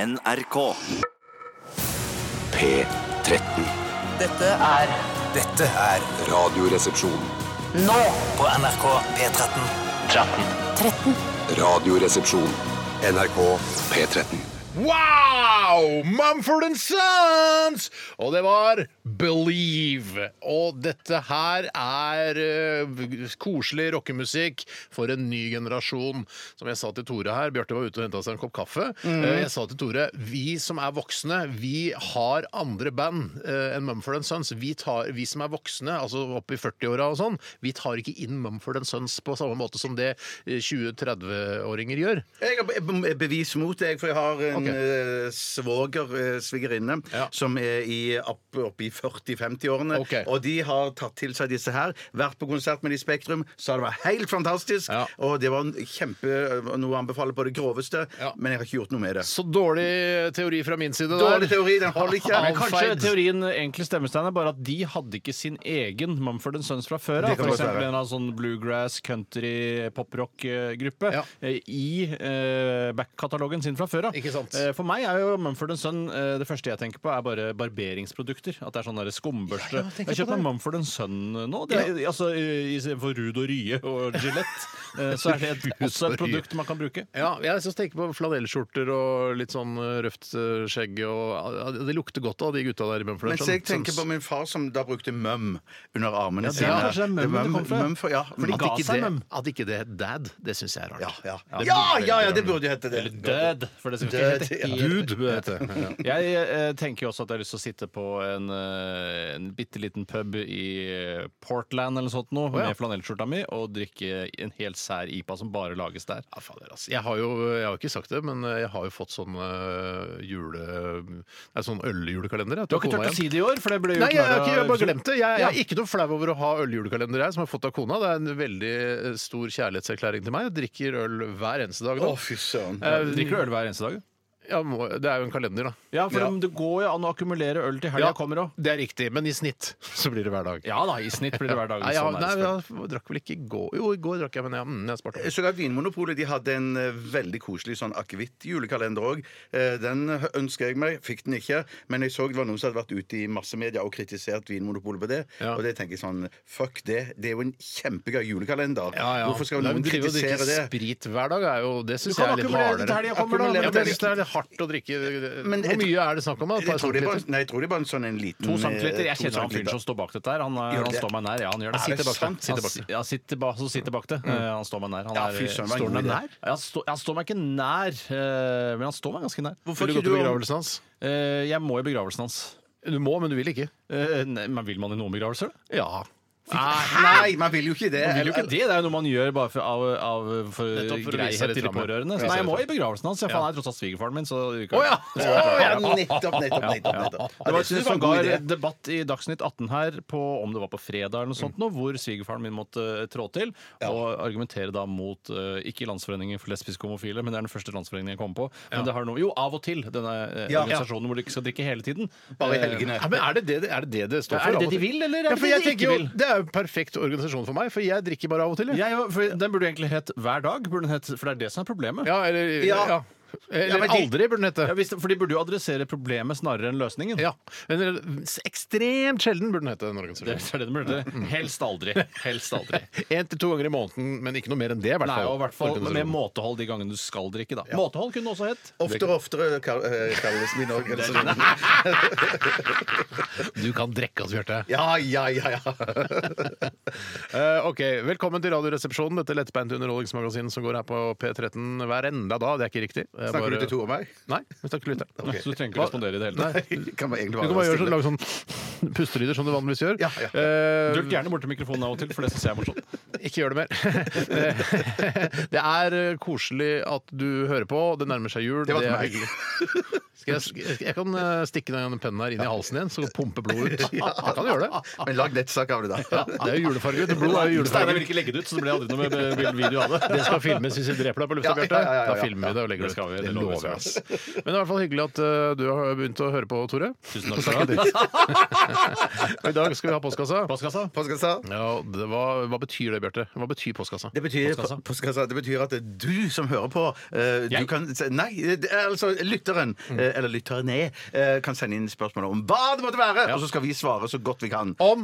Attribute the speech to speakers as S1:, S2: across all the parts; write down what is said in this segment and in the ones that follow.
S1: NRK.
S2: P13.
S3: Dette er
S4: Dette er
S2: Radioresepsjon.
S3: nå
S4: på NRK P13.
S2: Radioresepsjon. NRK P13.
S5: Wow! Mumford and Sons! Og det var Believe. Og dette her er eh, koselig rockemusikk for en ny generasjon. Som jeg sa til Tore her, Bjarte var ute og henta seg en kopp kaffe.
S6: Mhm.
S5: Eh, Jeg sa til Tore vi som er voksne, vi har andre band eh, enn Mumford and Sons. Vi, tar, vi som er voksne, altså opp i 40-åra og sånn, vi tar ikke inn Mumford and Sons på samme måte som det eh, 20-30-åringer gjør.
S6: Jeg har be- bevis mot det, jeg, for jeg har en
S5: Ok.
S6: eh, svoger, eh, svigerinne,
S5: Ja.
S6: som er i, opp, oppe i 40-50-årene.
S5: Ok.
S6: Og de har tatt til seg disse her. Vært på konsert med de i Spektrum, sa det var helt fantastisk.
S5: Ja.
S6: Og det var en kjempe noe å anbefale på det groveste,
S5: Ja.
S6: men jeg har ikke gjort noe med det.
S5: Så dårlig teori fra min side
S6: Dårlig
S5: der.
S6: teori, den holder ikke.
S5: Men
S6: Kanskje-
S7: Kanskje teorien egentlig stemmer, Steinar, bare at de hadde ikke sin egen Mumford Sons fra før
S6: Det
S7: av.
S6: kan
S7: For
S6: godt
S7: eksempel
S6: være.
S7: en eller annen sånn bluegrass, country, poprock-gruppe
S5: Ja.
S7: i eh, back-katalogen sin fra før av.
S5: Ikke sant.
S7: Eh, For meg er jo Mumford Son eh, det første jeg tenker på, er bare barberingsprodukter. At det er sånn derre skumbørste. jeg har kjøpt meg Mumford Son nå. Det er, altså, Istedenfor Ruud og Rye og Gillette, eh, så er det et, også et
S5: og Rye.
S7: produkt man kan bruke.
S5: Ja, jeg synes tenker på flanellskjorter og litt sånn eh, røft eh, skjegg. Og, ja, det lukter godt av de gutta der i sånn- Mumford.
S6: Mens jeg tenker på min far som da brukte møm under armene
S7: det er
S6: sine.
S7: kanskje den mømmen det kom fra.
S6: møm for, ja.
S7: For de
S6: At
S7: ga
S6: ikke
S7: seg
S6: det-
S7: møm.
S5: At ikke det er dad, det syns jeg er
S6: Ja,
S5: rart.
S6: ja.
S5: Det burde
S6: Ja, ja, ja,
S5: være
S6: det
S5: rart.
S6: burde jo hete det.
S7: Eller død, for det skal ikke
S6: Død,
S7: hete
S6: ja.
S7: helt
S5: Dud burde det hete. Ja.
S7: Jeg eh, tenker jo også at jeg har lyst til å sitte på en, eh, en bitte liten pub i eh, Portland eller sånt noe,
S5: ja.
S7: med flanellskjorta mi, og drikke en hel sær IPA som bare lages der.
S5: Ja, fader, altså. Jeg har jo jeg har ikke sagt det, men jeg har jo fått sånn eh, jule... Nei, sånn øljulekalender. jeg,
S7: Du
S5: til
S7: har ikke
S5: kona
S7: turt å
S5: igjen.
S7: si det i år, for det ble jo
S5: Nei, jeg, har
S7: knarra-
S5: ikke, jeg har bare glemt det. Jeg, jeg
S7: Ja.
S5: er ikke noe flau over å ha øljulekalender her, som jeg har fått av kona. Det er en veldig eh, stor kjærlighetserklæring til meg. Jeg drikker øl hver eneste dag
S6: Å,
S5: nå.
S6: fy søren.
S5: Eh,
S7: Drikker du øl hver eneste dag?
S5: Ja, må, det er jo en kalender, da.
S7: Ja, for
S6: Ja.
S7: om det går jo an å akkumulere øl til helga kommer òg.
S5: Det er riktig, men i snitt så blir det hver dag.
S7: Ja da, i snitt blir det hver dag.
S5: Nei, ja,
S7: sånn er det
S5: nei,
S7: selvfølgelig.
S5: jeg drakk vel ikke i går Jo, i går drakk jeg, men ja, mm, jeg sparte.
S6: Jeg Eh, så at Vinmonopolet de hadde en eh, veldig koselig sånn akevitt-julekalender òg. Eh, Den hø- ønsker jeg meg, fikk den ikke. Men jeg så det var noen som hadde vært ute i masse media og kritisert Vinmonopolet på det.
S5: Ja.
S6: Og det tenker jeg sånn Fuck det. Det er jo en kjempegøy julekalender.
S5: Ja, ja.
S6: Hvorfor skal
S5: Nei,
S6: noen
S5: men drive og drikke
S6: kritisere det?
S5: Sprit hver dag er jo Det syns
S7: Du kan
S5: jeg er litt
S7: akkumulere det til
S5: hardere.
S7: helga kommer, da.
S5: Ja, men jeg
S6: Akkumulere
S5: syns det er litt hardt å drikke
S6: Men
S5: Hvor
S6: jeg-
S5: mye er det snakk om? da? sånn Et
S6: Jeg
S5: par
S6: tror det er bare,
S5: centiliter?
S6: nei, jeg tror det er bare en sånn en liten
S7: To centiliter.
S6: eh,
S7: Jeg
S6: to
S7: kjenner han fyren
S6: centiliter.
S7: som står bak dette her. Han, er-
S6: Gjør
S7: han
S6: det?
S7: står meg nær. Ja, han gjør det.
S6: Er det
S7: Sitter bak
S6: sant? Mm.
S7: det. Han
S5: Sitter bak det.
S7: si- Ja, sitter bak, så sitter bak det. Eh, Han står meg nær. Han
S6: Ja,
S7: er-
S6: fy søren, hva en
S7: står
S6: god
S7: meg
S6: idé.
S7: nær? Ja, han står- han står meg ikke nær, eh, men han står meg ganske nær.
S5: Vil du gå til begravelsen hans?
S7: Eh, Jeg må i begravelsen hans.
S5: Du må, men du vil ikke.
S7: Eh, Nei, men vil man i noen begravelser, da?
S5: Ja.
S6: Nei, man vil jo ikke det.
S7: Man vil jo ikke det. Det er jo noe man gjør bare for, av, av, for
S5: Nettopp for å vise
S7: greihet
S5: litt
S7: til de
S5: fram, ja.
S7: pårørende.
S5: Ja.
S7: Så Nei, jeg må i begravelsen hans. Ja, for
S5: Ja.
S7: Han er tross alt svigerfaren min. Så
S5: Å ja! Å, ja.
S6: Ja, nettopp, nettopp, nettopp. nettopp.
S7: Det
S6: Ja,
S7: var
S6: synes jeg
S7: sågar debatt i Dagsnytt 18 her på om det var på fredag eller noe sånt nå, hvor svigerfaren min måtte eh, trå til og argumentere da mot eh, ikke Landsforeningen for lesbiske homofile, men det er den første landsforeningen jeg kom på. Men det har noe Jo, av og til, denne eh,
S6: Ja.
S7: organisasjonen hvor du ikke skal drikke hele tiden.
S6: Bare i
S7: Eh,
S6: helgene.
S5: Ja, men er det det det, er det, det, det står for?
S7: Er
S5: av
S7: det det
S5: og
S7: de
S5: til?
S7: vil, eller er
S5: Ja,
S7: det
S5: for
S7: det
S5: jeg
S7: de ikke
S5: tenker jo,
S7: vil?
S5: Det er jo perfekt organisasjon for meg, for jeg drikker bare av og til. jeg.
S7: Jeg, jo, for den burde jo egentlig hett Hver dag, burde den hett, for det er det som er problemet.
S5: Ja, eller,
S6: Ja.
S5: ja.
S6: Ja,
S5: eller
S6: men de-
S5: aldri, burde den hete.
S7: Ja, hvis det, for de burde jo adressere problemet snarere enn løsningen.
S5: Ja, men Ekstremt sjelden burde den hete. den
S7: Det
S5: organisasjonen.
S7: er det de burde. Helst aldri. Helst aldri.
S5: Én til to ganger i måneden, men ikke noe mer enn det. i hvert
S7: Nei,
S5: fall.
S7: og i hvert fall
S5: Organisasjonen.
S7: med måtehold de gangene du skal drikke, da. Måtehold kunne også hett.
S6: Oftere og oftere kall- eh, kalles min sånn. organisasjon.
S5: Du kan drikke oss, Bjarte.
S6: Ja, ja, ja, ja.
S5: Eh, ok, Velkommen til Radioresepsjonen, dette lettbeinte underholdningsmagasinet som går her på P13 hver enda da. Det er ikke riktig. Jeg
S6: Snakker
S5: bare-
S6: du til to om meg?
S5: Nei, jeg snakker til lytteren.
S7: Så du trenger ikke respondere i det hele tatt.
S5: Nei.
S6: Kan man egentlig
S5: Du
S6: bare
S5: kan bare gjøre
S6: stille.
S5: sånn, lage sånn pustelyder som du vanligvis gjør.
S6: Ja, ja.
S5: Eh,
S7: Dulk gjerne bort til mikrofonen av og til, for det syns jeg er morsomt.
S5: Ikke gjør det mer. det er eh, koselig at du hører på. Det nærmer seg jul.
S6: Det var til
S5: er
S6: meg.
S5: hyggelig. Skal jeg, jeg kan eh, stikke den pennen her inn i halsen igjen, så pumper blodet ut. Jeg kan gjøre det.
S6: Men lag nettsak av det, da.
S5: Ja, det er jo julefarget. Blod er jo
S7: Steinar
S5: julefarget.
S7: vil ikke legge det ut, så det blir aldri noe med med video av det.
S5: Det skal filmes hvis vi dreper deg på lufta,
S6: Ja, ja,
S5: Bjarte.
S6: ja, ja, ja.
S5: Da filmer vi det og legger
S7: Det skal vi,
S5: ut.
S7: det lover vi.
S5: ass. Men det er i hvert fall hyggelig at eh, du har begynt å høre på, Tore.
S7: Tusen takk skal du ha.
S5: Og i dag skal vi ha postkassa.
S7: Postkassa?
S6: Postkassa?
S5: Ja, det var, hva betyr det, Bjarte? Hva betyr altså? postkassa?
S6: Det betyr,
S7: Postkassa.
S6: postkassa, det betyr at du som hører på eh, du
S7: Jeg?
S6: kan, se- Nei, det er altså lytteren,
S5: Mm.
S6: eh, eller lytterne, eh, kan sende inn spørsmål om hva det måtte være, og så skal vi svare så godt vi kan.
S5: Om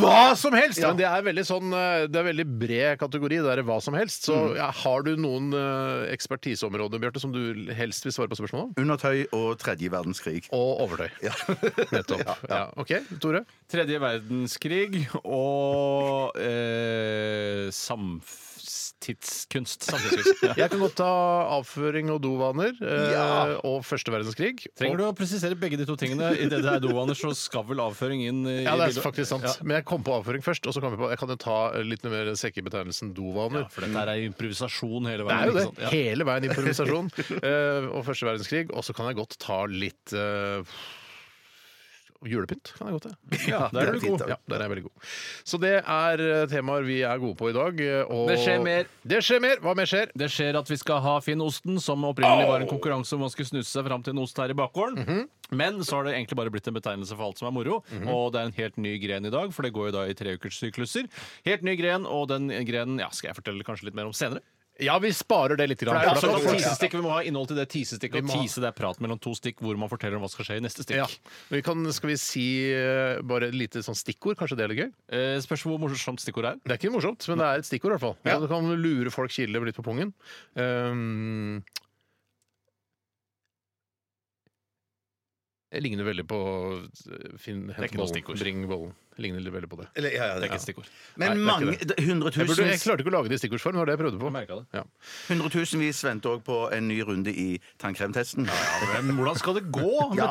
S5: hva som helst!
S6: Ja.
S5: Men det er veldig sånn eh, Det er veldig bred kategori. Det er hva som helst. Så ja, har du noen eh, ekspertiseområder, Bjarte, som du helst vil svare på spørsmål om?
S6: Undertøy og tredje verdenskrig.
S5: Og overtøy. Nettopp. Ja, OK, Tore.
S7: Tredje verdenskrig og eh, samtidskunst. Samtidskunst. Ja.
S5: Jeg kan godt ta avføring og dovaner eh, og første verdenskrig.
S7: Trenger du å presisere begge de to tingene? I det det er dovaner, så skal vel avføring inn i
S5: Ja, det er
S7: bildet?
S5: faktisk sant.
S7: Ja.
S5: Men jeg kom på avføring først. Og så kom jeg på Jeg kan jo ta eh, litt mer sekkebetegnelsen dovaner.
S7: Ja, for dette er improvisasjon hele
S5: det er
S7: veien.
S5: jo det.
S7: ikke sant? Ja.
S5: Hele veien improvisasjon. eh, og første verdenskrig. Og så kan jeg godt ta litt eh, Julepynt kan jeg godt det.
S7: Ja, der er du god.
S5: Ja, der er jeg veldig god. Så det er eh, temaer vi er gode på i dag. eh, Og
S7: Det skjer mer.
S5: Det skjer mer. Hva mer skjer?
S7: Det skjer at vi skal ha Finn Osten, som opprinnelig var en konkurranse hvor man skulle snuse seg fram til en ost her i bakgården.
S5: Mhm.
S7: Men så har det egentlig bare blitt en betegnelse for alt som er moro. Og det er en helt ny gren i dag, for det går jo da i treukerssykluser. Helt ny gren, og den grenen ja, skal jeg fortelle kanskje litt mer om senere.
S5: Ja, vi sparer det litt.
S7: For
S5: Grann,
S7: det er
S5: for da
S7: jo såkalt
S5: kan vi-
S7: tisestikk, Vi må ha innhold til det tisestikket.
S5: Vi
S7: Og
S5: må ha-
S7: tise det er prat mellom to stikk hvor man forteller om hva som skal skje i neste stikk.
S5: Ja. Vi kan, skal vi si eh, bare et lite sånn stikkord? Kanskje det er litt gøy?
S7: Eh, spørs hvor morsomt stikkord er.
S5: Det er ikke morsomt, men det er et stikkord i hvert fall.
S7: Ja.
S5: Og Du kan lure folk kilde litt på pungen. Um, det ligner veldig på eh, Finn,
S7: er
S5: hent
S7: ikke noe
S5: bollen,
S7: stikkord.
S5: bring bollen. Ligner veldig på det.
S6: Eller, ja, ja,
S7: Det er ikke
S6: ja.
S7: et stikkord.
S6: Men
S5: Nei, det er
S6: mange,
S5: ikke Jeg, burde, jeg
S6: hundretusenvis,
S5: klarte ikke å lage det i stikkordsform, det var det jeg prøvde på.
S7: merket det.
S5: Ja.
S6: hundretusenvis venter òg på en ny runde i tannkremtesten.
S7: Men hvordan skal det gå med
S6: Ja,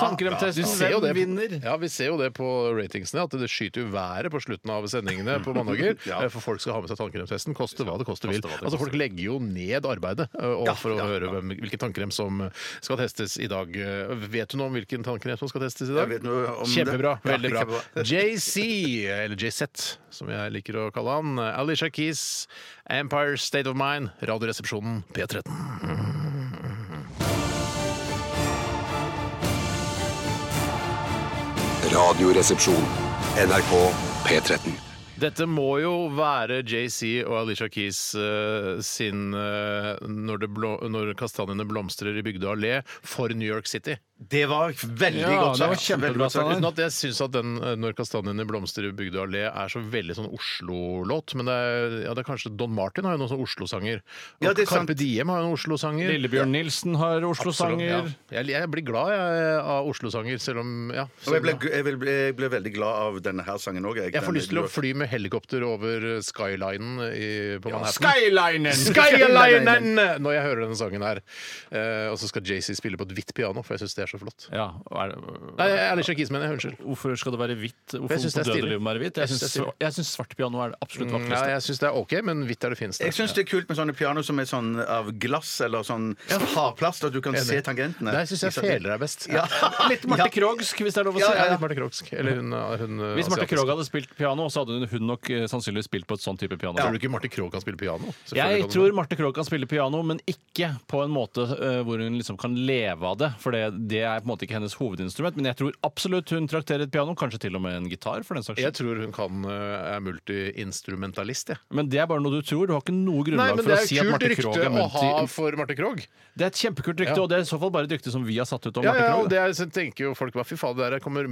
S5: Du
S7: tannkremtesten?
S5: ser jo det
S7: Hvem vinner?
S5: Ja, vi ser jo det på ratingsene, at det skyter jo været på slutten av sendingene på mandager. eh, For folk skal ha med seg tannkremtesten, koste hva det koste vil. Altså Folk legger jo ned arbeidet eh, og for å høre hvem, hvilken tannkrem som skal testes i dag. Eh, Vet du noe om hvilken tannkrem som skal testes i dag?
S6: Jeg vet noe om det.
S5: Kjempebra.
S6: Ja,
S5: Veldig bra.
S6: kjempebra.
S5: JC, eller JZ, som jeg liker å kalle han. Alicia Keys, Empire State of Mind, Radioresepsjonen, P13.
S2: Radioresepsjon. NRK P13.
S5: Dette må jo være JC og Alicia Keys eh, sin eh, når, det blå, 'Når kastanjene blomstrer i Bygdø allé' for New York City.
S6: Det var veldig
S7: Ja,
S6: godt
S7: det var
S6: sagt.
S7: kjempebra
S6: Veldig godt sagt.
S7: sagt.
S5: Uten at jeg syns at den eh, 'Når kastanjene blomstrer i Bygdø allé' er så veldig sånn Oslo-låt. Men det er, ja, det er kanskje Don Martin har jo noen sånne Oslo-sanger. Og
S6: Ja, det er sant.
S5: Carpe Diem har jo en Oslo-sanger.
S7: Lillebjørn Nilsen har
S5: Absolutt, ja.
S7: Oslo-sanger.
S5: Jeg, jeg blir glad jeg, av Oslo-sanger, selv om ja,
S6: Og
S5: selv,
S6: jeg ble, jeg, ble, jeg ble veldig glad av denne her sangen òg.
S5: Jeg får lyst til å fly med helikopter over eh, skylinen i, på Manhattan.
S7: Skylinen!
S5: Skylinen! Når jeg hører denne sangen her. Eh, og så skal JC spille på et hvitt piano, for jeg syns det er så flott.
S7: Ja, og er det-
S5: Nei, Alicia Keys, mener jeg. Unnskyld.
S7: Hvorfor skal det være hvitt? Hvorfor
S5: Jeg synes
S7: må
S5: det er stilig.
S7: dødelivet må være hvitt? Jeg
S5: Jeg synes
S7: syns,
S5: det er stilig.
S7: jeg syns svart piano er det absolutt
S5: Mm, Ja,
S7: vakreste.
S5: jeg syns det er OK, men hvitt er det fineste.
S6: Jeg syns det er kult med sånne piano som er sånn av glass eller sånn hardplast, at du kan se tangentene.
S5: Der syns jeg feler er best.
S6: Ja.
S7: Litt Marte Krogsk, hvis det er lov å si.
S5: Ja, ja, ja. Marte Krogsk. Eller hun, eh, hun
S7: Hvis Marte
S5: asiatisk.
S7: Krogh hadde spilt piano, så hadde hun- hun nok eh, sannsynligvis spilt på et sånn type piano.
S5: Tror du ikke Marte Krogh kan spille piano? Selvfølgelig
S7: Jeg
S5: kan
S7: tror
S5: hun.
S7: Marte Krogh kan spille piano, men ikke på en måte eh, hvor hun liksom kan leve av det. For det, det er på en måte ikke hennes hovedinstrument. Men jeg tror absolutt hun trakterer et piano, kanskje til og med en gitar. for den saks
S5: jeg
S7: skyld.
S5: tror hun kan, eh, er multiinstrumentalist, jeg.
S7: Men det er bare noe du tror. Du har ikke
S5: Nei,
S7: noe grunnlag
S5: men
S7: for
S5: det
S7: å
S5: er
S7: si at
S5: kult
S7: Marte
S5: rykte
S7: Krogh er
S5: å ha
S7: multi...
S5: for Marte Krogh.
S7: Det er et kjempekult rykte,
S5: Ja.
S7: og det er i så fall bare et rykte som vi har satt ut om
S5: Ja,
S7: Marte
S5: ja,
S7: Krogh.
S5: og det er, så tenker jo folk hva fy faen, der kommer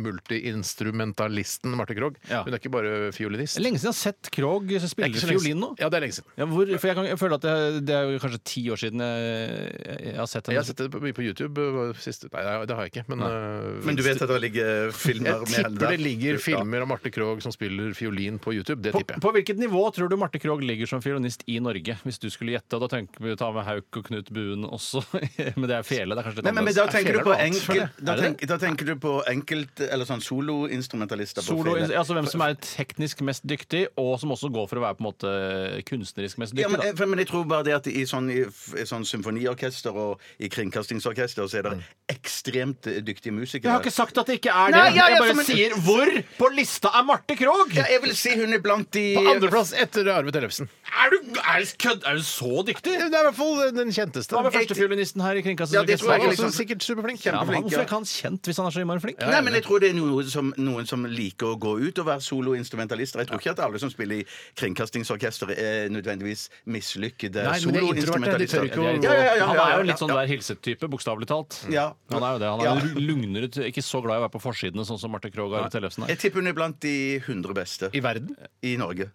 S5: multiinstrumentalisten Marte Krogh.
S7: Ja.
S5: Hun er ikke bare fiolinist.
S7: Det er Lenge siden jeg har sett Krogh eh,
S5: Det er ikke
S7: spille
S5: så lenge-
S7: fiolin nå.
S5: Ja, det er lenge siden.
S7: Ja, hvor, for jeg, kan, jeg føler at det, det er jo kanskje ti år siden jeg, jeg har sett
S5: Jeg
S7: henne.
S5: har sett det på- mye på YouTube. øh, Siste. Nei, det har jeg ikke. Men, øh,
S6: Men du vet at det ligger eh, filmer
S5: jeg
S6: med henne
S5: tipper
S6: der?
S5: det ligger filmer av Marte Krogh som spiller fiolin på YouTube. Det
S7: På,
S5: tipper jeg.
S7: på hvilket nivå tror du Marte Krogh ligger som fiolinist i Norge? Hvis du skulle gjette, og da tenker vi å ta med Hauk og Knut Buen også. men det er fele. det er kanskje litt
S6: Nei, men, men da
S7: annerledes.
S6: tenker du
S5: feler
S6: på
S5: noe annet, føler jeg.
S6: enkelt da,
S7: Er det
S6: tenk, da tenker du på enkelt Eller sånn soloinstrumentalister. på
S7: Solo,
S6: fele.
S7: altså Hvem som er teknisk mest dyktig, og som også går for å være på en måte kunstnerisk mest
S6: Ja, men,
S7: dyktig. da.
S6: jeg, men jeg
S5: Mm.
S6: tror bare det at i sånn, i, f- i sånn symfoniorkester og i kringkastingsorkester så er det x ekstremt dyktige musikere.
S7: Jeg har ikke sagt at det ikke er det.
S6: Nei, ja, ja,
S7: jeg bare
S6: som en-
S7: sier hvor på lista er Marte Krogh?
S6: ja, jeg vil si hun er blant de
S5: På andreplass etter Arve Tellefsen.
S7: Er du, er, du kødd? er du så dyktig?
S5: Det er i hvert fall den kjenteste.
S7: Hva med førstefiolinisten her i
S6: Ja, det tror
S7: Kringkastingsorkesteret?
S5: Han er
S6: jeg
S5: også
S6: ikke, liksom.
S5: sikkert superflink.
S7: Ja, men
S5: Kjempeflink.
S7: hvorfor er ikke han kjent hvis han er så innmari flink?
S6: Nei, men jeg tror det er noe som, noen som liker å gå ut og være soloinstrumentalister. Jeg tror ikke at alle som spiller i kringkastingsorkester er nødvendigvis mislykkede
S5: Nei, men de er introverte, de tør
S6: soloinstrumentalister.
S5: ikke å-
S6: Ja, ja, ja, ja,
S7: han er jo
S6: ja,
S7: en litt sånn
S6: ja.
S7: der hilsetype, bokstavelig talt.
S6: Ja.
S7: Han er jo det. Han
S6: Ja.
S7: er en lugnere, ty- ikke så glad i å være på forsidene, sånn som Marte Krogh og Arve Tellefsen er.
S6: Jeg tipper hun er blant de 100 beste
S5: I verden?
S6: i Norge.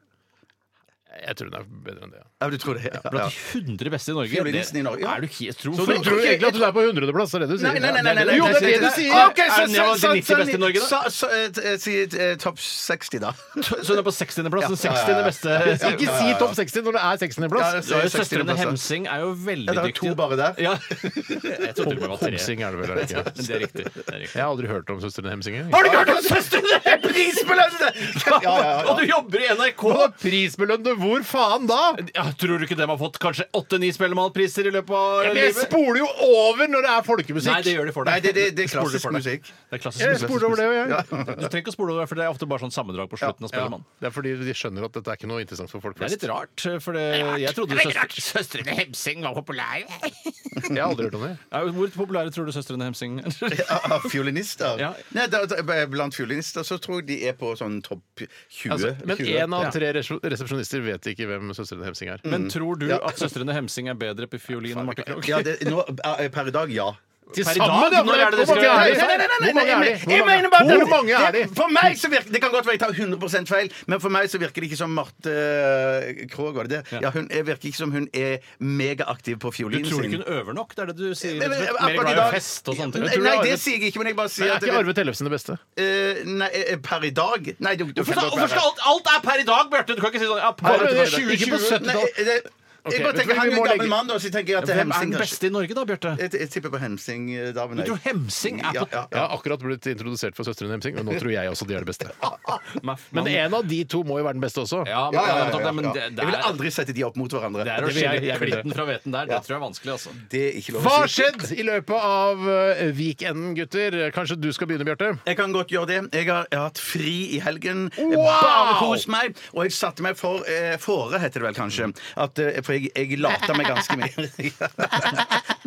S5: Jeg tror hun er bedre enn det. ja.
S6: Ja, du tror det? Ja. Ja.
S7: Blant de 100 beste i Norge.
S6: Fiolinisten i Norge, ja.
S7: Er du ikke, jeg tror
S5: Så du
S7: faen-
S5: tror egentlig at hun er på hundredeplass? Er det du sier?
S6: Nei, nei, nei, nei, nei, nei,
S5: Jo, det er det du
S6: nei,
S5: sier!
S6: Ok, så-
S7: Er den jeg
S6: så-
S7: var
S6: så-
S7: 90 beste i Norge, da?
S6: Så, så, eh, eh, si eh, topp 60, da.
S7: Så hun er på 60.-plass? Den 60. beste
S5: Ikke si topp 60 når det er 60.-plass.
S7: Ja, jo, Søstrene
S6: 60.
S7: Hemsing er jo veldig
S6: Ja, det er
S7: dyktige.
S6: to bare der.
S7: Ja. Jeg tror til og med det var tre.
S5: Homsing er det vel? er det ikke?
S7: Men det er riktig. Det er riktig.
S5: Jeg har aldri hørt om Søstrene Hemsing. jeg.
S7: Har du ikke hørt om Søstrene Hemsing?!
S6: Prisbelønnede! Ja, ja, ja.
S7: Og du jobber i NRK!
S5: Og prisbelønte hvor faen da?
S7: Ja, tror du ikke de har fått kanskje åtte-ni Spellemannpriser i løpet av
S5: Jeg
S7: livet?
S5: spoler jo over når det er folkemusikk.
S7: Nei, det gjør de for
S6: Nei,
S7: deg.
S6: det, det, det er
S7: Spoler
S6: klassisk
S7: for deg.
S6: musikk.
S7: Det er klassisk
S5: Jeg
S7: musikk.
S5: spoler over det, jeg.
S7: Du trenger ikke å spole over det, for det er ofte bare sånn sammendrag på slutten av Spellemann.
S5: Det er fordi de skjønner at dette er ikke noe interessant for folk
S7: Det er
S5: flest.
S7: litt rart, eh, for det, jeg trodde søster, Søstrene Hemsing var populære.
S5: Jeg har aldri hørt om det.
S7: Ja, hvor populære tror du Søstrene Hemsing er?
S6: Av av fiolinister?
S7: Ja.
S6: Nei, da, da, blant fiolinister så tror jeg de er på sånn topp 20.
S5: Altså, men
S6: 20.
S5: én av tre resep- resepsjonister vet ikke hvem Søstrene Hemsing er.
S7: Men tror du at Søstrene Hemsing er bedre på fiolin enn Marte Krogh?
S6: ja, det, nå, eh, Per i dag, ja.
S5: Til
S7: Per i
S5: sammen,
S7: dag,
S5: ja,
S7: når
S5: men
S7: er det det
S5: hvor
S7: skal-
S5: mange er de?
S7: Nei, nei,
S5: Hvor mange er de?
S6: jeg
S5: Hvor mange-
S6: mener bare
S5: Hvor mange er de?
S6: det- For meg så virker, Det kan godt være jeg tar 100 feil, men for meg så virker det ikke som Marte eh, Krogh. var det det? Ja, hun jeg virker ikke som hun er megaaktiv på
S7: Du
S6: fiolinen
S7: tror ikke
S6: sin.
S7: hun øver nok? Det er det du sier?
S6: Men-
S7: rett og slett.
S6: akkurat
S7: Mer
S6: i
S7: glad i å
S6: dag-
S7: feste og sånne ting.
S6: Nei,
S7: Jeg tror
S6: nei,
S7: det er-
S6: det sier jeg ikke, men jeg bare sier
S5: Men er
S6: at
S5: ikke Arve Tellefsen det beste?
S6: Eh, Nei, eh, per i dag? Nei, du, du
S7: Hvorfor
S6: kan
S7: skal,
S6: godt
S7: hvorfor skal
S6: være-
S7: alt, alt er per i dag, Bjarte? Du kan ikke si sånn ja, per
S5: Bare
S7: i dag.
S5: det- ikke på 70.
S6: Nei, eh, det,
S5: Ok,
S6: jeg bare
S5: jeg tror
S6: tenker, Han
S5: vi
S6: er
S5: må
S6: jo en
S5: legge-
S6: gammel mann, da, så tenker jeg at det er
S7: Hvem er
S6: Hemsing
S7: den
S6: kanskje.
S7: beste i Norge, da, Bjarte?
S6: Jeg, jeg tipper på Hemsing-damen.
S7: Du tror Hemsing er på
S6: ja,
S5: Jeg har akkurat blitt introdusert for Søstrene Hemsing, og nå tror jeg også de er det beste. Men
S7: Men
S5: en av de to må jo være den beste også.
S7: Ja, men,
S6: Ja, ja, ja, ja, ja.
S7: men det, det
S6: Jeg ville
S7: er,
S6: aldri sette de opp mot hverandre.
S7: det er å
S5: vil jeg-
S7: skille
S5: jeg vil det.
S7: klitten fra hveten der. Det tror jeg er vanskelig, altså.
S6: Det er ikke lov
S5: Hva
S6: å
S5: har
S6: si.
S5: skjedd i løpet av eh, weekenden, gutter? Kanskje du skal begynne, Bjarte?
S6: Jeg kan godt gjøre det. Jeg har, jeg har hatt fri i helgen.
S5: Wow!
S6: Jeg Bare kost meg. Og jeg satte meg for eh, fore, heter det vel kanskje. At, eh, for jeg, jeg lata meg ganske mye.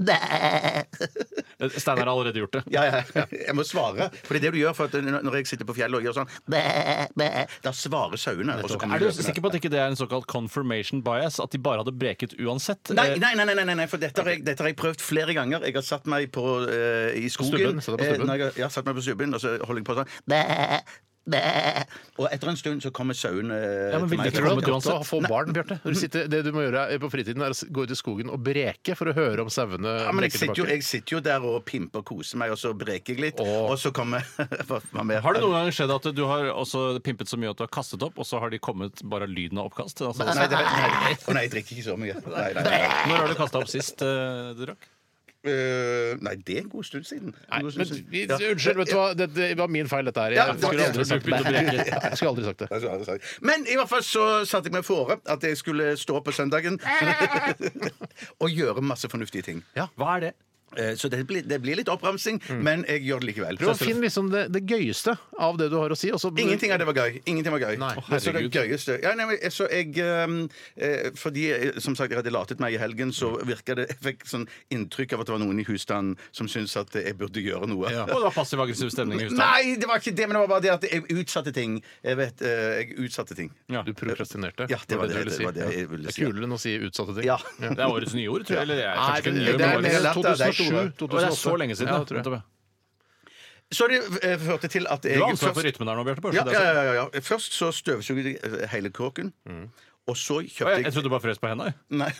S7: Eh, Steinar har allerede gjort det.
S6: Ja, ja, ja. Jeg må svare. For det er det du gjør for at når når jeg sitter på fjellet og gjør sånn Da svarer sauene. Og så kommer
S7: Er du
S6: løpende.
S7: sikker på at ikke det er en såkalt confirmation bias? At de bare hadde breket uansett? Eh,
S6: Nei, nei, nei, nei, nei, nei, for dette har, jeg, dette har jeg prøvd flere ganger. Jeg har satt meg på, eh, i skogen.
S5: stubben, satt deg på
S6: Eh,
S5: stubben.
S6: når jeg, har- jeg har satt meg på stubben, og så holder jeg på sånn. Og etter en stund så kommer sauene eh,
S7: Ja, men
S6: til
S7: vil
S6: meg.
S7: dere
S5: Tror du det er
S7: Kommer
S5: godt
S7: til
S5: å
S7: uansett.
S5: få barn, Bjarte? Når du sitter- Det du må gjøre eh, på fritiden, er å s- gå ut i skogen og breke for å høre om sauene
S6: Ja, men jeg
S5: breker
S6: sitter, jo,
S5: tilbake.
S6: jeg sitter jo der og pimper og koser meg, og så breker jeg litt. Og så kommer hva, hva mer?
S7: Har det noen ganger skjedd at du har også pimpet så mye at du har kastet opp, og så har de kommet bare av lyden av oppkast? Altså,
S6: Nei, det, nei, Å, nei, jeg drikker ikke så mye. Nei, nei, nei.
S7: når har du kasta opp sist, eh, du rakk?
S6: Eh, nei, det er en god stund siden.
S5: Nei,
S6: En god
S5: men,
S6: stund siden.
S5: vi-
S6: Ja.
S5: unnskyld, vet du hva? Det, det var min feil, dette her.
S6: Ja,
S5: Jeg skulle aldri sagt
S6: faktisk.
S5: det. Jeg skulle aldri sagt det.
S6: Det er så alle sagt. Men i hvert fall så satte jeg meg fore at jeg skulle stå på søndagen og gjøre masse fornuftige ting.
S7: Hva er det?
S6: Eh, Så det blir, det blir litt oppramsing, men jeg gjør det likevel.
S5: Prøv å finne liksom det, det gøyeste av det du har å si. Og så
S6: Ingenting av det var gøy. Ingenting var gøy.
S5: Nei.
S6: Å, herregud. Så det gøyeste ja, nei, men, Så jeg ehm, eh, Fordi eh, som sagt, jeg hadde latet meg i helgen, så virka det Jeg fikk sånn inntrykk av at det var noen i husstanden som syntes at jeg burde gjøre noe.
S7: Å, det var passiv aggressiv stemning i huset.
S6: Nei, det var ikke det, men det var bare det at jeg utsatte ting. Jeg vet, eh, jeg utsatte ting.
S7: Ja.
S5: Du prokrastinerte.
S6: Ja, det var det-
S5: du
S6: det var det jeg ville
S5: Det er
S6: si.
S5: kulere enn å si utsatte ting.
S6: Ja.
S7: Det er årets nye ord, tror jeg. Eller jeg,
S5: Nei,
S7: kanskje
S5: men
S7: ikke nye ord,
S5: det er
S7: men
S6: mer-
S7: årets-
S5: mer
S6: det er- det er store.
S5: 2007-2008.
S7: Å, det er så lenge siden.
S5: Ja,
S7: Ja,
S5: tror jeg.
S7: nettopp, ja.
S6: Så det eh, førte til at jeg
S7: Du har ansvar for
S6: først-
S7: rytmen der nå, Bjarte. bare så
S6: Ja,
S7: det er sånn.
S6: ja, ja,
S7: sagt.
S6: ja, ja. Først så støvsugde jeg eh, hele kåken. Og så
S7: Mm. Å,
S6: kjøpte
S7: Jeg, jeg
S6: jeg
S7: trodde du bare frøs på henda.
S6: Nei.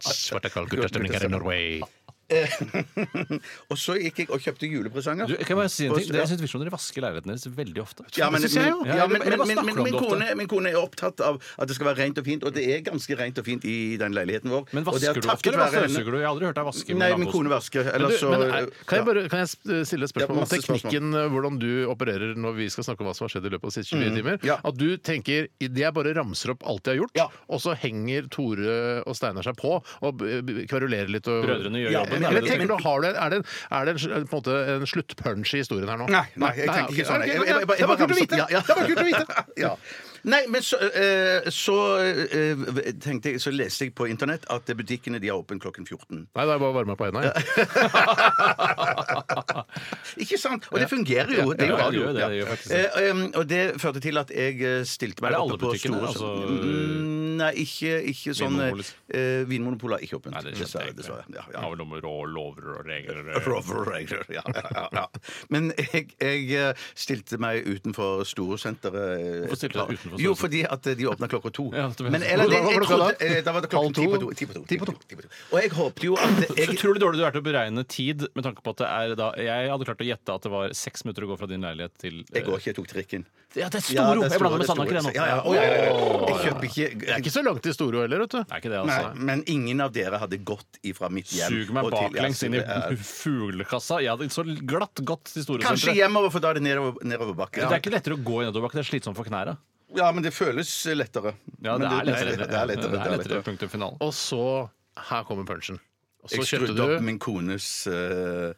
S5: Svartakal, guttastemning her i Norway.
S6: og så gikk jeg og kjøpte julepresanger.
S7: Du, kan jeg bare si en ting?
S6: Og-
S7: Det, jeg syns virksomheter vasker leiligheten deres veldig ofte.
S6: Ja, men,
S7: Det synes
S6: men,
S7: jeg jo.
S6: ja, men,
S7: Eller
S6: men,
S7: bare
S6: men,
S7: snakker
S6: men
S7: om
S6: min,
S7: det ofte.
S6: kone, min kone er opptatt av at det skal være rent og fint, og det er ganske rent og fint i den leiligheten vår.
S7: Men
S6: Og det er
S7: vasker du ofte,
S6: takket
S7: eller
S6: være henne-
S7: støvsuger du? Jeg har aldri hørt deg vaske. med
S6: Nei, min
S7: lammeosten.
S6: kone vasker.
S5: Men
S6: Eller
S5: du,
S6: så
S5: men
S7: eh,
S5: er, kan, jeg
S6: ja.
S5: bare, kan jeg sp- stille et spørsmål
S6: Ja,
S5: om
S6: masse
S5: teknikken eh, hvordan du opererer når vi skal snakke om hva som har skjedd i løpet av de siste 24 timer?
S6: Mm, ja.
S5: At du tenker det jeg bare ramser opp alt jeg har gjort,
S6: Ja.
S5: og så henger Tore og Steinar seg på og b- b- kverulerer litt. Og,
S7: Brødrene gjør
S5: ja,
S7: jobben,
S5: men,
S7: da.
S5: men, tenker du, har du, en- Er det, en- er det en, sl- på en, måte en sluttpunch i historien her nå?
S6: Nei, nei, jeg tenker
S5: ok.
S6: ikke sånn.
S5: Ok,
S6: Jeg-
S5: ok,
S6: jeg- jeg- jeg-
S5: Det var
S6: jeg-
S5: kult å vite!
S6: Ja, ja.
S5: Det var kult å vite.
S6: ja. Nei, men så, eh, så eh, tenkte jeg Så leste jeg på internett at butikkene de har åpent klokken 14.
S5: Nei, det er bare å varme meg på hendene. jeg.
S6: Ikke sant? Og det fungerer jo. Det er jo
S7: Ja, det
S6: radio.
S7: gjør det, det gjør faktisk det.
S6: Eh, em, og det førte til at jeg eh, stilte
S7: Er
S6: meg oppe
S7: det alle
S6: på
S7: butikkene,
S6: store
S7: altså,
S6: Mm, Nei, ikke, ikke sånn
S7: Vinmonopolet?
S6: eh, Vinmonopolet har ikke åpent.
S7: Nei, det skjønte jeg.
S6: dessverre.
S7: ikke.
S6: dessverre.
S7: Det
S6: Ja,
S7: har vel noe med rå lover og regler å gjøre.
S6: Rover-regler, ja, ja, ja, ja. Men jeg, jeg eh, stilte meg utenfor Storosenteret. eh,
S7: Hvorfor stilte du deg utenfor
S6: Jo,
S7: Storosenteret?
S6: fordi at eh, de åpna klokka to.
S7: Ja, det-
S6: Men eller,
S5: Hva
S6: det,
S5: var
S6: jeg
S5: klokka
S6: trodde,
S5: da?
S6: eh, da var det klokken ti
S5: Halv to?
S6: på to. Ti på to. Ti på to. ti på to. Og jeg håpte jo at
S7: Så
S6: jeg
S7: utrolig dårlig du er til å beregne tid, med tanke på at det er da Jeg hadde klart å gjette at det var seks minutter å gå fra din leilighet til eh,
S6: Jeg går ikke, jeg tok trikken.
S7: Ja, det er
S6: Ja,
S7: Storo!
S6: det er
S7: jeg blander med
S6: Storo,
S7: Sandaker
S6: det er Storo.
S7: jeg nå.
S6: Ja, ja, å, ja, ja, ja. Jeg kjøper
S5: Det er
S6: ikke sånn,
S5: ikke så langt til Storo heller, vet du.
S7: Det er ikke det,
S6: Nei,
S7: altså.
S6: men ingen av dere hadde gått ifra mitt hjem.
S7: Sug meg
S6: og til- ja,
S7: baklengs inn i
S6: ja.
S7: fuglekassa. Jeg hadde så glatt gått til
S6: Kanskje
S7: Storosenteret.
S6: hjemover, for da er det nedover, nedover
S7: Det
S6: bakken.
S7: er ikke lettere å gå i nedoverbakke. Det er slitsomt for knærne.
S6: Ja, men det føles lettere.
S7: Ja,
S6: Men
S7: det er lettere.
S6: Det er lettere.
S7: Det er
S6: det er lettere.
S7: lettere. Punktum finalen.
S5: Og så Her kommer punchen. Og så
S6: Jeg
S5: kjøpte
S6: skrudde opp
S5: du
S6: min kones eh,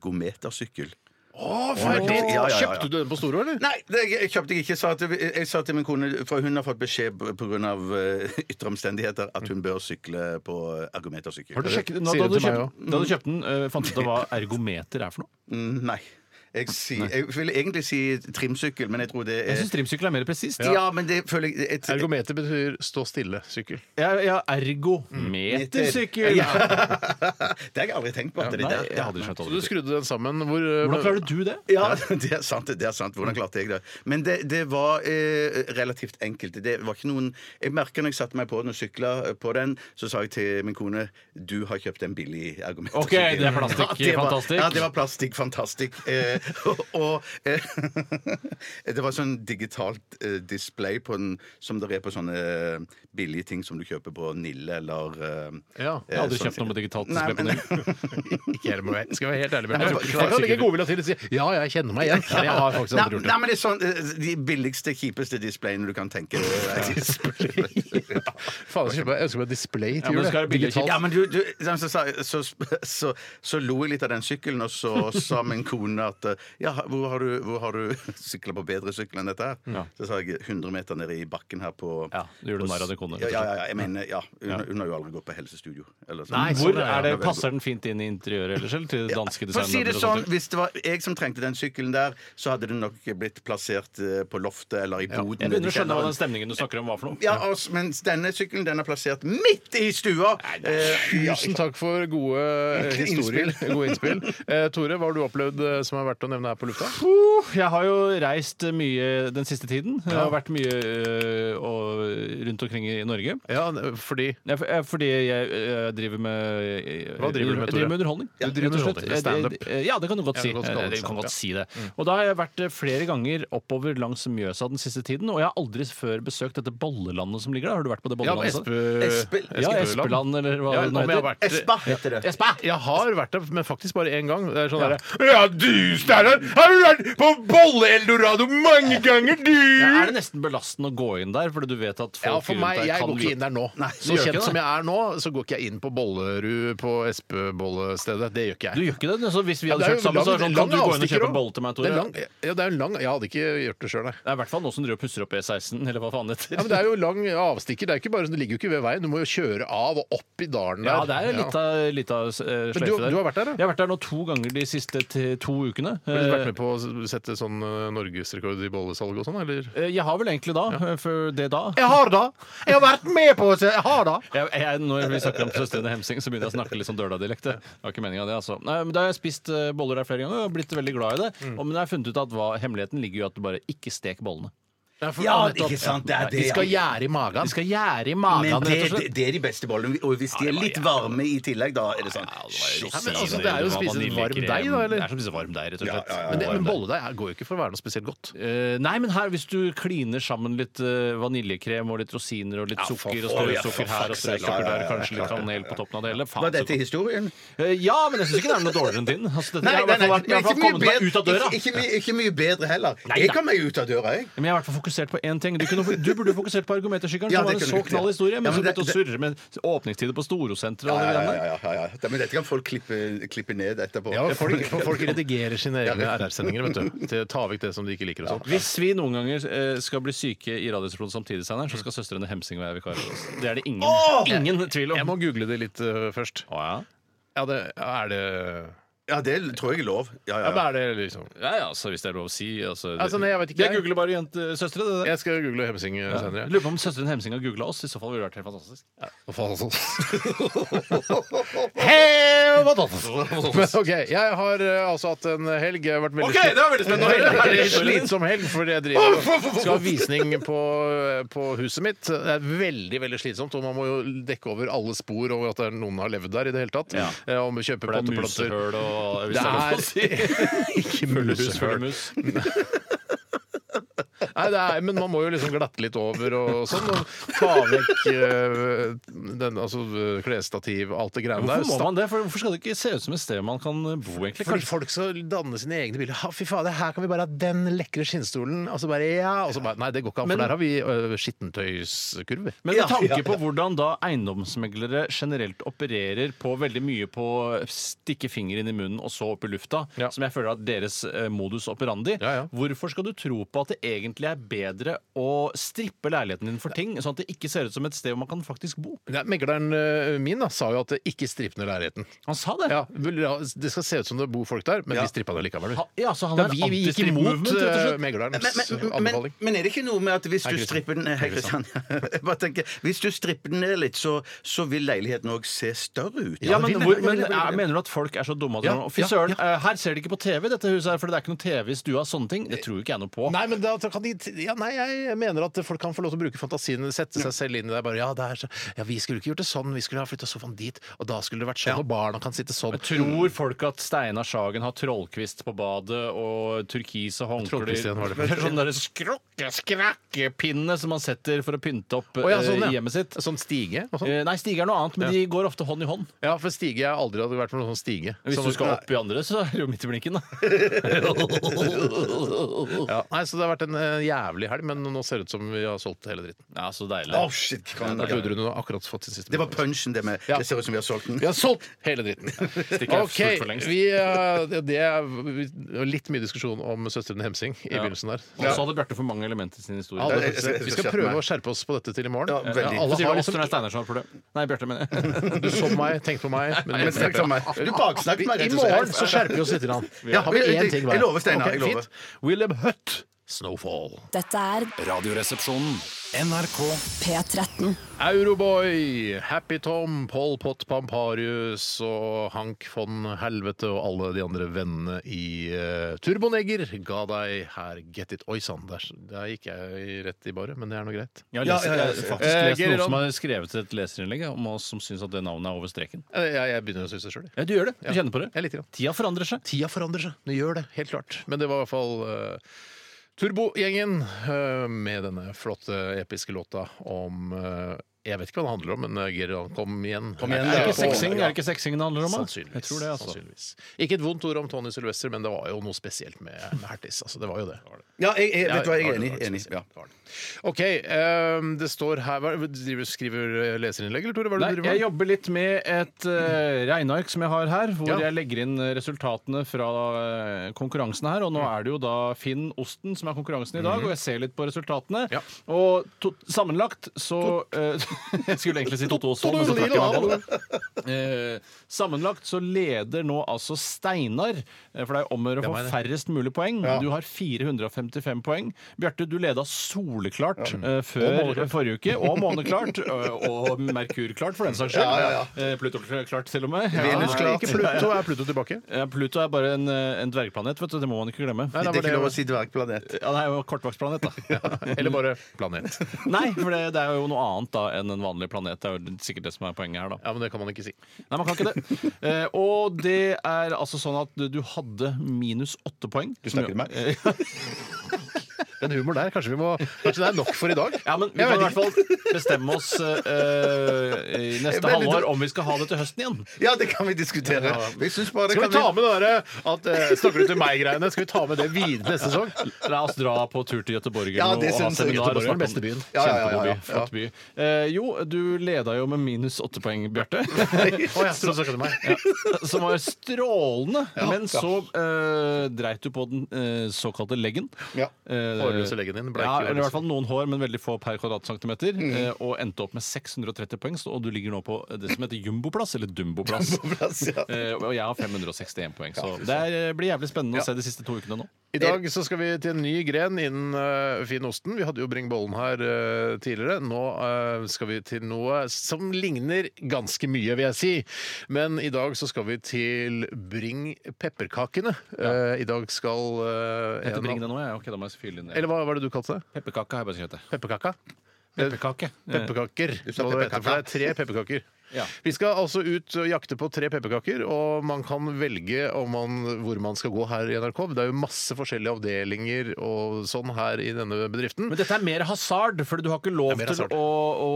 S6: ergometersykkel.
S5: Å, ferdig!
S6: Ja, ja, ja, ja.
S5: Kjøpte du den på Storo, eller?
S6: Nei, det jeg kjøpte jeg ikke. Jeg sa, til, jeg sa til min kone, for hun har fått beskjed pga. eh, ytre omstendigheter, at hun bør sykle på ergometersykkel.
S5: Har du sjekket-
S7: Nå,
S5: Sier
S7: da,
S5: det
S7: du
S5: til meg
S7: kjøpt, da du kjøpte den, eh, fant du ut av hva ergometer er for noe?
S6: Mm, Nei. Jeg, sier- jeg vil egentlig si trimsykkel, men jeg tror det
S7: Jeg
S6: er
S7: syns trimsykkel er mer presist.
S6: ja. men det føler jeg et,
S5: Ergometer betyr stå stille, sykkel.
S7: Ja, ja ergometersykkel!
S6: Ja. Det har jeg aldri tenkt på. at det
S7: Nei,
S6: er det.
S7: jeg hadde skjønt
S5: Så du
S7: aldri.
S5: skrudde den sammen. Hvor, eh,
S7: Hvordan klarer du det?
S6: Ja, det er sant. det er sant Hvordan klarte jeg det? Men det, det var eh, relativt enkelt. Det var ikke noen Jeg merka når jeg satte meg på den og sykla på den, så sa jeg til min kone Du har kjøpt en billig ergometer.
S7: Ok, det er plastikk,
S6: det var-
S7: fantastisk.
S6: Ja, det var plastikk fantastisk. Eh, og og eh, det var sånn digitalt eh, display på den som det er på sånne eh, billige ting som du kjøper på Nille eller eh,
S5: Ja,
S7: Jeg hadde
S6: sånn-
S7: kjøpt noe med digitalt
S6: Nei,
S7: display på
S6: men-
S7: den.
S5: Ikke helt, men jeg skal være helt ærlig
S6: Nei,
S5: Bjørn.
S6: men-
S5: Jeg kan legge godvilja til og si ja, jeg kjenner meg igjen. Men jeg har faktisk aldri
S6: Nei,
S5: gjort
S6: nei,
S5: det.
S6: men det er sånn eh, De billigste, kjipeste displayene du kan tenke deg.
S5: Faen, jeg ønsker meg- jeg ønsker meg display
S7: Ja,
S5: til
S7: men
S5: jul.
S7: skal
S5: jeg.
S7: det bilde-
S5: Digitalt.
S6: Ja, men du, du så, så, så, så, så lo jeg litt av den sykkelen, og så sa min kone at eh, Ja, hvor har du, hvor har du sykla på bedre sykkel enn dette her? Så sa jeg 100 meter nede i bakken her på
S7: Ja, du gjorde
S6: på-
S7: narr av din kone, rett og
S6: Ja, ja, ja, jeg mener, ja. Hun, hun har jo aldri gått på helsestudio. Eller sånn.
S5: Nei,
S7: Hvor
S5: sånn er
S7: er det,
S5: det.
S7: Passer den fint inn i interiøret ellers, eller til danske
S6: For å si det
S7: designere?
S6: sånn, Hvis det var jeg som trengte den sykkelen der, så hadde den nok blitt plassert eh, på loftet eller i boden.
S7: Jeg begynner å skjønne hva
S6: kjelleren.
S7: den stemningen du snakker om, var for noe.
S6: Ja, altså, mens denne sykkelen den er plassert midt i stua. Eh, ja,
S5: Tusen takk for gode
S7: eh,
S5: historier. Gode innspill. Eh, Tore, hva har du opplevd eh, som er verdt å nevne her på lufta?
S7: Puh, Jeg har jo reist mye den siste tiden. Jeg har vært mye øh, og rundt omkring i Norge.
S5: Ja, fordi
S7: Ja, for- ja, Fordi jeg øh, driver med øh,
S5: Hva driver du med,
S7: jeg
S5: Tore?
S7: driver med underholdning.
S5: Ja, du driver med
S7: rett og slett.
S5: underholdning. Stand-up.
S7: Eh, Ja, det kan du godt
S5: Ja,
S7: si.
S5: du kan godt kalle det
S7: Eh,
S5: stand-up, Mm.
S7: kan godt
S5: ja.
S7: si det. Og da har jeg vært eh, flere ganger oppover langs Mjøsa den siste tiden, og jeg har aldri før besøkt dette bollelandet som ligger der. Har du vært på det
S5: ja,
S7: bollelandet? Espe...
S5: Espe,
S6: Espel-
S7: Ja, Espeland, eller hva
S5: Ja,
S7: det nå
S5: om jeg har
S7: heter.
S5: vært
S6: Espa heter det.
S7: Espa!
S5: Jeg har vært der, men faktisk bare én gang. Det er sånn ja. ja, du, Steinar! Har du vært på Bolle-Eldorado mange ganger, du?
S7: Ja, er det nesten belastende å gå inn der, fordi du vet at folk
S5: Ja, for meg,
S7: rundt der
S5: Jeg
S7: kan
S5: går ikke inn der nå. så
S7: gjør ikke
S5: kjent
S7: det.
S5: som jeg er nå, så går ikke jeg inn på Bollerud på Espebollestedet. Det gjør ikke
S7: Du
S5: jeg.
S7: gjør ikke det? Så hvis vi
S5: Ja, det
S7: hadde
S5: er
S7: kjørt
S5: jo
S7: sammen, så er det
S5: lang-
S7: sånn, kan
S5: lange
S7: du gå inn og
S5: avstikker
S7: kjøpe en
S5: også.
S7: bolle til meg,
S5: Det
S7: Tore?
S5: er lang, ja, det er en lang Jeg hadde ikke gjort det sjøl, nei.
S7: Det er i hvert fall noen som driver og pusser opp E16, eller hva faen det heter.
S5: Ja, men det er jo lang avstikker. Det, er ikke bare, det ligger jo ikke ved veien. Du må jo kjøre av og opp i dalen der.
S7: Ja, det er litt av, litt av eh, sløyfe
S5: du-
S7: der.
S5: du har vært der, da?
S7: Jeg har vært der nå to ganger de siste t to ukene.
S5: Har du vært
S7: Eh,
S5: med på å sette sånn eh, norgesrekord i bollesalg og sånn, eller?
S7: eh, Jeg har vel egentlig da, eh, for det da
S5: Jeg har da! Jeg har vært med på å Jeg har da!
S7: jeg, jeg, når vi snakker om søstrene Hemsing, så begynner jeg å snakke litt sånn Døla-dialekt. Det var ikke meningen av det, altså. Nei, men da har jeg spist eh,
S5: Mm.
S7: boller der flere ganger og blitt veldig glad i det. Og, men jeg har funnet ut at hva, hemmeligheten ligger jo i at du bare ikke stek bollene.
S5: Ja, for-
S6: Ja,
S5: nettopp.
S6: ikke sant, det er det,
S5: De skal
S6: ja.
S5: gjære i magen.
S7: De skal gjære
S6: Men
S7: i magen,
S6: det,
S7: rett og
S6: det,
S7: slett.
S6: det er de beste bollene. Og hvis de er litt varme i tillegg, da er det sånn
S7: Ja, men
S5: rosiner,
S7: altså, det er jo å
S5: det var
S7: spise en varm
S5: vaniljekrem.
S7: deig, da, eller? Det er som å spise varm deig, rett og slett.
S5: Men, det, men bolledeig er- går jo ikke for å være noe spesielt godt.
S7: Eh, nei, men her, hvis du kliner sammen litt eh, vaniljekrem og litt rosiner og litt
S5: for
S7: sukker og
S5: faen, ja, for
S7: strøsukker her
S6: fuck's sake.
S7: og strøsukker
S6: Ja, ja,
S7: der,
S6: ja,
S7: kanskje litt
S6: klart det.
S7: kanel på toppen av det hele Faen,
S6: Var
S7: så
S6: dette historien?
S7: godt. Eh, ja, altså, men jeg syns ikke det er noe dårligere enn din. Altså, dette,
S6: Nei, nei,
S7: jeg har i hvert
S6: nei, men
S7: fall vært- jeg har i
S6: ikke
S7: hvert fall
S6: mye
S7: kommet meg ut
S6: bedre,
S7: av døra.
S6: ikke, ikke, mye, ikke mye bedre heller.
S7: Nei,
S6: Jeg
S7: nei.
S6: kom meg ut av døra, jeg.
S7: Men jeg har i hvert fall fokusert på én ting. Du, kunne, du burde jo fokusert på argumenterskykkeren,
S6: Ja,
S7: som
S6: det
S7: var en
S6: kunne
S7: så
S6: jeg
S7: knall
S6: ikke.
S7: historie, men
S6: Ja, men
S7: så begynte å
S6: det-
S7: surre med åpningstider på Storosenteret og
S6: Ja,
S7: det
S6: ja,
S7: greiene der.
S6: ja, ja, ja, ja. Men dette kan folk klippe, klippe ned etterpå.
S5: Ja, folk, folk redigerer sine egne RR-sendinger vet du, til å ta vekk det som de ikke liker. og sånn. sånt.
S7: Hvis vi noen ganger eh, skal bli syke i Radioresepsjonen samtidig, Steinar, så skal søstrene Hemsing være vikarer for oss. Det er det ingen, ingen tvil om.
S5: Jeg må google det litt øh, først.
S7: Å, ja.
S5: Ja, det er det
S6: Ja, det tror jeg er lov. Ja,
S5: Ja,
S6: ja.
S5: men er det liksom
S7: Ja, ja, altså, hvis det er lov å si. Altså,
S5: Altså, nei, jeg vet ikke, jeg.
S7: Det googler bare jentesøstre. Det,
S5: Jeg skal google Hemsing øh,
S7: der.
S5: senere.
S7: Jeg Lurer på om søsteren Hemsing har googla oss. I så fall ville det vært helt fantastisk.
S5: Hva faen, altså? Hei, hva da? Men OK, jeg har eh, altså hatt en helg. Jeg har vært veldig
S7: Ok, det var veldig spennende.
S5: Det var veldig- veldig slitsom helg, fordi jeg driver skal ha visning på, på huset mitt. Det er veldig veldig slitsomt, og man må jo dekke over alle spor over at det er noen har levd der i det hele tatt.
S7: Ja.
S5: Eh, Og kjøpe
S7: For det er
S5: potteplanter.
S7: musehøl og hvis
S5: Det
S7: det er lov å si.
S5: er ikke
S7: Hus fulle
S5: musehøl.
S7: mus.
S5: Nei, det er, men man må jo liksom glatte litt over og sånn. Og ta vekk eh, den, altså, eh, klesstativ, alt det greiene der.
S7: Hvorfor må man det? For, hvorfor skal det ikke se ut som et sted man kan bo, egentlig?
S5: Fordi
S7: Kanskje
S5: folk skal danne sine egne bilder. Ha, fy fader, her kan vi bare ha den lekre skinnstolen. Og så bare ja, og så bare Nei, det går ikke an,
S7: Men-
S5: for der har vi ø, skittentøyskurver.
S7: Men med
S6: Ja, ja,
S7: tanke
S6: ja.
S7: på hvordan da eiendomsmeglere generelt opererer på veldig mye på stikke finger inn i munnen og så opp i lufta,
S5: Ja.
S7: som jeg føler er deres eh, modus operandi,
S5: Ja, ja.
S7: hvorfor skal du tro på at det egentlig er bedre å strippe leiligheten din for ting, sånn at det ikke ser ut som et sted hvor man kan faktisk bo?
S5: Nei, Megleren ø, min da, sa jo at det ikke stripp ned leiligheten.
S7: Han sa det!
S5: Ja, vel, ja, det skal se ut som det bor folk der, men vi strippa det likevel.
S7: Ha, ja så han
S5: Da
S7: er
S5: vi, vi gikk imot eh,
S7: anti-strip-movement, rett og
S5: ø,
S7: slett.
S5: meglerens
S6: Men, men, men,
S5: anbefaling.
S6: men er det ikke noe med at hvis du
S5: Kristian.
S6: stripper den Hei, Kristian. Jeg bare tenker, Hvis du stripper den ned litt, så, så vil leiligheten òg se større ut.
S7: Ja, men,
S6: det vil-
S7: hvor,
S6: det vil-
S7: men
S6: det vil-
S7: er, Mener du at folk er så dumme at
S5: Ja,
S7: de- Fy
S5: ja,
S7: søren, eh, her ser de ikke på TV, dette huset her, for det er ikke noe TV i stua. Sånne ting. Det tror jo ikke jeg noe på.
S5: Nei, men da kan de ja, Nei, jeg mener at folk kan få lov til å bruke fantasien, sette seg selv inn i det. Bare, ja, det er så, ja, vi skulle ikke gjort det sånn, vi skulle ha flytta sofaen dit, og da skulle det vært sånn, og barna kan sitte sånn.
S7: Men Tror folk at Steinar Sagen har trollkvist på badet og turkise håndklær?
S5: Trollkvist igjen, var det.
S7: Sånn derre skrukke, skrakkepinne som man setter for å pynte opp
S5: Å, ja, sånn,
S7: eh,
S5: ja.
S7: hjemmet sitt.
S5: Sånn stige og sånn.
S7: Eh, Nei, stige er noe annet, men de går ofte hånd i hånd.
S5: Ja, for stige jeg aldri hadde vært med noen sånn stige.
S7: Hvis
S5: Sånn-
S7: du skal opp i andre, så er det jo midt i blinken, da.
S5: Ja. Nei, så det har vært en eh, jævlig helg, men nå ser det ut som vi har solgt hele dritten.
S7: Ja, så deilig.
S6: Å, shit, kan
S5: Da
S6: det,
S5: burde du nå akkurat fått sin siste
S6: det var
S5: bit.
S6: punchen, det med
S5: Ja.
S6: Det ser ut som vi har solgt den.
S5: Vi har solgt hele dritten.
S7: er
S5: OK.
S7: fullt for lengst.
S5: Vi, eh, det er litt mye diskusjon om søstrene Hemsing i begynnelsen der.
S7: Og så hadde Bjarte for mange elementer i sin historie.
S5: Alle,
S6: jeg- jeg skal-
S5: vi
S6: jeg skal
S5: skal
S6: skjerpe
S5: prøve
S6: meg.
S5: å skjerpe oss på dette til i morgen.
S6: Ja, veldig.
S5: alle
S7: Så sier
S5: har
S7: du at
S5: liksom-
S7: Steinar Steinar som har problem. Nei, Bjarte, mener jeg.
S5: Du så meg, tenkte på meg. Men,
S6: Men snakk til meg. Du baksnakket meg,
S5: I
S6: rett og slett.
S5: morgen så skjerper vi oss litt. grann.
S6: Ja,
S5: Har vi
S6: jeg-
S5: én
S6: jeg-
S5: ting hver?
S6: jeg lover, Steinar,
S5: Ok,
S6: jeg lover.
S5: fint. William Hutt, 'Snowfall'.
S1: Dette er
S4: Radioresepsjonen. NRK
S1: P13.
S5: Euroboy, Happy Tom, Pol Pot Pamparius og Hank von Helvete og alle de andre vennene i uh, Turbonegger ga deg her Get It Oi sann, der, der gikk jeg rett i baret, men det er nå greit.
S7: Jeg har lest,
S6: Ja, ja, ja.
S7: jeg har faktisk
S5: Eh,
S7: lest
S5: Geir
S7: noen som
S5: Ram.
S7: har skrevet et leserinnlegg om oss som syns at det navnet er over streken.
S5: Eh, Jeg, jeg begynner å synes det sjøl.
S7: Ja, du gjør det. Du kjenner på det.
S5: Ja, lite grann.
S7: Tida forandrer seg.
S5: Tida forandrer seg. Det gjør det, helt klart. Men det var i hvert fall eh, Turbo-gjengen eh, med denne flotte, episke låta om eh, Jeg vet ikke hva det handler om, men uh, Geran, kom igjen.
S6: igjen,
S7: Er det
S6: Ja,
S7: ikke
S6: ja.
S7: sexing, er det ikke sexing det handler om? da?
S5: Sannsynligvis.
S7: Jeg tror det, altså.
S5: sannsynligvis. Ikke et vondt ord om Tony Sylvester, men det var jo noe spesielt med, med Hertis. Altså, det var jo det.
S6: Ja, jeg, jeg, vet du hva, jeg
S5: Ja,
S6: er
S5: det
S6: enig.
S5: var
S6: enig.
S5: spesielt.
S6: Ja.
S5: Det var det. OK. ehm, det står her hva, driver, Skriver eh, leserinnlegg, eller, Tore? Hva er
S7: Nei,
S5: det du driver
S7: jeg
S5: med?
S7: jobber litt med et eh, regneark som jeg har her, hvor
S5: Ja.
S7: jeg legger inn resultatene fra eh, konkurransen her. Og nå er det jo da Finn Osten som er konkurransen i dag, og jeg ser litt på resultatene.
S5: Ja.
S7: Og to sammenlagt så eh, Jeg skulle egentlig si Totto også, men så trakk jeg meg på det. Eh, sammenlagt så leder nå altså Steinar, eh, for det er om å gjøre å få
S5: mener jeg.
S7: færrest mulig poeng.
S5: Ja.
S7: Du har 455 poeng. Bjarte, du leda soleklart eh, før forrige uke, og måneklart, eh, og Merkur-klart for den saks skyld. Eh, Pluto-klart til og med.
S6: Venus klart.
S5: Ikke Pluto. Er Pluto tilbake?
S7: Ja, Pluto er bare en, eh, en dvergplanet, vet du. Det må man ikke glemme.
S5: Nei,
S6: Det er ikke lov å si dvergplanet.
S7: Ja, det er jo en kortvokstplanet, da.
S5: Eller bare planet.
S7: Nei, for det, det er jo noe annet da enn en vanlig planet. Det er jo sikkert det som er poenget her, da.
S5: Ja, men det kan man ikke si.
S7: Nei, man kan ikke det. Eh, og det er altså sånn at du hadde minus åtte poeng.
S6: Du snakker til meg?
S5: Den humoren der, kanskje vi må Kanskje det er nok for i dag?
S7: Ja, men vi
S5: Jeg
S7: kan
S5: vet
S7: i hvert fall bestemme oss eh, i neste
S6: Men-
S7: halvår om vi skal ha det til høsten igjen.
S6: Ja, det kan vi diskutere. Vi syns bare
S5: Skal
S6: kan
S5: vi ta med det der, at eh, Snakker du til meg-greiene? Skal vi ta med det videre neste sesong?
S7: La oss dra på tur til Gøteborg
S6: Ja,
S7: og
S6: det
S7: ha
S6: synes jeg.
S7: seminar. og
S5: Göteborg er den
S7: snakke om-
S5: beste byen.
S6: Ja, ja, ja,
S7: Kjempegod by.
S6: ja, ja.
S7: Flott by. Eh, jo, du leda jo med minus åtte poeng, Bjarte.
S5: Å, jeg trodde du snakket til meg.
S7: Som var strålende. men så eh, dreit du på den eh, såkalte leggen.
S6: Ja.
S7: Eh,
S5: Hårløse leggen din ble
S7: ja,
S5: ikke
S7: eller i hvert
S5: hårløs.
S7: fall noen hår, men veldig få per kvadratcentimeter. eh, og endte opp med 630 poeng, så- og du ligger nå på det som heter jumboplass, eller dumboplass.
S6: plass, ja.
S7: Eh, og jeg har 561 poeng, så det er, eh, blir jævlig spennende å se de siste to ukene nå.
S5: I dag så skal vi til en ny gren innen uh, finosten. Vi hadde jo Bring bollen her eh, tidligere. Nå eh, skal vi til noe som ligner ganske mye, vil jeg si. Men i dag så skal vi til Bring pepperkakene. Eh, I dag skal eh,
S7: Heter
S5: en
S7: Bring
S5: av-
S7: det nå, jeg? Ok, da må jeg fylle inn eh,
S5: Eller hva var det du kalte det?
S7: Pepperkake har jeg bare skrevet.
S5: Pepperkaka?
S7: Pepperkake. Eh,
S5: Pepperkaker.
S6: sa
S5: må det hete, for
S6: pepperkaka.
S5: det er tre pepperkaker.
S7: Ja.
S5: Vi skal altså ut og jakte på tre pepperkaker, og man kan velge om man, hvor man skal gå her i NRK. Det er jo masse forskjellige avdelinger og sånn her i denne bedriften.
S7: Men dette er mer hasard, for du har ikke lov
S5: Det er mer
S7: til
S5: hasard.
S7: å,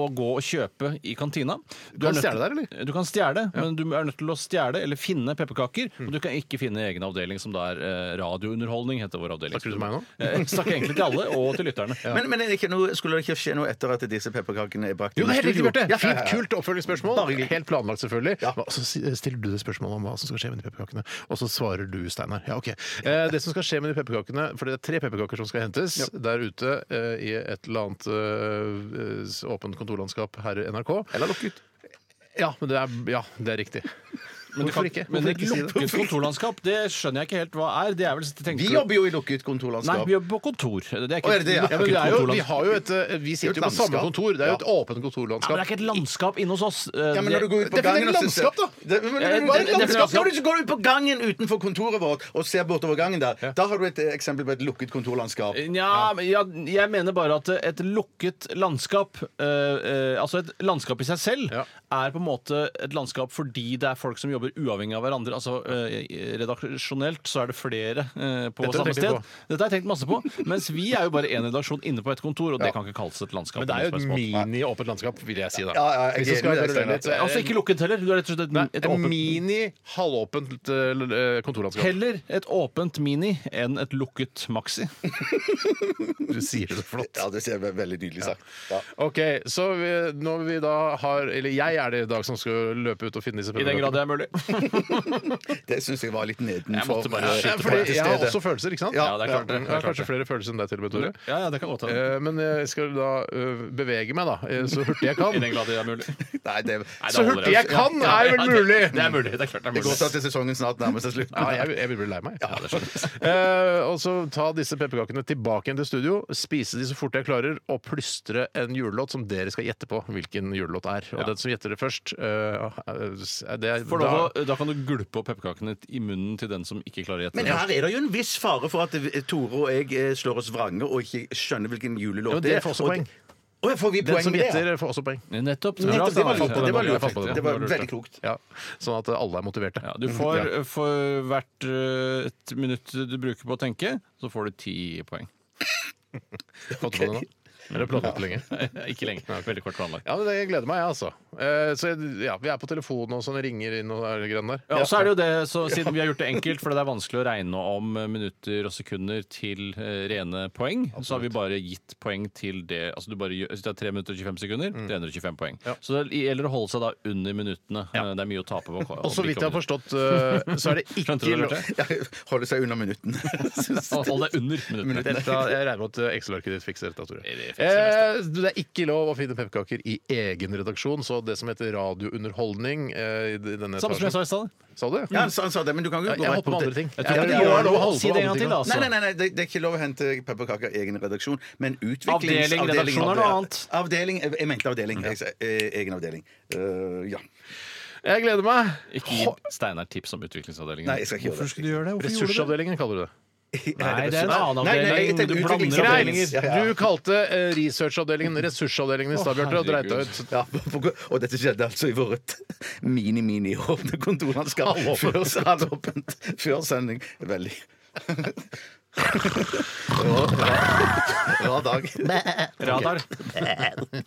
S7: å gå og kjøpe i kantina. Du,
S5: kan
S7: er nødt
S5: stjele
S7: til-
S5: der,
S7: Du kan stjele, men du er nødt til å stjele eller finne pepperkaker.
S5: Mm.
S7: Og du kan ikke finne egen avdeling, som da er eh, radiounderholdning, heter vår avdeling.
S5: Snakker du til meg nå?
S7: Eh, Jeg snakker egentlig til alle, og til lytterne.
S6: Men, men er det ikke noe, skulle det ikke skje noe etter at disse pepperkakene er brakt
S5: Jo, det er helt riktig,
S6: studio?
S5: Bjarte!
S6: Ja, ja,
S5: Fint,
S6: ja, ja.
S5: kult oppfølgingsspørsmål.
S6: Bare hyggelig.
S5: Helt planlagt, selvfølgelig.
S6: Ja.
S5: Hva- Så si- stiller du det spørsmålet om hva som skal skje med de pepperkakene, og så svarer du, Steinar. Ja, ok. Eh, Det som skal skje med de pepperkakene, for det er tre pepperkaker som skal hentes der ute eh, i et eller annet eh, s- åpent kontorlandskap her i NRK.
S6: Eller lukket.
S5: Ja, men det er, ja, det er riktig.
S7: Men du
S5: Hvorfor
S7: kan-
S5: ikke? Hvorfor
S7: Men et
S5: ikke si det?
S7: lukket kontorlandskap, det skjønner jeg ikke helt hva er. Det er vel tenker
S6: Vi
S7: du-
S6: jobber jo i lukket
S7: Nei,
S6: kontorlandskap.
S7: vi jobber på kontor. Det er
S6: Å,
S7: ikke
S6: er det det, ja?
S5: Ja, men det
S7: lukket
S5: er jo,
S7: kontorlandskap.
S5: vi, har jo et, eh, vi sitter jo på samme
S6: landskap.
S5: kontor. Det er jo et åpent
S7: Ja, men det er
S5: kontorlandskap.
S7: ikke et landskap inne hos oss. Eh,
S6: Ja, men når du
S7: det-
S6: går ut på
S5: Definer
S6: gangen og så ser-
S5: landskap, da.
S6: Det- men- men-
S7: Ja,
S6: men- Hva er
S7: definer
S6: et landskap?
S7: landskap.
S6: Når du går ut på gangen utenfor kontoret vårt og ser bortover gangen der, da har du et eh, eksempel på et lukket kontorlandskap.
S7: Eh, Nja, men ja, jeg mener bare at et lukket landskap eh, eh, Altså et landskap i seg selv
S5: Ja.
S7: er på en måte et landskap fordi det er folk som jobber uavhengig av hverandre. Altså eh, redaksjonelt så er det flere eh, på
S5: Dette har du
S7: samme
S5: tenkt litt
S7: sted. Dette har jeg tenkt masse på. Mens vi er jo bare én redaksjon inne på et kontor, og det kan ikke kalles et landskap.
S5: Men det er jo
S7: på
S5: et
S7: noen som helst måte.
S5: mini-åpent landskap, vil jeg si da.
S6: Ja, ja, jeg
S5: Hvis du
S6: er
S5: skal
S6: enig med deg,
S5: være litt-
S6: Steinar.
S7: Altså ikke lukket heller. Du er rett og slett
S5: Nei,
S7: et,
S5: et
S7: et åpent
S5: mini-halvåpent eh, kontorlandskap.
S7: Heller et åpent mini enn et lukket maxi.
S5: Du sier det så flott.
S6: Ja, det ser jeg ve- veldig nydelig sagt. Ja.
S5: Ok, så vi, når vi da har Eller jeg er det i dag som skal løpe ut og finne disse
S7: I den grad det er mulig.
S6: Det syns jeg var litt
S7: Jeg
S6: nedenfor. eh,
S7: måtte bare
S5: Ja,
S7: skyte på
S5: fordi
S7: det til
S5: jeg har
S7: stedet.
S5: også følelser, ikke sant?
S7: Ja, det er klart det.
S5: Jeg
S7: Det er
S5: har
S7: klart
S5: kanskje
S7: det.
S5: flere følelser enn deg til og med, Tore.
S7: Ja, ja, det kan godt hende.
S5: Eh, Men jeg skal da eh, bevege meg, da, eh, så hurtig jeg kan.
S7: I den grad det er mulig.
S6: Nei, det,
S5: Så hurtig jeg
S7: altså.
S5: kan, er vel mulig!
S7: Det er mulig. det er klart det er
S6: det går
S7: mulig.
S6: sånn at sesongen snart nærmer seg slutten.
S5: Ja, jeg, jeg vil bli lei meg. Eh, og så ta disse pepperkakene tilbake igjen til studio, spise de så fort jeg klarer, og plystre en julelåt som dere skal gjette på hvilken julelåt er. Og den som gjetter det først, eh, det er
S7: For da,
S5: da-
S7: da kan du gulpe opp pepperkakene i munnen til den som ikke klarer å gjette
S6: Men
S7: det.
S6: her er det jo en viss fare for at eh, Tore og jeg eh, slår oss vrange og ikke skjønner hvilken
S5: Ja,
S6: julelåt
S5: men dere får også
S6: Og
S5: poeng.
S6: det- Å, får vi
S5: Den
S6: poeng
S5: som
S6: med det?
S5: gjetter, får også poeng.
S7: Nettopp.
S6: ja?
S7: Bra,
S6: Nettopp, det var
S7: Steinar.
S6: lurt. Det var,
S7: Jeg
S6: lurt,
S7: fant på
S6: faktisk.
S7: det.
S6: det var
S7: Det var lurt,
S6: veldig klokt.
S5: Ja, sånn at alle er motiverte.
S7: Ja, du får for hvert eh, et minutt du bruker på å tenke, så får du ti poeng.
S5: Fant du på det nå? Eller planlagt for lenge?
S7: Ikke lenge. Veldig kort planlagt.
S5: Ja, men det- Jeg gleder meg, jeg, altså. Eh, så jeg, ja, vi er på telefonen og sånn, ringer inn og er grann der.
S7: Ja, og så er det jo det, så Siden vi har gjort det enkelt, for det er vanskelig å regne om eh, minutter og sekunder til eh, rene poeng, så har vi bare gitt poeng til det altså du bare, gjør- Hvis det er 3 minutter og 25 sekunder, 325 poeng. Så det gjelder å holde seg da under minuttene. Eh, Det er mye å tape på.
S5: Og så vidt jeg har forstått, eh, så er det ikke
S7: Skjønte du det,
S5: lov-
S7: Bjarte?
S6: Ja, Holde seg unna minutten. Synes
S7: Hold deg under minuttene.
S5: Dette, jeg regner med at eh, Excel-arket ditt fikser dette, Tore.
S7: Det
S5: Eh, det er ikke lov å finne pepperkaker i egen redaksjon, så det som heter radiounderholdning eh, i denne
S7: Samme som jeg sa i stad.
S5: Sa du?
S6: Ja, han sa, han sa det, men du kan jo
S5: Jeg
S6: gå
S5: holdt
S6: rett
S5: på med
S6: bort
S5: andre
S6: til-
S5: ting.
S6: Jeg
S5: Ja,
S6: tror
S5: det
S6: det
S5: er
S6: er
S5: lov å
S6: lov å
S5: holde
S7: Si
S5: på med
S7: det en gang
S5: andre ting.
S7: til, altså.
S6: Nei, nei, nei, nei, det, det er ikke lov å hente pepperkaker i egen redaksjon, men utviklings...
S7: Avdeling, redaksjon er noe
S6: avdeling-
S7: annet.
S6: Avdeling, jeg- jeg mente avdeling. Jeg, sa, eh, egen avdeling. Eh, ja.
S5: Jeg gleder meg.
S7: Ikke gi Steinar tips om utviklingsavdelingen.
S6: Nei, jeg skal ikke gjøre det.
S7: Hvorfor skulle du gjøre det? Hvorfor gjorde du det?
S5: Ressursavdelingen kaller du det.
S7: Nei, det er en annen
S6: Nei, nei, jeg
S7: avdeling.
S6: tenkte
S7: Du blander
S6: utviklingsavdeling.
S7: avdelinger.
S5: Avdelinger.
S6: Ja, ja.
S5: Du kalte eh, researchavdelingen ressursavdelingen i stad, Bjarte, og dreit deg ut.
S6: Ja, og dette skjedde altså i vårt mini-mini-åpne kontorlandskap
S5: Halvåpent.
S6: før, halvåpent, før sending. Veldig Rå dag.
S7: Radar.
S5: Nei,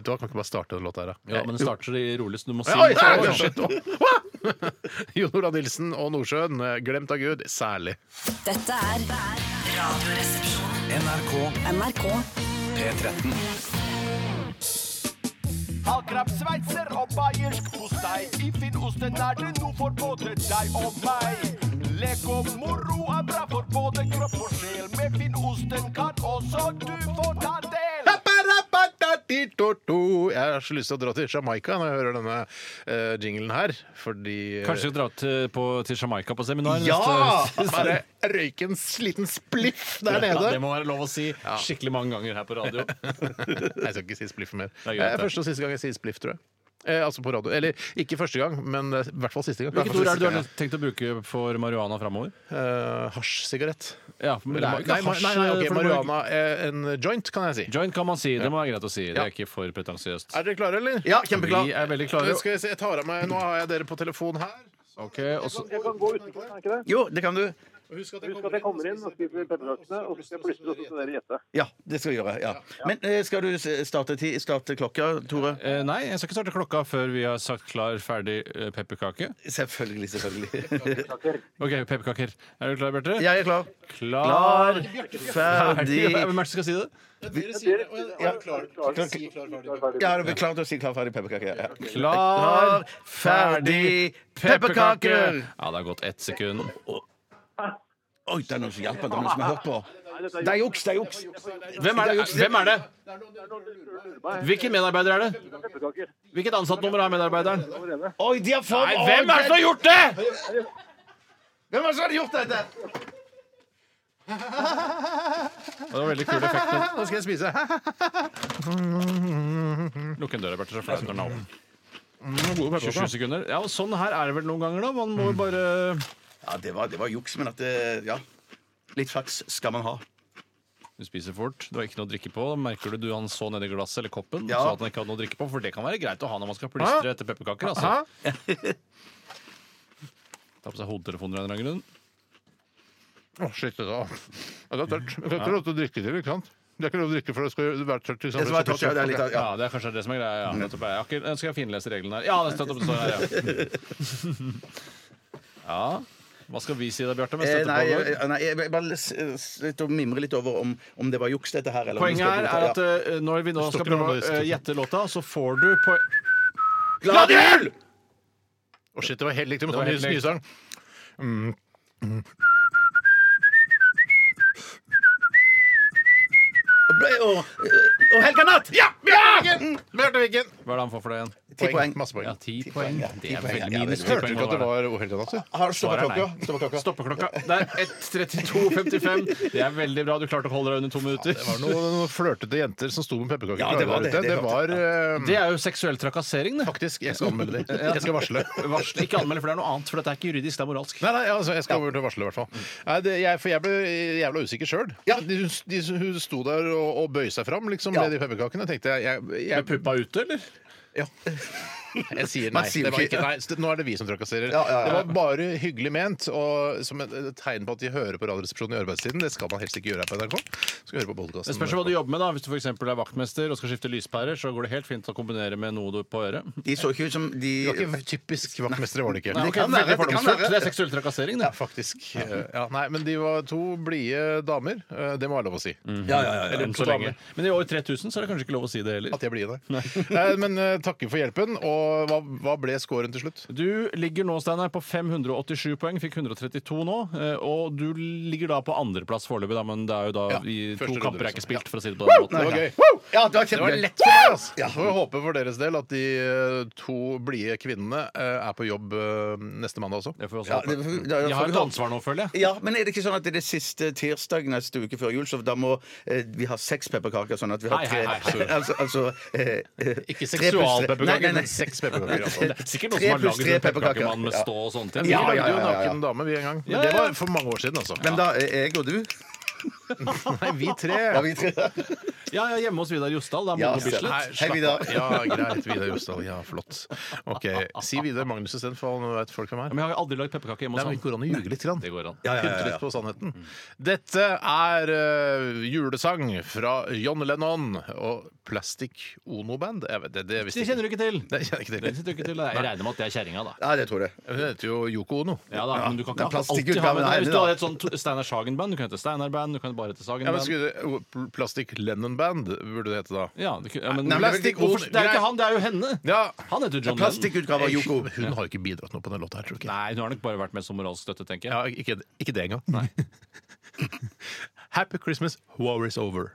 S5: Du kan ikke bare starte den låta her, da.
S7: Ja, men det starter i rolig, så du må si
S5: Oi,
S7: noe.
S5: oi, shit, å. Jon Olav Nilsen og Nordsjøen, eh, 'Glemt av Gud', særlig.
S1: Dette er Radioresepsjonen.
S4: NRK
S1: NRK
S4: P13.
S8: Halvkrabsveitser og bayersk ostei. I Finnosten er det noe for både deg og meg. Lek og moro er bra for både kropp og sjel. Med Finnosten kan også du få ta del.
S5: Jeg har så lyst til å dra til Jamaica når jeg hører denne eh, jinglen her, fordi eh,
S7: Kanskje vi skal dra til, på, til Jamaica på seminar?
S5: Ja!
S7: neste-
S5: Bare røyke en liten spliff der
S7: Ja,
S5: nede.
S7: det må være lov å si skikkelig mange ganger her på radio.
S5: Nei, jeg skal ikke si spliff mer.
S7: er greit,
S5: Eh,
S7: det.
S5: første og siste gang jeg sier spliff, tror jeg. Eh, altså på radio. Eller ikke første gang, men eh, i hvert fall siste gang.
S7: Hvilket ord er det du har tenkt å bruke for marihuana framover?
S5: Eh, Hasjsigarett.
S7: Ja, men det
S5: Nei,
S7: må
S5: nei,
S7: ikke
S5: nei,
S7: hasj,
S5: nei, nei, ok,
S7: for det må jo-
S5: marihuana. eh, En joint, kan jeg si.
S7: Joint kan man si. Det må være greit å si. Det
S5: Ja.
S7: er ikke for pretensiøst.
S5: Er dere klare, eller?
S6: Ja,
S7: Vi
S6: kjempeklar.
S7: er veldig klare.
S5: Skal jeg, se, jeg tar av meg, Nå har jeg dere på telefon her.
S7: Ok, og så
S6: Jo, det kan du.
S5: Husk at
S9: Husk at jeg kommer inn og spiser pepperkakene, og så skal jeg plutselig også til dere gjette.
S6: Ja, det skal vi gjøre. ja. Men eh, skal du s- starte, ti, starte klokka, Tore?
S7: Eh, nei, jeg skal ikke starte klokka før vi har sagt klar, ferdig eh, pepperkake.
S6: Selvfølgelig, selvfølgelig.
S7: OK, pepperkaker. Er du klar, Bjarte?
S6: Jeg er klar.
S7: Klar,
S6: ferdig
S7: Hvem er det som skal si det?
S6: Ja, du er klar til å si klar, ferdig, pepperkake. Ja.
S7: Klar,
S6: ferdig, pepperkaker!
S7: Ja, det har gått ett sekund.
S6: Oi, det er noen som hjelper. Det er noen som har hørt på. Det er juks, det er juks.
S7: Hvem er det? Hvem er det? Hvilken medarbeider er det?
S9: Pepperkaker.
S7: Hvilket ansattnummer har medarbeideren?
S6: Oi, de har fått
S7: Nei, hvem er det som har gjort det?!
S6: Hvem er det som har gjort dette?
S7: Det var veldig kul effekt.
S5: Nå skal jeg spise.
S7: Lukk igjen døra, Bjarte. så flaut når den er over.
S6: Mm,
S5: Gode
S7: 27 sekunder. Ja, og Sånn her er det vel noen ganger, da. Man må bare
S6: Ja, det var, det var juks, men at det, Ja. Litt flaks skal man ha.
S7: Du spiser fort. Det var ikke noe å drikke på. Merker du du han så nedi glasset eller koppen?
S6: Ja.
S7: Så at han ikke hadde noe å drikke på For det kan være greit å ha når man skal plystre etter pepperkaker. Altså.
S5: Hæ?
S7: Ta på seg hodetelefoner av en eller annen grunn.
S5: Å, shit, det er ja, det er tørt. Jeg kan ikke lov til å drikke til, ikke sant? Det er ikke lov til å drikke for det skal være tørt. ikke sant?
S6: Det som var tørt, ja, det er litt av,
S7: Ja,
S6: ja. Mm.
S7: det er kanskje det som er greia. Ja. Nettopp, ja. Ok, Nå skal jeg finlese reglene her. Ja, det står det står her, ja. ja. Hva skal vi si da, Bjarte? mens
S6: Eh,
S7: dette
S6: Nei,
S7: pågår?
S6: eh, nei, jeg vil bare s- s- litt og mimre litt over om, om det var juks, dette her. Eller om
S7: Poenget her
S6: det skal-
S7: er at eh, når vi nå
S5: Det står
S7: skal
S5: ikke noe om
S7: prøve å
S5: det, det
S7: eh,
S5: står ikke.
S7: gjette låta, så får du poeng...
S5: Å, shit, det var helt likt. Det
S7: Det var
S5: måtte være
S7: helt
S5: en ny
S7: likt.
S5: sang.
S6: ja. Og, og Helga Natt! Ja!
S5: Bjarte Viken!
S7: Hva er det han får for det igjen?
S6: Ti poeng.
S5: Masse poeng.
S7: Ja, ti poeng.
S6: ja.
S7: Det
S6: Ti
S7: er
S6: poeng,
S7: veldig
S6: ja,
S7: minus
S6: veldig.
S7: ti
S5: Hørte du
S7: poeng.
S5: ikke at
S7: må
S5: det
S7: det være.
S5: var Ohell til natt? du?
S6: Har du stoppa
S7: Svaret er
S6: klokka?
S7: nei.
S6: Stopper klokka.
S7: Stoppeklokka. Det er 1.32,55. Det er veldig bra. Du klarte å holde deg under to minutter.
S5: Det var noen, noen flørtete jenter som sto med pepperkaker
S6: Ja, det var det,
S5: der ute.
S6: det
S5: Det var eh,
S6: Mm.
S7: Det er jo seksuell trakassering, det.
S5: Faktisk, jeg skal anmelde det. Jeg skal varsle.
S7: Varsel. Ikke anmeld, for det er noe annet. For dette er ikke juridisk, det er moralsk.
S5: Nei, nei, altså, jeg skal over til å varsle, i hvert fall. Nei, det, jeg, for jeg ble jævla usikker sjøl. De, de, hun sto der og, og bøy seg fram liksom,
S6: Ja.
S5: med de pepperkakene. tenkte jeg jeg, jeg,
S7: puppa ute, eller?
S5: jeg sier nei.
S6: Man sier
S5: det var
S6: ikke-
S5: ikke, nei. så det- Nå er det vi som trakasserer.
S6: Ja, ja, ja.
S5: Det var bare hyggelig ment, og som et et tegn på at de hører på Radioresepsjonen i arbeidstiden. Det skal man helst ikke gjøre her på NRK. Skal høre på podcasten.
S7: Det spørs hva du jobber med. da Hvis du for eksempel er vaktmester og skal skifte lyspærer, så går det helt fint å kombinere med noe du på øret.
S6: De så ikke ut som de
S5: Det var ikke typisk vaktmestere, var det ikke.
S6: Nei,
S7: Det,
S6: ok. kan være,
S7: veldig
S6: det kan
S7: fordomsfullt.
S6: være.
S7: det er seksuell trakassering, det.
S5: Ja, faktisk. Eh, Ja, nei, men de var to blide damer. Eh, Det må være lov å si.
S6: Ja, ja, ja, ja.
S7: Enn så lenge. Men i år 3000 så er det kanskje ikke lov å si det heller.
S5: At de er blide. Eh, Men eh, takker for hjelpen, og og hva, hva ble scoren til slutt?
S7: Du ligger nå, Steinar, på 587 poeng. Fikk 132 nå. eh, Og du ligger da på andreplass foreløpig, da, men det er jo da
S5: Ja,
S7: i to
S5: første runde,
S7: kamper er
S5: liksom.
S7: ikke spilt, for å si det på den måten.
S5: Det var gøy.
S6: Ja, det var
S5: Det var
S6: kjempegøy.
S5: lett for deg, altså. Får jo håpe for deres del at de eh, to blide kvinnene eh, er på jobb eh, neste mandag også.
S7: Jeg, får også
S6: Ja,
S7: håpe.
S6: det- da- da
S7: jeg
S6: får
S7: har
S6: vi
S7: et
S6: håpe.
S7: ansvar nå, føler jeg.
S6: Ja, men er det ikke sånn at det er det siste tirsdag neste uke før jul, så da må eh, vi ha seks pepperkaker? Sånn at vi har
S7: Nei,
S6: tre
S7: nei, nei, sorry.
S6: altså, altså, eh, eh,
S5: Ikke
S6: tre pluss tre. Nei, nei,
S5: seksualpepperkaker,
S6: nei.
S5: men seks pepperkaker. Altså.
S7: Det er sikkert noen
S6: Tre
S7: som har
S6: pluss
S7: laget
S6: tre
S7: en pepperkakemann
S6: pepperkaker.
S7: med
S6: Ja.
S7: stå og sånne ting.
S5: Vi
S6: Ja,
S5: lagde
S6: ja,
S5: jo
S6: ja, ja, ja.
S5: Naken dame, vi en gang.
S7: Ja,
S5: Men det
S7: ja, ja.
S5: var for mange år siden, altså.
S6: Men da er jeg og du.
S5: Nei, vi tre.
S6: Ja, vi tre.
S7: Ja, jeg er hjemme hos Vidar Jostal. Da er
S6: Ja,
S7: Mona Bislett.
S5: Nei,
S6: Hei,
S5: slapp
S6: Vidar.
S5: av. Ja, greit. Vidar Jostal. Ja, flott. Ok, Si Vidar Magnus istedenfor, nå vet folk hvem
S7: Ja,
S5: er.
S7: Men jeg har aldri lagd pepperkake hjemme
S5: Nei,
S7: hos
S5: men
S7: han.
S5: Det går an å ljuge litt. Grann.
S7: Det går an.
S6: Ja, ja, ja, ja.
S5: Pynte litt på sannheten. Dette er eh, julesang fra John Lennon og Plastic Ono Band. Jeg vet, det, det visste
S7: Det kjenner du ikke til.
S5: Nei, jeg kjenner ikke til.
S7: Det kjenner du ikke til. Jeg regner med at det er kjerringa, da.
S6: Ja, det tror jeg.
S5: Hun heter jo Yoko Ono.
S7: Ja da, men du kan
S6: det er
S7: ikke alltid
S6: plastikkutgaven
S7: ha med det.
S6: her,
S7: Hvis
S6: det
S7: du
S6: da.
S7: hadde et sånt Steinar Sagen-band, du kan hete Steinar-band, du kan bare hete
S5: Ja, men
S7: Sagen-band.
S5: skulle, det- Plastic Lennon Band burde det hete da.
S7: Ja, det, ku- ja, men,
S5: Nei, men
S7: Plastikk-
S5: hvorfor-
S7: hvorfor- det er jo ikke
S5: greit.
S7: han, det er jo henne!
S5: Ja.
S7: Han heter John Lennon.
S6: Plastikkutgave av Yoko.
S5: Hun har jo ikke bidratt noe på den låta her, tror jeg.
S7: Nei, hun har nok bare vært med som moralsk støtte, tenker jeg.
S5: Ja, ikke, ikke det engang. Happy Christmas, war is over.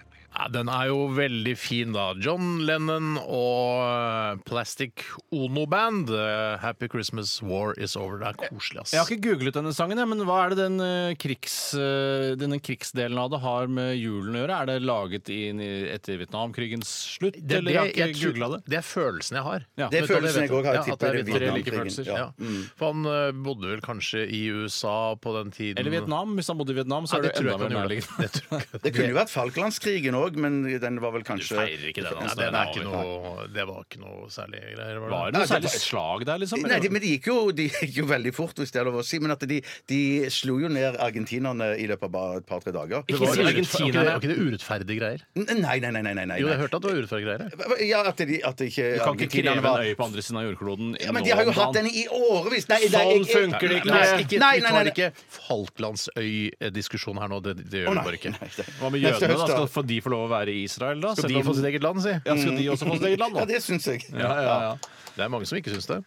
S5: Ja, den er jo veldig fin, da. John Lennon og eh, Plastic Ono Band. eh, Happy Christmas, War is over. Det er koselig, ass.
S7: Jeg har ikke googlet denne sangen, jeg, men hva er det den eh, krigs, eh, denne krigsdelen av det har med julen å gjøre? Er det laget inn i- etter Vietnamkrigens slutt,
S5: det, er
S7: eller jeg har
S5: jeg
S7: ikke
S5: tror-
S7: googla det?
S5: det er følelsen jeg har.
S7: Ja.
S6: Det er
S5: Vet du hva,
S6: følelsen
S5: vet
S6: jeg også har,
S5: ja, at det er
S6: tipper
S5: tre like
S6: Vietnamkrigen,
S5: følelser.
S6: ja. Mm.
S5: Ja. For han eh, bodde vel kanskje i USA på den tiden
S7: Eller Vietnam? Hvis han bodde i Vietnam, så
S5: Ja,
S7: er
S5: det
S7: det jo
S5: tror jeg
S7: enda
S5: ikke
S7: mer
S5: han gjorde.
S7: nærliggende.
S5: Det tror jeg ikke.
S6: Det kunne jo vært Falklandskrigen òg, men den var vel kanskje
S7: ikke den,
S5: Nei,
S7: altså.
S5: den
S7: Den
S5: er
S7: er
S5: ikke noe, det var ikke noe særlig greier. Var det?
S7: Var det noe særlig slag der, liksom?
S6: Nei, de, men de gikk, jo, de gikk jo veldig fort, hvis det er lov å si. Men at de, de slo jo ned argentinerne i løpet av bare et par-tre dager.
S7: Ikke
S5: Var det
S7: si
S5: urettfer-
S7: Argentina,
S5: var ikke det-
S7: nei.
S5: Var ikke det urettferdige greier?
S6: Nei, nei, nei. nei, nei, nei.
S5: Jo, jeg hørte at det var urettferdige greier. jeg.
S6: Ja, at de at ikke
S7: Du kan ikke
S6: argentinerne
S7: kreve
S6: var-
S7: en øy på andre siden av jordkloden.
S6: Ja, men de har jo
S7: nå om
S6: hatt den
S7: dagen.
S6: i årevis! Nei, det er-
S7: Sånn
S6: jeg- jeg-
S7: funker det
S5: Nei,
S6: Nei,
S5: ikke,
S6: nei,
S5: vi
S6: nei,
S5: tar
S6: nei.
S5: ikke Falklandsøy-diskusjon her nå. Det, det gjør
S6: Å,
S5: vi
S6: nei,
S5: bare ikke.
S6: nei, det-
S7: Hva med
S6: Neste
S7: jødene,
S6: høst,
S7: da?
S6: da.
S7: Skal få de få lov å være i Israel, da?
S5: Skal
S7: Selv
S5: de
S7: om-
S5: få sitt eget land, si? Mm.
S7: Ja, skal de også få sitt eget land,
S6: Ja,
S7: da?
S6: det syns jeg.
S7: Ja, ja, ja.
S5: Det er mange som ikke syns det.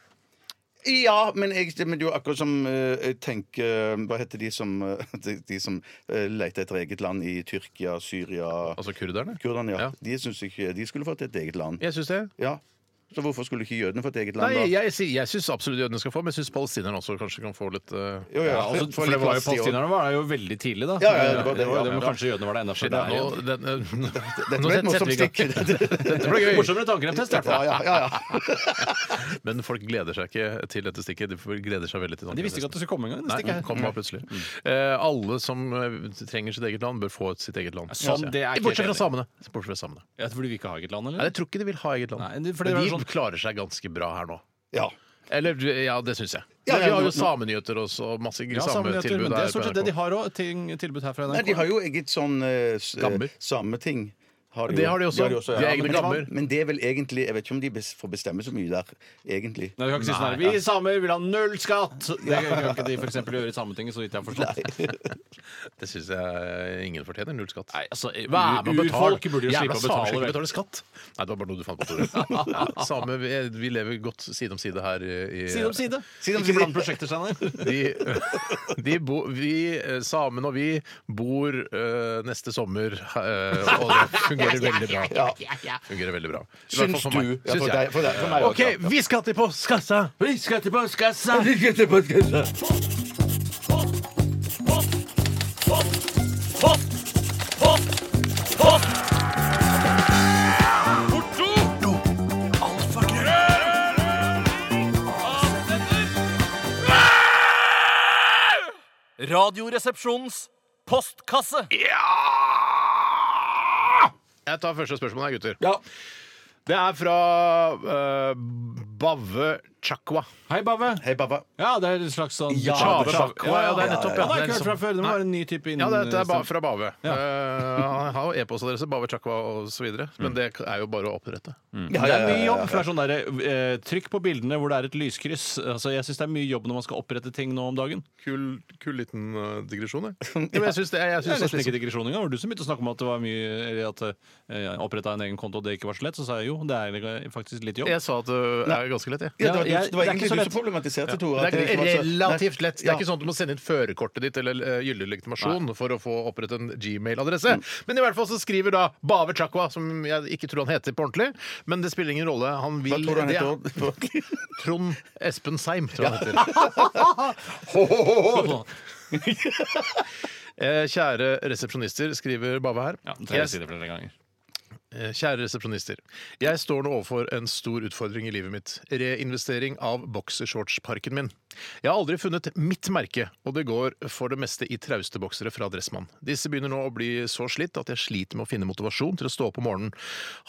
S6: Ja, men jeg men det er jo akkurat som eh, jeg tenker Hva heter de som, eh, de, de som eh, leter etter eget land i Tyrkia, Syria
S5: Altså kurderne.
S6: Kurderne, ja.
S5: Ja.
S6: De syns ikke de skulle fått et eget land.
S5: Jeg syns det.
S6: Ja. Så hvorfor skulle ikke jødene fått eget land,
S5: Nei,
S6: da?
S5: jeg, sy- jeg syns absolutt jødene skal få, men jeg syns palestinerne også kanskje kan få litt eh,
S6: Jo,
S7: Ja, altså, for det var jo
S6: palestinerne.
S7: Palestinerne var jo veldig tidlig, da.
S6: Ja, ja, det var- det var-
S7: Ja, men Kanskje jødene var det enda
S5: Shit, nå,
S7: før. det er jo-
S5: den, eh, nå
S6: Dette ble et
S5: setter
S6: morsomt
S5: vi i gang.
S6: stikk.
S5: Dette ble gøy.
S7: Morsommere tanker enn fest, i
S6: ja,
S7: hvert fall.
S6: ja, ja, ja.
S5: Men folk gleder seg ikke til dette stikket. De gleder seg veldig til
S7: De visste ikke at det skulle Mm. komme engang. det
S5: Nei,
S7: stikket her.
S5: det kom bare plutselig. Eh, alle som eh, trenger sitt eget land, bør få sitt eget land.
S7: Sånn,
S5: synes jeg.
S7: det er ikke
S5: Bortsett fra
S7: jeg
S5: samene. Bortsett fra samene.
S7: Ja, Fordi vi ikke har eget land,
S5: Nei,
S7: eller?
S5: jeg tror ikke de vil ha eget land.
S7: Nei, det- for det
S5: Men
S7: var
S5: de
S7: sånn-
S5: klarer seg ganske bra her nå.
S6: ja.
S5: Eller, ja, det syns jeg.
S6: Ja, ja,
S5: vi har
S6: nå-
S5: jo
S6: nå-
S5: samenyheter også, og masse
S7: Ja,
S5: sametilbud
S7: sammenheter, men det er
S5: her på
S7: stort sett det de
S5: NRK.
S7: har òg. Tilbud her fra
S6: Nei, de har
S7: NRK.
S6: jo eget sånn eh, s-
S5: Gammer.
S6: sameting. Har
S5: Det har de også.
S6: ja.
S5: De har egne
S6: men, det var-
S5: gammer.
S6: men det er vel egentlig Jeg vet ikke om de bes- får bestemme så mye der, egentlig.
S7: Nei, vi kan ikke si sånn her, Vi samer vil ha null skatt! Det kan ikke de for eksempel gjøre i Sametinget, så vidt jeg har forstått.
S5: Det syns jeg ingen fortjener. Null skatt.
S7: Nei, altså,
S5: Hva er med å betale?
S7: Urfolket burde jo
S5: Jævla
S7: slippe å
S5: samer
S7: betale.
S5: slipper å
S7: vel?
S5: betale skatt. Nei, det var bare noe du fant på, Tore. Ja, Same, vi, vi lever godt side om side her i i-
S7: Side om side.
S6: Side om
S7: Ikke
S6: side.
S7: bland prosjekter, Steinar.
S5: De, de bo, vi, eh, samene og vi, bor eh, neste sommer, eh, og det fungerer veldig bra. Fungerer veldig bra. I hvert fall
S6: Syns
S5: for
S6: du?
S5: meg.
S6: Ja,
S5: Syns
S6: for
S5: jeg.
S6: deg, for deg, for meg
S5: OK, vi skal til postkassa!
S7: Vi skal til postkassa!
S10: Radioresepsjonens postkasse.
S5: Jeg tar første spørsmål her, gutter. Det er fra eh, Bavve chakwa.
S7: Hei, Bave.
S6: Hei, Baba.
S7: Ja, det er en slags sånn
S6: Ja,
S7: Chave
S5: Chave.
S7: Chave. Ja, ja, det er
S6: Ja,
S7: liksom-
S6: ja,
S7: nettopp. Ja, det har jeg ikke hørt fra før. Det må være en ny type innen
S5: Ja, dette er bare
S7: stem-
S5: fra Bave.
S7: Ja. Mm.
S5: Eh, han har jo e-postadresse, Bave Chakwa osv., men det er jo bare å opprette.
S7: Det er mye jobb. for det er sånn der, eh, Trykk på bildene hvor det er et lyskryss. Altså, jeg syns det er mye jobb når man skal opprette ting nå om dagen.
S5: Kul, kul liten eh, digresjon, jeg. Ja, men jeg syns det, jeg,
S7: Det er
S5: synes at
S7: nesten ikke
S5: liksom,
S7: digresjon engang. Det var du som begynte å snakke om at det var mye eller at eh, jeg oppretta en egen konto og det ikke var så lett. Så sa jeg jo, det er faktisk litt jobb.
S5: jeg sa at det er ganske lett, jeg.
S6: Ja, det var,
S7: Ja,
S6: du,
S7: jeg-
S6: det var
S7: det er
S6: egentlig
S7: ikke så
S6: du som
S7: lett.
S6: problematiserte, Tore.
S5: Det er
S6: at det ikke var så-
S5: relativt
S6: Nei.
S5: lett. Det er ikke sånn at du må sende inn førerkortet ditt eller eh, gyldig legitimasjon for å få opprettet en Gmail-adresse.
S6: Mm.
S5: Men i hvert fall så skriver da Bave Chakwa, som jeg ikke tror han heter på ordentlig, men det spiller ingen rolle. Han vil
S6: Hva tror du han
S5: det er
S6: heter? Odd?
S5: Trond Espen Seim, tror jeg han heter. Eh, Kjære resepsjonister, skriver Bave her.
S7: Ja, den trenger
S5: Jeg
S7: å si det flere ganger.
S5: Eh, Kjære resepsjonister. Jeg står nå overfor en stor utfordring i livet mitt. Reinvestering av boksershortsparken min. Jeg har aldri funnet mitt merke, og det går for det meste i trauste boksere fra Dressmann. Disse begynner nå å bli så slitt at jeg sliter med å finne motivasjon til å stå opp om morgenen.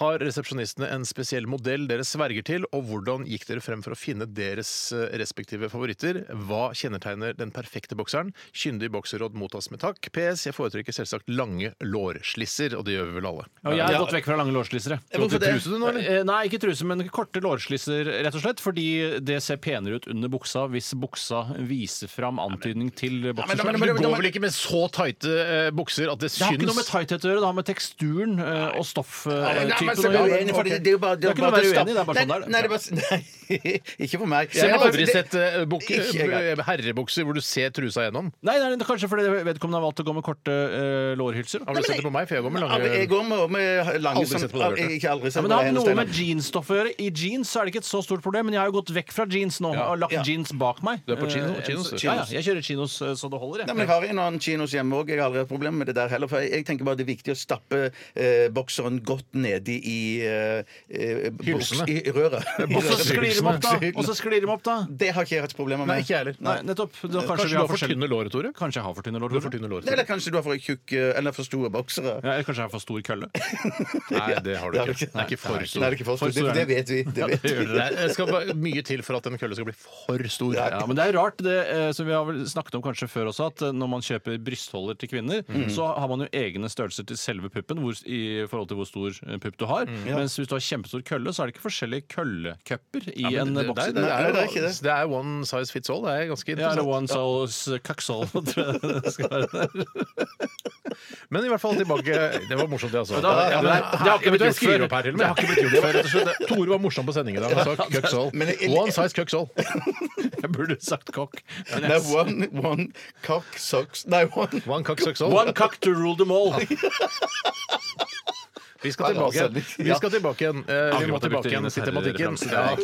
S5: Har resepsjonistene en spesiell modell dere sverger til, og hvordan gikk dere frem for å finne deres eh, respektive favoritter? Hva kjennetegner den perfekte bokseren? Kyndig bokseråd mottas med takk. PS. Jeg foretrekker selvsagt lange lårslisser, og det gjør vi vel alle.
S7: Og jeg har gått vekk fra lange lårslissere.
S5: Hvorfor det? Truse du nå, eller?
S7: Eh, Nei, ikke truse, men korte lårslisser, rett og slett. Fordi det ser penere ut under buksa hvis buksa viser fram antydning til
S5: Men,
S7: boksershorts.
S5: du går vel ikke med så tighte eh, bukser at det
S7: Det har ikke noe med
S5: syns
S7: tightet å gjøre, det har med teksturen eh,
S6: Nei,
S7: og
S6: men
S7: stofftypen
S6: så
S7: å
S6: er du
S7: gjøre.
S6: uenig, for det- det er jo bare-
S7: Det er ikke noe å
S6: bare
S7: være
S6: stapp-
S7: uenig i, det er bare sånn
S6: Nei,
S7: det er.
S6: Nei, det er bare Nei, ikke for
S5: Jeg
S6: meg. Men
S5: har
S6: altså,
S5: aldri
S6: det-
S5: sett eh, buk
S6: Ikke jeg heller.
S5: eh, herrebukser hvor du ser trusa gjennom.
S7: Nei, nei, det er kanskje fordi vedkommende har valgt å gå med korte eh, lårhylser.
S5: Har
S7: da.
S5: du sett det på meg? For jeg går med lange
S6: Aldri- Jeg går med, med lange
S5: Aldri sett på det, Bjarte.
S6: Jeg- Ikke aldri sett
S7: Ja, men
S6: på
S7: det har
S6: det,
S7: noe
S6: Steinar.
S7: med jeansstoff å gjøre. I jeans så er det ikke et så stort problem, men jeg har jo gått vekk fra jeans nå og lagt
S6: Ja.
S7: jeans bak meg.
S5: Du er på chino-
S7: Eh,
S5: chinos, du.
S7: Ja, ja, jeg kjører chinos eh, så det holder,
S6: Nei,
S7: jeg.
S6: men Jeg har en annen kinos hjemme òg. Jeg har aldri hatt problemer med det der heller. For jeg, jeg tenker bare det er viktig å stappe eh, bokseren godt nedi i eh, eh, boks,
S5: Hylsene.
S6: i, i røret.
S7: Og så sklir de opp, da! Og så sklir de opp, da.
S6: Det har ikke jeg hatt problemer med.
S5: Nei, ikke jeg heller.
S7: Nei, nettopp. Da, kanskje,
S5: Kanskje
S7: vi
S5: du
S7: har
S5: har for
S7: forskjell-
S5: tynne låret, Tore?
S7: Kanskje jeg har for tynne lår. Tore.
S6: Nei, Eller kanskje du har for tjukke eller for store boksere.
S7: Ja, eller kanskje jeg har for stor kølle.
S5: Nei, det har du ikke. Det er ikke for
S6: Nei, det
S5: stor.
S6: er ikke for stort.
S7: stor
S6: Det,
S7: er
S6: det vet vi. Det vet vi.
S5: Nei, Det skal bare mye til for at en kølle skal bli for stor.
S7: Ja, men det er rart, det eh, som vi har vel snakket om kanskje før også, at eh, når man kjøper brystholder til kvinner, så har man jo egne størrelser til selve puppen hvor, i forhold til hvor stor eh, pupp du har. Mens hvis du har kjempestor kølle, så er det ikke forskjellige køllekupper i
S5: Ja, men
S7: en
S5: det- det er-
S7: bokser.
S5: det er
S6: Nei, det er
S5: jo-
S6: ikke det.
S5: Det er one size fits all. Det er ganske
S7: Ja, eller
S5: interessant.
S7: one eh, size cucksol, tror jeg det skal være.
S5: Men i hvert fall tilbake Det var morsomt, det, altså.
S7: da- ja, men det- det har ikke blitt
S5: Jeg
S7: gjort
S5: skriver
S7: før.
S5: opp her, til og
S7: Det har
S5: med.
S7: ikke blitt gjort før, rett og slett.
S5: Tore var morsom på sending i dag. Han sa cucks all.
S6: Men-
S5: One size cucks all.
S7: Jeg burde sagt kokk. men
S6: Nei,
S7: jeg-
S6: one, one cock socks Nei, one
S5: One cock sucks all.
S7: One cock to rule them all.
S5: Vi skal tilbake igjen. Vi skal tilbake igjen. Eh, Vi må tilbake igjen til tematikken. Ja, Ja,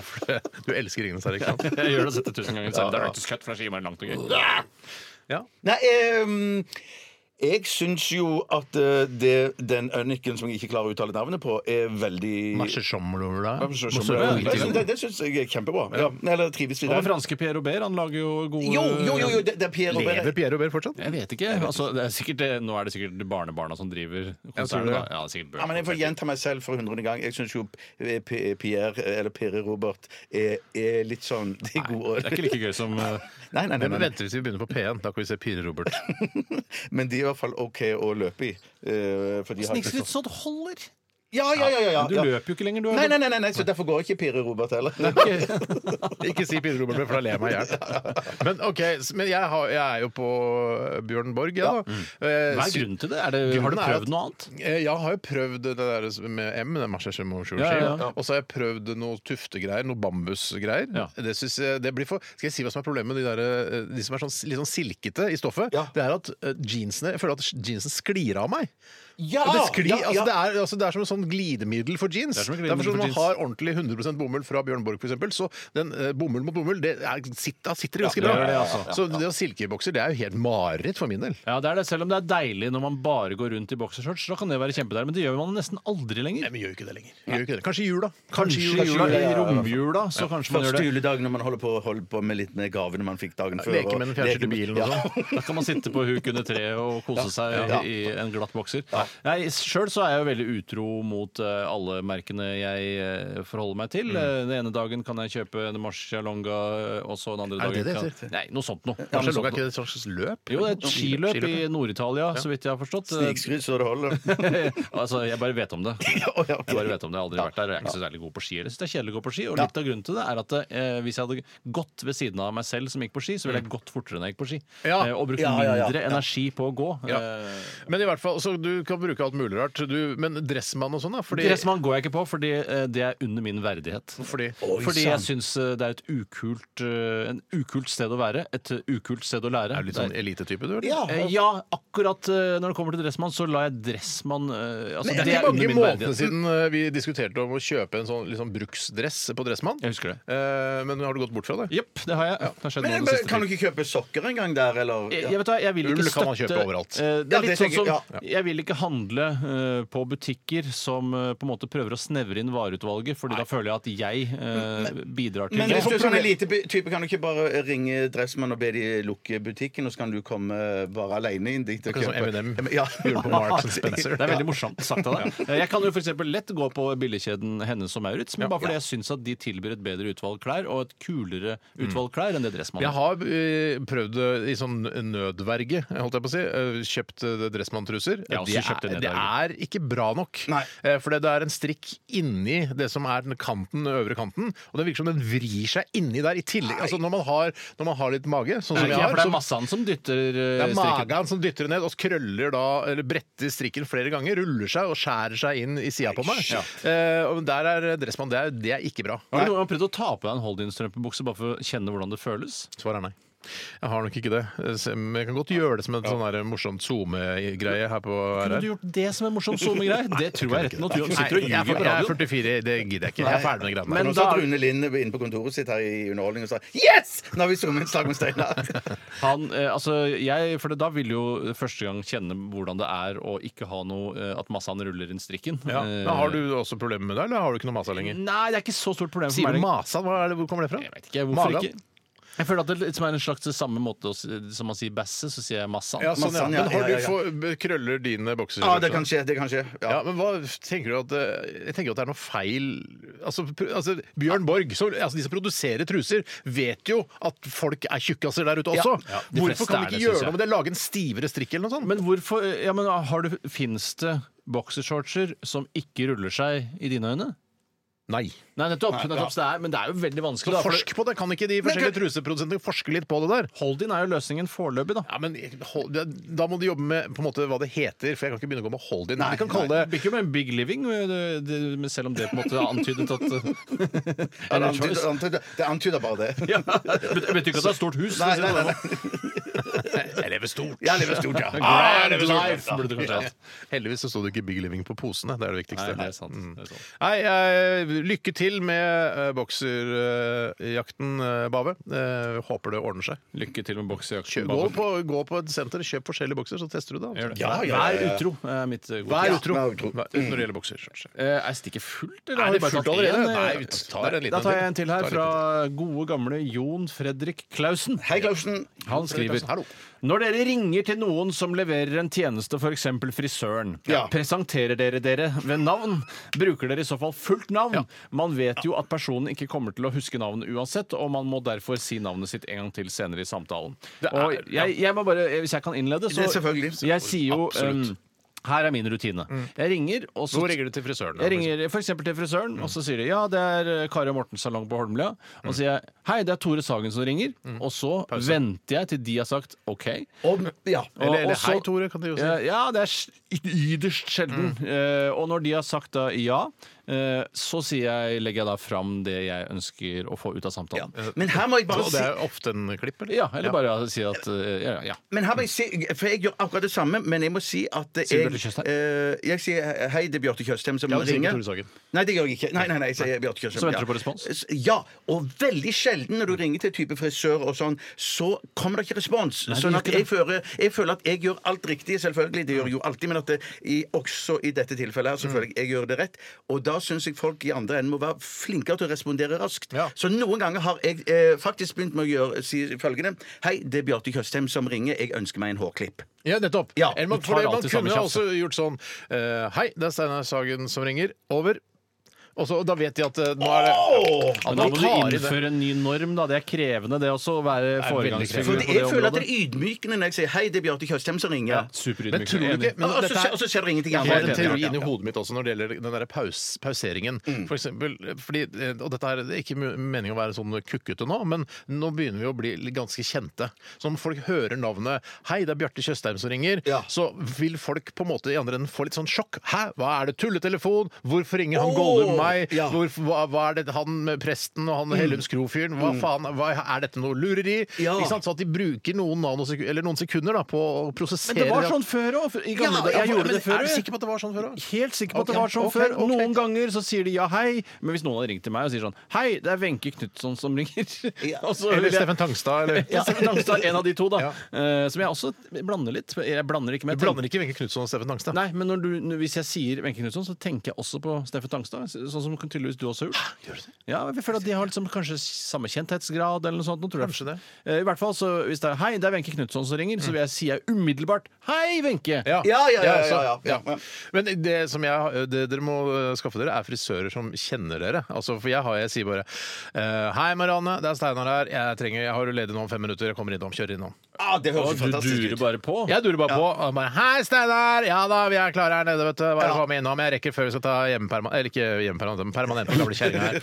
S5: for det- Du elsker 'Ringenes herre', ikke sant?
S7: Jeg gjør det 7000 ganger. selv. Director's cut fra skiva er langt og gøy.
S6: Nei, ehm, jeg syns jo at eh, det, den øniken som jeg ikke klarer å uttale navnet på, er veldig Ja, men så- så-
S5: Marsjesjommelula.
S6: Det det- det- det syns jeg er kjempebra. Ja. Nei, Eller trives vi
S7: Og
S6: der?
S7: den franske Pierre Robert, han lager jo gode
S6: Jo, jo, jo! jo det, det er Pierre Robert.
S5: Lever Pierre Robert fortsatt?
S7: Jeg vet ikke. Altså, det er sikkert, det- nå er det sikkert barnebarna som driver konsernet.
S5: det.
S7: da. Ja, det er sikkert Bjørn.
S6: Ja, men Jeg får gjenta meg selv for hundrede gang. Jeg syns jo eh, P- Pierre, eller Pierre Robert, er, er litt sånn De er gode.
S7: Det er ikke like gøy som eh,
S6: Nei, nei, nei,
S5: Det
S6: nei,
S5: må
S6: nei.
S5: vente hvis vi begynner på P1. Da kan vi se Pire Robert.
S6: Men de er i hvert fall OK å løpe i. eh, For de har ikke så
S7: Snikskrytsodd holder.
S6: Ja, ja, ja! ja, ja,
S7: Du
S6: ja.
S7: løper jo ikke lenger, du.
S6: Nei, nei, nei, nei, nei, så derfor går ikke Pierre Robert heller.
S5: Ikke si Pire Robert, for da ler jeg meg i hjel. Men OK, s- men jeg, har, jeg er jo på Bjørn Borg, jeg, da.
S6: Mm.
S5: Eh,
S7: Hva er
S5: sy-
S7: grunnen til det? Er det har du
S5: Grunnen er
S7: prøvd
S5: at-
S7: noe annet?
S5: Eh, Jeg har jo prøvd det der med M, den marsjesjommelula.
S7: Ja, ja, ja.
S5: Og så har jeg prøvd noe tuftegreier, noe bambusgreier.
S7: Ja.
S5: Det synes jeg, det blir for Skal jeg si hva som er problemet med de, der, eh, de som er sånn, litt sånn silkete i stoffet?
S6: Ja.
S5: Det er at eh, jeansene Jeg føler at jeansen sklir av meg.
S6: Ja!
S5: Det, sklir,
S6: ja,
S5: Altså,
S6: ja.
S5: det, er, altså, det er som en sånn glidemiddel for jeans.
S7: Det er som et glidemiddel
S5: Derfor
S7: for
S5: Når man
S7: jeans.
S5: har ordentlig 100 bomull fra Bjørn Borg, for eksempel, så den eh, bomull mot bomull, det er, sitter, da sitter det ganske
S7: Ja,
S5: bra.
S7: det gjør det, altså.
S5: Så det å silkebokser, det er jo helt mareritt for min del.
S7: Ja, det er det. Selv om det er deilig når man bare går rundt i boksershorts, da kan det være kjempedeilig, men det gjør man nesten aldri lenger.
S5: Nei, men gjør jo ikke det lenger. Gjør jo ikke det. Kanskje i jul, da.
S7: Kanskje i jula,
S5: da.
S7: i romjula, så kanskje man gjør
S6: Første
S7: det.
S6: juledag når man holder på, holder på med litt med gavene man fikk dagen før.
S5: Leke med den
S6: og-
S5: fjernstyrte
S6: leke
S5: bilen
S6: med-
S5: og
S6: Ja.
S5: sånn.
S7: Da kan man sitte på huk under treet og kose seg
S6: ja.
S7: i en glatt bokser. Nei, Sjøl så er jeg jo veldig utro mot eh, alle merkene jeg eh, forholder meg
S5: Mm.
S7: til. Eh, Den ene dagen kan jeg kjøpe en Marcialonga, eh, og så den andre
S5: Er det
S7: dagen
S5: det
S7: kan...
S5: det heter?
S7: Nei, noe sånt noe.
S5: Kanskje
S7: Noe sånt
S5: lå ikke
S7: noe.
S5: det et slags løp?
S7: Jo, det er et skiløp i Nord-Italia, så vidt jeg har forstått.
S6: Snikskryt så det holder.
S7: altså, jeg bare vet om det. Jeg bare vet om det, jeg har aldri vært der. Jeg er ikke så særlig god på ski. Jeg synes det er kjedelig å gå på ski, og litt av grunnen til det er at eh, hvis jeg hadde gått ved siden av meg selv som gikk på ski, så ville jeg gått fortere enn jeg gikk på ski.
S5: Mm. Ja.
S7: Eh, og brukt
S6: Ja, ja, ja.
S7: mindre energi på å gå.
S5: Ja.
S7: Eh,
S5: Men i hvert fall, så du kan bruke alt mulig rart. Du, men Dressmann og sånn, da? Fordi,
S7: Dressmann går jeg ikke på, fordi eh, det er under min verdighet.
S5: fordi
S7: Fordi jeg syns det er et ukult, eh, en ukult sted å være. Et eh, ukult sted å lære.
S5: Er du litt sånn elitetype, du? eller?
S6: Ja.
S7: Eh, ja, akkurat eh, når det kommer til Dressmann, så lar jeg Dressmann eh, altså,
S5: Det er
S7: Det er
S5: ikke mange
S7: under min
S5: månedene
S7: verdighet.
S5: siden eh, vi diskuterte om å kjøpe en sånn liksom, bruksdress på Dressmann.
S7: Jeg husker det.
S5: Eh, Men har du gått bort fra det?
S7: Jepp, det har jeg. Det har skjedd nå
S6: Men,
S7: den
S6: men
S7: siste
S6: Kan du
S7: tiden.
S6: ikke kjøpe sokker engang der, eller?
S7: Jeg, jeg vet hva, jeg vil ikke
S5: Ull kan man
S7: støtte-
S5: kjøpe overalt.
S7: Eh, Det
S6: Ja,
S7: er litt
S6: det
S7: sånn
S6: tenker-
S7: som
S6: ja.
S7: Jeg vil ikke handle eh, på butikker som eh, på en måte prøver å snevre inn vareutvalget, Fordi da føler jeg at jeg eh, bidrar til
S6: Men
S7: det.
S6: hvis du er sånn elitetype, kan du ikke bare ringe Dressmann og be de lukke butikken, og så kan du komme eh, bare aleine inn dit og
S5: Akkurat som
S6: kjøpe-
S5: Eminem
S6: Ja.
S5: gjorde på Marks and Spencer.
S7: Det er veldig morsomt sagt av deg. Eh, Jeg kan jo f.eks. lett gå på billigkjeden Hennes og Maurits, men bare fordi jeg syns at de tilbyr et bedre utvalg klær, og et kulere utvalg klær enn det Dressmann
S5: Jeg har eh, prøvd det i sånn nødverge, holdt jeg på å si. eh, Kjøpt eh, Dressmann-truser.
S7: Jeg har også
S5: Det
S7: kjøpt
S5: er-
S7: en
S5: det er
S7: nødverge.
S5: ikke bra nok.
S6: Nei.
S5: Eh, For det det er en strikk inni det som er den kanten, den øvre kanten, og det virker som den vrir seg inni der i tillegg. Altså når man har, når man har litt mage, sånn som jeg
S7: Ja,
S5: har,
S7: for det er
S5: så
S7: massene som dytter eh,
S5: det er
S7: strikken.
S5: magen som dytter det ned og krøller da, eller bretter strikken flere ganger, ruller seg og skjærer seg inn i sida på meg. Eh, og der er Dressmann det er, det er ikke bra.
S7: Har du noen gang prøvd å ta på deg en hold-in-strømpebukse bare for å kjenne hvordan det føles?
S5: Svaret er nei. Jeg har nok ikke det. Eh, Men jeg kan godt gjøre det som en sånn her morsom SoMe-greie her på
S7: Kunne du
S5: RR.
S7: gjort det som en morsom SoMe-greie? Det tror jeg er rett nok. Du sitter og
S5: jeg, er for-
S7: ljuger på
S5: jeg er
S7: radioen.
S5: 44, det gidder jeg ikke. Jeg er ferdig med de greiene
S6: Men
S5: der.
S6: nå
S7: da-
S6: satt Rune Lind inne på kontoret sitt her i underholdning og sa Yes! Nå har vi sunget en slag med Steinar.
S7: Han, eh, altså, jeg, for da vil jo første gang kjenne hvordan det er å ikke ha noe eh, At massene ruller inn strikken.
S5: Ja.
S7: Eh,
S5: Men har du også problemer med det, eller har du ikke noe masa lenger?
S7: Nei, det er ikke så stort problem for
S5: Sier du
S7: meg.
S5: masa? Hva er det, hvor kommer det fra?
S7: Mm, Jeg vet ikke, hvorfor
S5: Magan?
S7: ikke? Jeg føler at det liksom er en slags samme måte å si, som man sier basse, så sier jeg massan.
S5: Ja, sånn, ja.
S6: Masan, ja,
S5: Men har
S6: ja,
S5: du
S6: ja, ja.
S5: få- krøller dine bokser?
S6: Ja, det kan skje. Det kan skje.
S5: Ja,
S6: Ja.
S5: men hva tenker du at eh, Jeg tenker at det er noe feil Altså, pr- altså Bjørn Borg, som- altså de som produserer truser, vet jo at folk er tjukkaser der ute også.
S7: Ja, de
S5: Hvorfor
S7: fleste
S5: kan
S7: er
S5: de ikke
S7: det, synes
S5: gjøre
S7: jeg.
S5: noe med det? Lage en stivere strikk eller noe sånt?
S7: Men hvorfor ja, men har du, Fins det boksershortser som ikke ruller seg i dine øyne?
S5: Nei.
S7: Nei, nettopp. nettopp så det er, men det er jo veldig vanskelig. Da, for
S5: Forsk på det! Kan ikke de forskjellige truseprodusentene forske litt på det der?
S7: Hold-in er jo løsningen foreløpig, da.
S5: Ja, men hold, Da må de jobbe med på en måte hva det heter, for jeg kan ikke begynne å gå med hold-in. De kan kalle
S7: Det
S5: det
S7: blir ikke med en big living, eh, det- det- men selv om det på en måte er antydet at
S6: Ja, det antyder- antyder- Det antyder bare det.
S7: ja, Det betyr ikke at det er et stort hus.
S6: Nei, nei, nei, nei.
S5: Jeg lever stort!
S6: Jeg lever stort, ja.
S5: Ah, jeg
S7: Grand
S5: lever
S7: life,
S5: stort.
S7: burde det kanskje hett.
S5: Heldigvis så sto det ikke Big Living på posene. Det er det viktigste. Mm.
S7: Nei, det er sant. Det er sant.
S5: Nei, eh, lykke til med eh, bokserjakten, eh, Bave. Eh, håper det ordner seg.
S7: Lykke til med
S5: Kjø,
S7: boksejakken.
S5: gå, på, gå på et senter, kjøp forskjellige bokser, så tester du det.
S7: Gjør det.
S5: Altså.
S6: Ja, ja, ja,
S7: Vær
S6: ja.
S7: utro er mitt eh, gode
S5: Vær
S7: tips.
S5: utro.
S6: vær utro.
S5: Vær- Uten når det gjelder bokser. kanskje.
S7: Eh, Er stikket fullt, eller?
S5: Er
S7: har
S5: det
S7: vi bare
S5: fullt
S7: tatt
S5: allerede?
S7: en, eh?
S5: Nei, vi tar en liten
S7: da tar jeg
S5: til.
S7: en til her
S5: Ta en
S7: fra gode, gamle Jon Fredrik Klausen.
S6: Hei, Klausen.
S7: Han skriver
S5: Hallo.
S7: Når dere ringer til noen som leverer en tjeneste, f.eks. frisøren,
S6: Ja.
S7: presenterer dere dere ved navn? Bruker dere i så fall fullt navn? Man vet jo at personen ikke kommer til å huske navnet uansett, og man må derfor si navnet sitt en gang til senere i samtalen. og jeg, jeg må bare, Hvis jeg kan innlede, så
S6: Det er selvfølgelig. Mm.
S7: Jeg sier jo
S5: Absolutt.
S7: um, her er min rutine. Jeg ringer, og så
S5: Hvor ringer du til frisøren? da,
S7: jeg
S5: for eksempel?
S7: ringer f.eks. til frisøren, og så sier de ja, det er eh, Kari og Mortens salong på Holmlia. Og så sier jeg hei, det er Tore Sagen som ringer. Og så venter jeg til de har sagt OK.
S6: Om, ja.
S7: Og,
S5: Eller, eller
S7: og så-
S5: hei, Tore, kan de jo si.
S7: Ja, ja, det er s- ytterst sjelden. Eh, og når de har sagt da ja, eh, så sier jeg, legger jeg da fram det jeg ønsker å få ut av samtalen. Ja,
S6: Men her må jeg bare
S5: Og
S6: si
S5: det er ofte en klipp, eller?
S7: eller bare si at eh, ja, ja.
S6: Men her må jeg si, for jeg gjør akkurat det samme, men jeg må si at jeg
S7: Sier du Bjarte Tjøstheim?
S6: eh, Jeg sier hei, det er Bjarte Tjøstheim som
S5: Ja, du sier ikke
S6: ringer.
S5: Tore Sagen.
S6: Nei, det gjør jeg ikke. Nei, nei, nei, jeg sier Bjarte Tjøstheim.
S7: Så venter du på respons?
S6: S- Ja. Og veldig sjelden når du ringer til type frisør og sånn, så kommer det ikke respons.
S7: det
S6: sånn
S7: gjør
S6: at
S7: ikke
S6: jeg, føler, jeg føler at jeg gjør alt riktig, selvfølgelig, det gjør jeg jo alltid, men at det, i, også i dette tilfellet her, så føler jeg jeg gjør det rett. Og da da syns jeg folk i andre enden må være flinkere til å respondere raskt.
S5: Ja.
S6: Så noen ganger har jeg eh, faktisk begynt med å gjøre, si følgende Hei, det er Bjarte Tjøstheim som ringer. Jeg ønsker meg en hårklipp.
S5: Ja, nettopp.
S6: Ja,
S5: Eller man,
S7: du tar
S5: for det, man
S7: alltid samme
S5: kunne
S7: tjafset.
S5: også gjort sånn eh, Hei, det er Steinar Sagen som ringer. Over. Og så, da vet de at eh, nå er det At
S7: Men da
S5: man
S7: må du
S5: tar i det.
S7: innføre en ny norm, da. Det er krevende, det også, å være
S5: veldig krevende.
S7: foregangsfigur på
S6: For
S7: det
S6: jeg føler at det
S7: området.
S6: er ydmykende når jeg sier hei, det er Bjarte Tjøstheim som ringer.
S5: Men tror du ikke
S7: Superydmykende.
S5: men
S6: og, så,
S5: dette
S6: skjer-
S5: er-
S6: og så skjer det ingenting
S5: Jeg
S6: annet.
S5: har en teori
S6: Ja, ja,
S5: inni
S6: ja.
S5: hodet mitt også når det gjelder den der paus, pauseringen.
S6: Mm.
S5: For eksempel, eh, fordi, eh, og dette er, det er ikke mu- meningen å være sånn kukkete nå, men nå begynner vi å bli litt ganske kjente. Så om folk hører navnet 'Hei, det er Bjarte Tjøstheim som ringer',
S6: Ja.
S5: så vil folk på en måte i andre enden få litt sånn sjokk. 'Hæ, hva er det? Tulletelefon? Hvorfor ringer han Gollum meg?
S6: ja. Mm.
S5: Hvorfor- hva, hva er det han med presten og han Hellums Kro-fyren? Hva faen? Hva, er dette noe lureri?'
S6: Ja.
S5: Ikke sant? Så at de bruker noen, nanosek- eller noen sekunder da, på å prosessere
S7: Men det var
S5: at-
S7: sånn før òg. Jeg
S5: Ja, ja, for-
S7: gjorde
S5: men
S7: det før.
S5: Er du
S7: jeg.
S5: sikker på at det var sånn før òg?
S7: Helt sikker på at
S5: Ok,
S7: det var sånn
S5: ok,
S7: før.
S5: ok.
S7: Noen ganger så sier de ja, hei. Men hvis noen hadde ringt til meg og sier sånn Hei, det er Wenche Knutson som ringer.
S6: Ja.
S7: Og så
S5: Eller
S7: vil jeg-
S5: Steffen Tangstad, eller
S7: Ja, Steffen Tangstad, en av de to, da.
S5: Ja.
S7: Eh, som jeg også blander litt. Jeg blander ikke, men
S5: Du
S7: jeg
S5: blander
S7: tenker
S5: ikke Wenche Knutson og Steffen Tangstad?
S7: Nei, men når du, når- hvis jeg sier Wenche Knutson, så tenker jeg også på Steffen Tangstad. Sånn som tydeligvis du også har gjort. Ja, jeg føler at de har liksom kanskje samme kjenthetsgrad eller noe sånt. Nå tror jeg.
S5: Kanskje det. Mm.
S7: Eh, I hvert fall, så hvis det er Hei, det er Wenche Knutson som ringer, så vil jeg si jeg umiddelbart Hei, Wenche!
S6: Ja, ja, ja, ja,
S5: så-
S6: ja, ja.
S5: Men det som jeg, det dere må eh, skaffe dere, er frisører som kjenner dere. Altså, for jeg har, jeg sier bare eh, Hei, Marianne, det er Steinar her. Jeg trenger, jeg har ledig nå om fem minutter. Jeg kommer innom. Kjør innom.
S6: Ah, det høres
S7: Og
S6: jo
S7: du
S6: fantastisk
S7: durer
S6: ut.
S7: bare på.
S5: Jeg durer bare på. Og bare, Hei, Steinar! Ja da, vi er klare her nede, vet du. Bare kom innom. Jeg rekker før vi skal ta hjemmepermanent Eller ikke hjemmepermanent, men permanent gamle kjerringa her.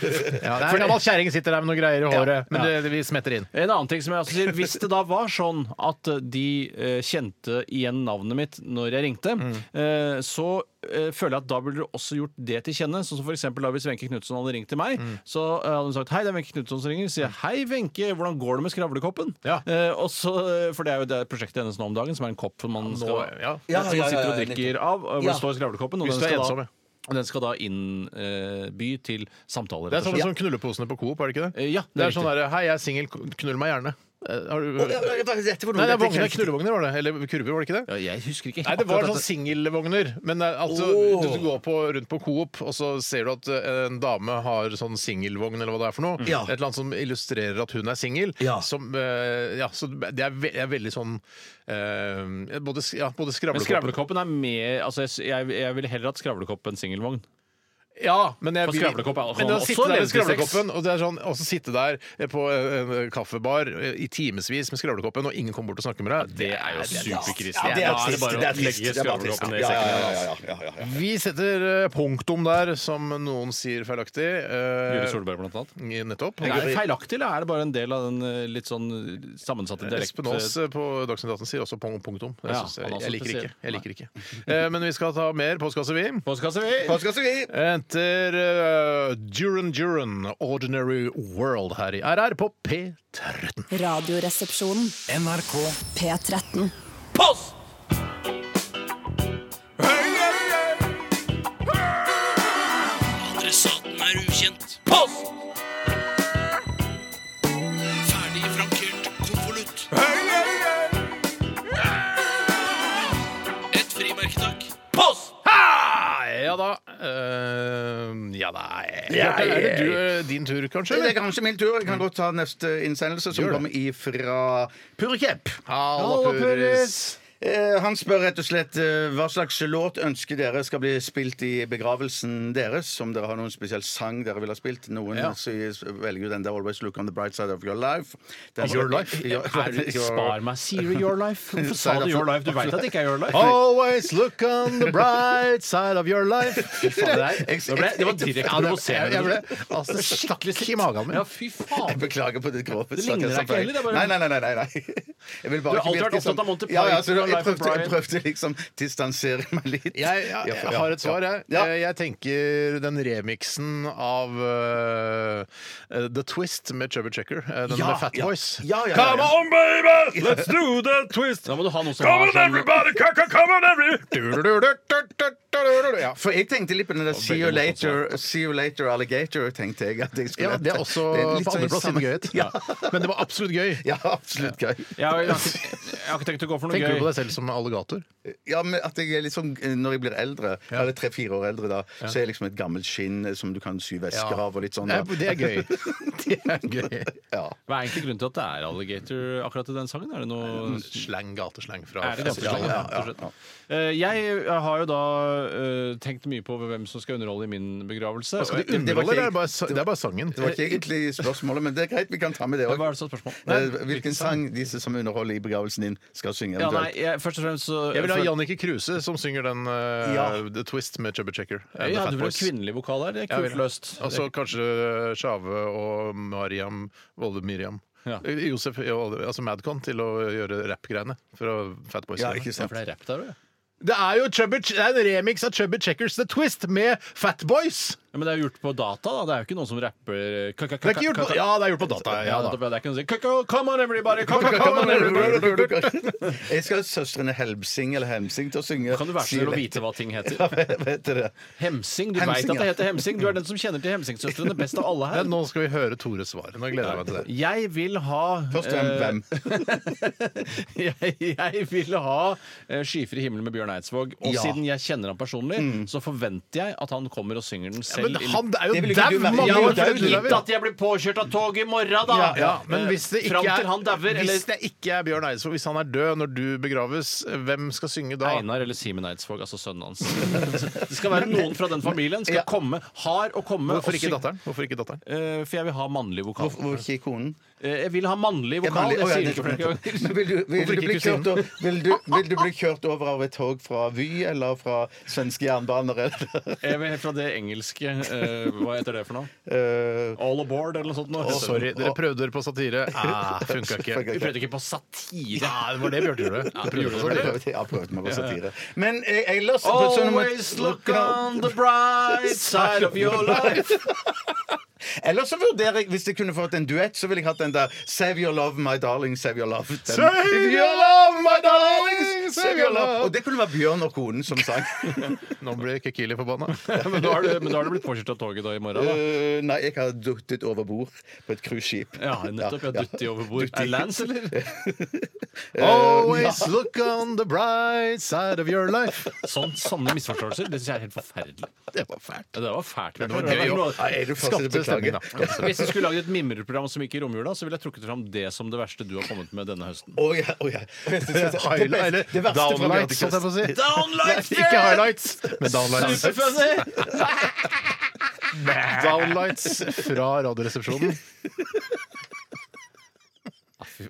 S5: Ja, det er en gammel kjerring sitter der med noen greier i håret. Men det, vi smetter inn.
S7: En annen ting som jeg også sier, Hvis det da var sånn at de eh, kjente igjen navnet mitt når jeg ringte,
S5: Mm.
S7: eh, så eh, føler jeg at da burde dere også gjort det til kjenne. Sånn som for eksempel da Hvis Wenche Knutson hadde ringt til meg,
S5: Mm.
S7: så eh, hadde hun sagt 'Hei, det er Wenche Knutson som ringer'. Så sier jeg 'Hei, Wenche, hvordan går det med skravlekoppen?'
S5: Ja.
S7: Eh, og så, eh, for det er jo det prosjektet hennes nå om dagen, som er en kopp som man, skal,
S5: ja.
S6: Ja, ja,
S7: som man
S6: ja,
S7: sitter og
S6: ja, ja,
S7: drikker av, og hvor det
S6: Ja.
S7: står skravlekoppen. Og
S5: Hvis
S7: den
S5: du er
S7: skal,
S5: ensom, ja.
S7: da, og den skal da innby til samtaler.
S5: Det er
S7: rett og
S5: sånn
S7: slett.
S5: som knulleposene på Coop, er det ikke det?
S7: Eh, ja,
S5: det
S7: det er
S5: er, sånn der, Hei, jeg er singel, knull meg gjerne. Eh, Har du,
S6: Ja, ja, faktisk, dette var noe-
S5: Nei, det er
S6: dette
S5: vogner,
S6: kjente-
S5: knullevogner var det. Eller kurver, var det ikke det?
S7: ja, jeg husker ikke
S5: Nei, det var
S7: akkurat
S5: sånn
S7: dette.
S5: singelvogner. Men eh, altså,
S6: Åh.
S5: du går på, rundt på Coop, og så ser du at eh, en dame har sånn singelvogn, eller hva det er for noe.
S6: Ja.
S5: Et eller annet som illustrerer at hun er singel.
S6: Ja.
S5: Som, eh, ja, så det er, ve er veldig sånn eh, Både, ja, både
S7: Men
S5: skravlekoppen
S7: skravlekoppen er med altså jeg, jeg, jeg vil heller hatt skravlekopp enn singelvogn.
S5: Ja, men jeg
S7: For
S5: vil-
S7: skravlekopp er-
S5: Men
S7: kan
S5: å
S7: også
S5: sitte der med
S7: leve til sex.
S5: skravlekoppen, og det er sånn, og så sitte der eh, på en en kaffebar eh, i timevis med skravlekoppen, og ingen kommer bort og snakker med deg
S7: Det er jo superkrist.
S6: Ja, det
S7: Da
S6: er trist.
S7: bare
S6: det er
S7: å
S6: trist,
S7: legge
S6: det er bare trist.
S7: skravlekoppen ned i
S6: Ja, ja,
S7: sekken.
S6: ja, ja, ja, ja, ja.
S5: Vi setter eh, punktum der, som noen sier feilaktig. Eh,
S7: Guri Solberg, blant annet.
S5: Nettopp.
S7: Er det feilaktig, eller er det bare en del av den eh, litt sånn sammensatte dialekt...
S5: Espen Aas eh, på Dagsnytt 18 sier også pong punktum. Jeg,
S7: Ja,
S5: synes jeg,
S7: han også
S5: jeg liker
S7: sier-
S5: ikke. Jeg liker ikke. Eh, Men vi skal ta mer postkasse, vi.
S7: Postkasse, vi!
S6: Påske skal vi-
S5: Enter eh, Duran Duran, 'Ordinary World', her i RR på P13.
S1: Radioresepsjonen.
S4: NRK
S1: P13.
S10: Post!
S11: Adressaten er ukjent.
S10: Post!
S11: Ferdig frankert konvolutt. Et frimerke, takk.
S10: Post!
S5: Ah, ja da. Eh, ja da. Bjarte, Er det du, eh, din tur, kanskje?
S6: Det er
S5: eller?
S6: kanskje min tur. Jeg kan godt ta neste innsendelse, som
S5: Gjør det.
S6: kommer ifra Purrekjepp.
S5: Halla, Puris.
S6: Eh, Han spør rett og slett eh, hva slags låt ønsker dere skal bli spilt i begravelsen deres. Om dere har noen spesiell sang dere vil ha spilt. Noen
S5: Ja.
S6: sier- velger jo den der 'Always Look on the Bright Side of Your Life'. Den-
S5: Your Life?
S6: Your-
S7: Er det Eh, Spar meg, sier du Your Life? Hvorfor sa du Your Life? Du veit at det ikke er Your Life?
S5: Ah. Always look on the bright side of your life. Fy faen,
S7: det der- nå ble jeg- det var direkte provoserende.
S5: Jeg ble altså, slakk i magen min.
S7: Ja, fy faen!
S6: Jeg beklager på det grove.
S7: Det ligner deg ikke heller, det er
S6: Nei,
S7: bare-
S6: nei, nei. nei, nei, nei. Jeg vil bare
S7: Du har alltid
S6: ikke virke
S7: vært opptatt av Monty
S6: Ja, ja,
S7: Python
S6: så
S7: og
S6: jeg,
S7: Life of
S6: prøvde, jeg
S7: Brian.
S6: prøvde liksom distansere meg
S5: Jeg,
S6: litt.
S5: jeg,
S6: Ja, for-
S5: jeg
S6: ja,
S5: har et svar, jeg.
S6: Ja.
S5: Eh, Jeg tenker den remixen av eh, The Twist med Chubby Checker. eh, Den
S6: Ja,
S5: med Fat
S6: ja.
S5: Boys.
S6: Ja, ja, ja, ja.
S5: Come on, baby! Let's do the twist!
S7: Da må du ha noe som
S5: Come
S7: har
S5: on,
S7: sånn
S5: everybody! Come on, come on, every... Ja.
S6: For jeg tenkte litt på den der see you, later, see you later alligator, tenkte jeg. At jeg skulle,
S5: Ja, det er også
S6: Det er litt
S5: på
S6: sånn
S5: andreplass
S6: samme-
S5: siden gøy ut.
S6: Ja.
S5: Men det var absolutt gøy.
S6: Ja, absolutt gøy.
S7: jeg har, jeg, har ikke, jeg har ikke tenkt å gå for noe
S5: Tenker du på
S7: gøy.
S5: deg selv som alligator?
S6: Ja, men at jeg er liksom, eh, Når jeg blir eldre, eller tre-fire år eldre, da, så er jeg liksom et gammelt skinn eh, som du kan sy væsker
S5: Ja.
S6: av og litt sånn.
S5: Nei,
S6: da.
S5: det er gøy.
S6: det er gøy. Ja.
S7: Hva er egentlig grunnen til at det er alligator akkurat i den sangen? Er det noe
S5: Slang, gatesleng fra
S7: Er det ganske
S5: Ja,
S7: slang,
S5: ja.
S7: ja, rett og slett? Eh, Jeg har jo da eh, tenkt mye på hvem som skal underholde i min begravelse.
S5: Skal
S7: og-
S5: de
S6: det
S5: underholde,
S6: var ikke-
S5: eller er det bare, sa- det er bare sangen?
S6: Det var ikke egentlig spørsmålet, men det er greit, vi kan ta med det
S7: Hva
S6: òg.
S7: er det som er spørsmål?
S6: Eh, Hvilken sang disse som underholder i begravelsen din, skal synge?
S7: Ja, nei,
S6: eventuelt?
S7: jeg, først og fremst så
S5: Jeg vil ha Jannicke Kruse som synger den eh,
S6: Ja.
S5: The Twist med Chubby Checker. eh, The
S7: Ja,
S5: Fat
S7: du vil ha
S5: Boys.
S7: kvinnelig vokal her. Det
S5: Jeg
S7: er
S5: vil
S7: kult
S5: det.
S7: løst.
S5: Og så kanskje Sjave og Mariam Volde Miriam.
S7: Ja.
S5: Josef, altså Madcon til å gjøre rappgreiene fra Fat Boys.
S6: ja, ikke
S7: Ja,
S6: sant.
S7: for det er rap der òg,
S5: Det er jo Chubby, det er en remix av Chubby Checkers The Twist med Fat Boys!
S7: ja. Men det er jo gjort på data, da. Det er jo ikke noen som rapper eh, ka- ka-
S5: Det er ikke gjort
S7: ka-
S5: på,
S7: ka-
S5: ja, det er gjort på data. Ja,
S7: Ja, nettopp,
S5: da.
S7: ja, det er ikke noen som sier "Ka-ka, Come on, everybody! Come, come, come on, everybody!
S6: Jeg skal ha søstrene Helmsing eller Hemsing til å synge.
S7: Kan du være så snill å vite hva ting heter?
S6: Ja, vet dere.
S7: Hemsing. Du
S6: Hemsing,
S7: veit at det
S6: ja.
S7: heter Hemsing. Du er den som kjenner til Hemsingsøstrene best av alle
S5: Ja,
S7: her.
S5: nå skal vi høre Tores svar. Nå gleder jeg meg til det.
S7: Jeg vil ha eh,
S6: Først og fremst hvem?
S7: jeg, jeg ville ha eh, 'Skyfri himmel' med Bjørn Eidsvåg. Og
S6: Ja.
S7: siden jeg kjenner han personlig, så forventer jeg at han kommer og synger den selv.
S5: Men
S7: i-
S5: han er
S6: Det
S5: jo
S6: vil ikke du
S5: dau!
S6: være-
S5: mange
S6: Ja,
S5: år før
S6: men det er
S5: du
S6: jo
S5: dauer.
S7: Gitt at jeg blir påkjørt av tog i morgen, da! Eh,
S5: Ja, men hvis det ikke
S7: Fram
S5: er,
S7: til han dauer, eller
S5: hvis det ikke er Bjørn Eidsvåg, hvis han er død når du begraves, hvem skal synge da?
S7: Einar eller Simen Eidsvåg, altså sønnen hans. Det skal være noen fra den familien skal komme, har å komme
S5: Hvorfor
S7: og
S5: ikke
S7: synge-
S5: datteren? Hvorfor ikke datteren?
S7: Eh, for jeg vil ha mannlig vokal.
S6: Hvorfor hvorfor ikke konen?
S7: Eh, jeg vil ha mannlig
S6: Ja,
S7: vokal.
S6: mannlig-
S7: Jeg
S6: Å, ja,
S7: sier det
S6: nettopp,
S7: ikke flere ganger.
S6: nettopp. Vil du- vil
S5: Hvorfor
S6: du
S5: ikke
S6: bli
S5: kusinen?
S6: kjørt over- Vil du vil du bli kjørt over av et tog fra Vy eller fra svenske jernbaner eller
S7: Jeg vil helt fra det engelske eh, Hva heter det for noe?
S6: Eh,
S7: All aboard eller noe sånt? Nå.
S5: Sorry, dere prøvde dere på satire. Ah, Funka ikke.
S7: Vi prøvde ikke på satire.
S5: Ja, det var det Bjørte gjorde. Du prøvde på
S6: Jeg
S5: satire.
S6: prøvde- jeg har prøvd meg på satire. Men eh, ellers
S7: Always look on the bright side of your life.
S6: Ellers så vurderer jeg, hvis jeg kunne fått en duett, så ville jeg hatt den der Save your love, my darling, save your love. Den.
S5: Save your love, my darling,
S6: Save your love. Og det kunne være Bjørn og konen som sang.
S5: Nå ble Kikili forbanna.
S7: Men da har du, men da har du blitt påkjørt av toget da i morgen, da.
S6: Eh, nei, jeg har duttet over bord på et cruiseskip.
S7: Ja, nettopp. Jeg
S6: Ja,
S7: har dutt i overbord.
S6: Dutt i.
S7: Er Lance, eller?
S5: Eh,
S7: Eh,
S5: Always look on the bright side of your life.
S7: Sånn, sånne misforståelser det syns jeg er helt forferdelig.
S5: Det var fælt.
S7: Ja, det var fælt.
S5: Det var gøy
S7: Noe-
S5: òg.
S6: Nei, er du først til å
S5: Skapte
S6: beklage?
S5: stemning, da.
S7: Hvis du skulle laget et mimreprogram som gikk i romjula, så ville jeg trukket fram det som det verste du har kommet med denne høsten.
S6: Å ja, å ja. Det beste-
S5: Highlight,
S6: det altså.
S5: eller downlights,
S6: verste fra
S5: holdt jeg på å si.
S7: Downlights!
S5: Ikke highlights, men downlights.
S7: Superfunny!
S5: Downlights fra Radioresepsjonen.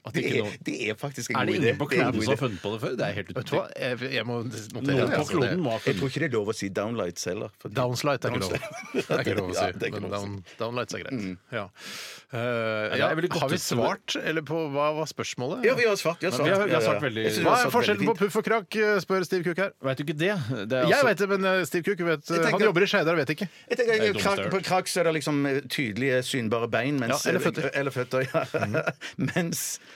S7: At
S6: Det
S7: ikke
S6: er,
S7: noen...
S6: det er faktisk en
S7: Er
S6: god
S7: det
S6: idé.
S7: ingen på
S6: Det er en
S7: kloden
S6: god
S7: som har
S6: idé.
S7: funnet på det før? Det er helt
S5: Vet du hva,
S7: utrolig.
S5: jeg, jeg må notere
S7: Noen
S5: det.
S7: på
S5: altså.
S7: kloden
S5: Det-
S7: må ha
S6: Jeg
S7: funnet
S6: tror ikke det er lov å si downlights heller. for-
S5: Downslight er ikke lov. Det er ikke lov å
S6: Ja,
S5: si.
S6: det er ikke
S5: Men
S6: lov å si.
S5: down, downlights er greit. Ja. Eh, ja,
S7: jeg ville gått
S5: har vi
S7: ut til-
S5: svart, eller på hva var spørsmålet?
S6: Ja, vi har svart. Vi har svart,
S7: vi har- vi har
S6: Ja, ja,
S7: svart
S6: ja.
S7: veldig-
S6: Jeg synes vi
S5: Hva
S6: har
S5: er
S6: svart veldig
S5: forskjellen på
S6: fint.
S5: puff og krakk, eh, spør Steve Cook her.
S7: Veit du ikke det? det er
S5: Jeg
S7: altså-
S5: vet det, men eh, Steve Cook vet, eh,
S6: Jeg tenker-
S5: han jobber i Skeidar og vet ikke.
S6: Jeg tenker,
S7: Det er dumt,
S6: krak,
S7: det er.
S6: på krakk så er det liksom eh, tydelige, synbare bein. Mens,
S5: Ja, eller føtter.
S6: Eller føtter, ja. mens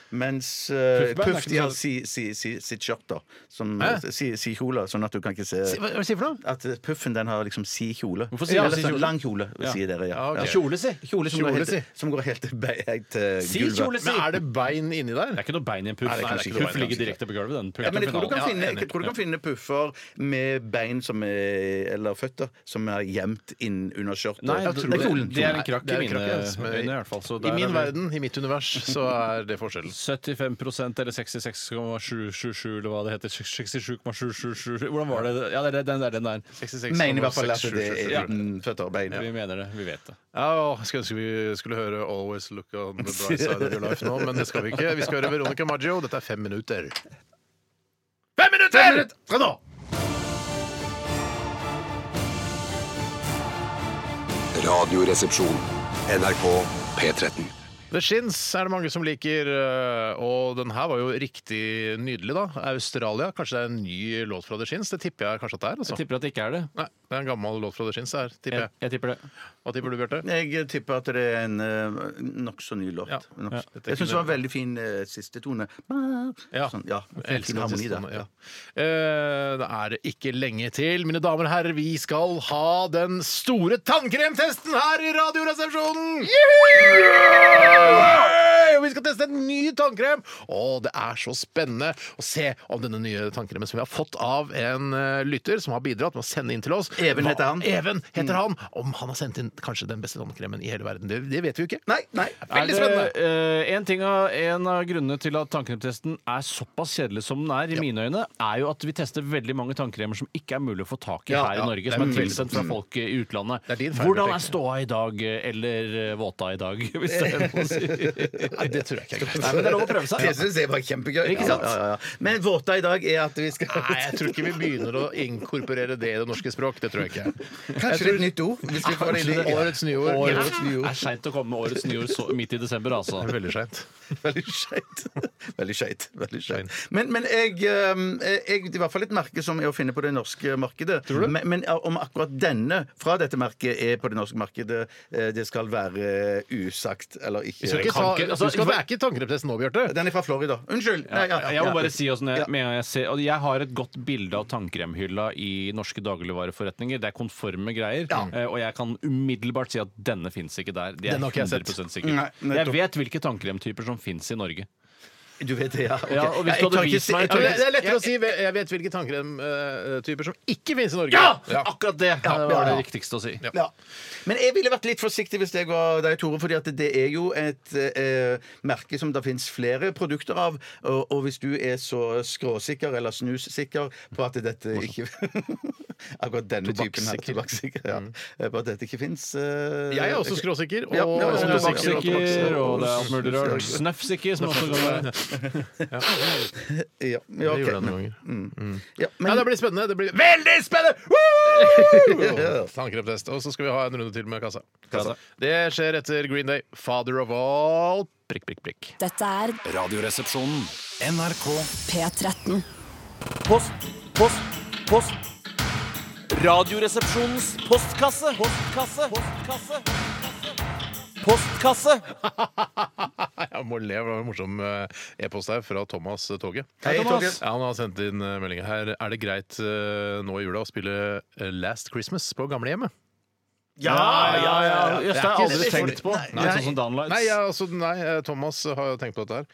S6: mens eh,
S7: Mhm. Puffbein er
S6: Puff
S7: ikke
S6: de har
S7: så-
S6: si, si, si, sitt skjørt, da. Som,
S5: Hæ?
S6: si, si kjole, sånn at du kan ikke se
S5: Hva sier du for noe?
S6: At eh, Puffen den har liksom si kjole.
S7: Hvorfor sier
S6: Eller
S7: man si
S6: sånn
S7: kjole? Ah,
S6: Lang kjole, sier dere. Ja.
S5: Ja, ok.
S6: ja.
S7: Kjole, si! Det
S6: Kjole som går
S5: Kjole,
S6: helt,
S5: si.
S6: som går helt til be- helt til
S7: Si
S6: gulvet.
S7: kjole, si.
S5: Men er det bein inni der?
S7: er ikke noe bein i en puff.
S6: Nei, det er
S7: Nei,
S6: kanskje
S7: det er
S6: ikke
S7: ikke
S6: noe
S7: Puff
S6: bein,
S7: ligger
S6: kanskje
S7: direkte på gulvet. Den
S6: Ja, men jeg tror, du kan
S7: Ja,
S6: finne,
S7: enig.
S6: jeg tror du kan finne puffer med bein som er, eller føtter som er gjemt inn under skjørtet.
S7: Nei,
S6: Jeg
S7: det,
S6: tror
S7: det, det er en krakk
S5: Det
S7: i
S5: er en
S7: mine
S5: krakk, ja, som er-
S7: øyne, i hvert fall. Så
S5: I
S7: der er
S5: min
S7: vi-
S5: verden, i mitt univers, så er det forskjellen.
S7: 75 eller 66,777 eller hva det heter. 67,777 Hvordan var det? Ja, det er den der. Den der.
S5: 66,
S6: mener i hvert fall at
S5: 67,
S6: det
S5: 67.
S6: er
S5: Ja.
S6: mm, føtter og bein.
S7: Vi mener det. Vi vet det.
S5: Ja, åh, Skulle ønske vi skulle høre 'Always Look On The Bright Side Of Your Life' nå, men det skal vi ikke. Vi skal høre Veronica Maggio. Dette er Fem minutter. Fem minutter! Fra nå!
S2: Radioresepsjon. NRK P13.
S5: The Shins er det mange som liker, eh, og den her var jo riktig nydelig, da. Australia. Kanskje det er en ny låt fra The Shins? Det tipper jeg kanskje at det er. Altså.
S7: Jeg tipper at det ikke er det.
S5: Nei. Det er en gammel låt fra The Shins, her, tipper
S7: Jeg,
S5: jeg.
S7: jeg tipper det.
S5: Hva tipper du, Bjarte?
S6: Jeg tipper at det er en uh, nokså ny låt.
S5: Ja.
S6: Nok-
S5: Ja.
S6: Jeg syns det var en veldig fin eh, siste tone.
S5: Ja.
S6: Sånn, ja.
S5: Jeg elsker
S6: Fin
S5: den
S6: harmoni
S5: siste
S6: der.
S5: tonen, ja. Eh, Da er det ikke lenge til. Mine damer og herrer, vi skal ha den store tannkremtesten her i Radioresepsjonen! Hey! Og Vi skal teste en ny tannkrem! Å, det er så spennende å se om denne nye tannkremen som vi har fått av en eh, lytter som har bidratt med å sende inn til oss.
S6: Even
S5: Hva-
S6: heter han.
S5: Even
S7: Mm.
S5: heter han. Om han har sendt inn kanskje den beste tannkremen i hele verden, det, det vet vi jo ikke.
S6: Nei, nei.
S5: Veldig
S7: Er det,
S5: spennende!
S7: eh, en, ting av, en av grunnene til at tannkremtesten er såpass kjedelig som den er, i mine øyne, er jo at vi tester veldig mange tannkremer som ikke er mulig å få tak i
S5: Ja,
S7: her
S5: ja,
S7: i Norge,
S5: det er
S7: som er
S5: veldig Mm.
S7: tilsendt fra folk i utlandet.
S5: Det er din feil,
S7: Hvordan
S5: Bjarte.
S7: er ståa i dag, eh, eller eh, våta i dag, hvis det er noe å si?
S5: Nei, det tror jeg ikke er greit.
S7: Nei, men det er lov å prøve seg.
S6: Det syns jeg var kjempegøy.
S7: Ikke sant?
S6: Ja, ja, ja, ja. Men våta i dag er at vi skal
S5: Nei, jeg tror ikke vi begynner å inkorporere det i det norske språk. Det tror jeg ikke.
S6: Kanskje det er et nytt ord? Hvis vi får det inn i
S5: Årets nyord.
S7: Ah, Årets nyord. Er seint å komme med årets nyord så, midt i desember, altså.
S5: Det er Veldig seint.
S6: Veldig skeit. Veldig skeit. Veldig skeit. Men, men jeg, ehm, jeg I hvert fall et merke som er å finne på det norske markedet. Men, men om akkurat denne fra dette merket er på det norske markedet, eh, det skal være eh, usagt eller
S5: Du skal
S6: ikke.
S5: ikke ta,
S7: Tanken- altså,
S5: du skal backe tannkremtesten nå, Bjarte.
S6: Den er fra Florida. Unnskyld. Nei, ja,
S7: Jeg må
S6: ja.
S7: bare si hvordan jeg, med en gang jeg, ser, og jeg har et godt bilde av tannkremhylla i norske dagligvareforretninger. Det er konforme greier. eh, Og jeg kan umiddelbart si at denne fins ikke der. Det er
S5: Den har ikke jeg sett.
S7: 100 sikker.
S6: Nei, nettopp.
S7: jeg vet hvilke tannkremtyper som fins i Norge.
S6: Du vet det, ja. ok.
S7: Ja, og hvis
S6: Jeg
S7: du hadde
S6: tar ikke
S7: vist
S6: si-
S7: meg-
S6: jeg
S5: Ja,
S6: tar
S5: men
S6: ikke
S5: det det er lettere å si jeg vet hvilke tannkremtyper som ikke finnes i Norge.
S7: Akkurat det! det var
S6: ja, ja.
S7: det riktigste å si.
S6: Ja. Men jeg ville vært litt forsiktig hvis jeg var deg, Tore, fordi at det er jo et eh, merke som det finnes flere produkter av. Og, og hvis du er så skråsikker eller snussikker på at dette ikke Akkurat denne typen her, tobakkssikker, ja, på at dette ikke eh, fins
S5: Mm. Jeg er også skråsikker. Og
S6: Ja, ja, ja, ja.
S5: snusikker.
S7: Tobakksikker og det er alt mulig rart. Snøffsikker, som også kan være
S6: Ja,
S5: Det
S6: ja, ok.
S5: gjorde jeg noen ganger.
S7: Mm.
S5: Ja,
S6: ja,
S5: det
S6: men,
S5: blir spennende. Det blir veldig spennende! Woo! Tannkremtest. Og så skal vi ha en runde til med kassa. Altså,
S7: Kassa.
S5: Det skjer etter Green Day. Father of all prikk, prikk, prikk.
S1: Dette er
S4: Radioresepsjonen. NRK
S1: P13.
S10: Post, post, post. Radioresepsjonens postkasse. Postkasse. Postkasse. Postkasse.
S5: Jeg må le, det var en morsom eh, e-post her fra Thomas eh, Toget.
S6: Hei, Thomas.
S5: Ja, han har sendt inn eh, meldingen her. Er det greit eh, nå i jula å spille eh, Last Christmas på gamlehjemmet?
S7: Jøss, det har jeg aldri tenkt på. Nei, sånn som Downlights.
S5: Nei, ja, altså, nei, eh, Thomas har jo tenkt på dette her.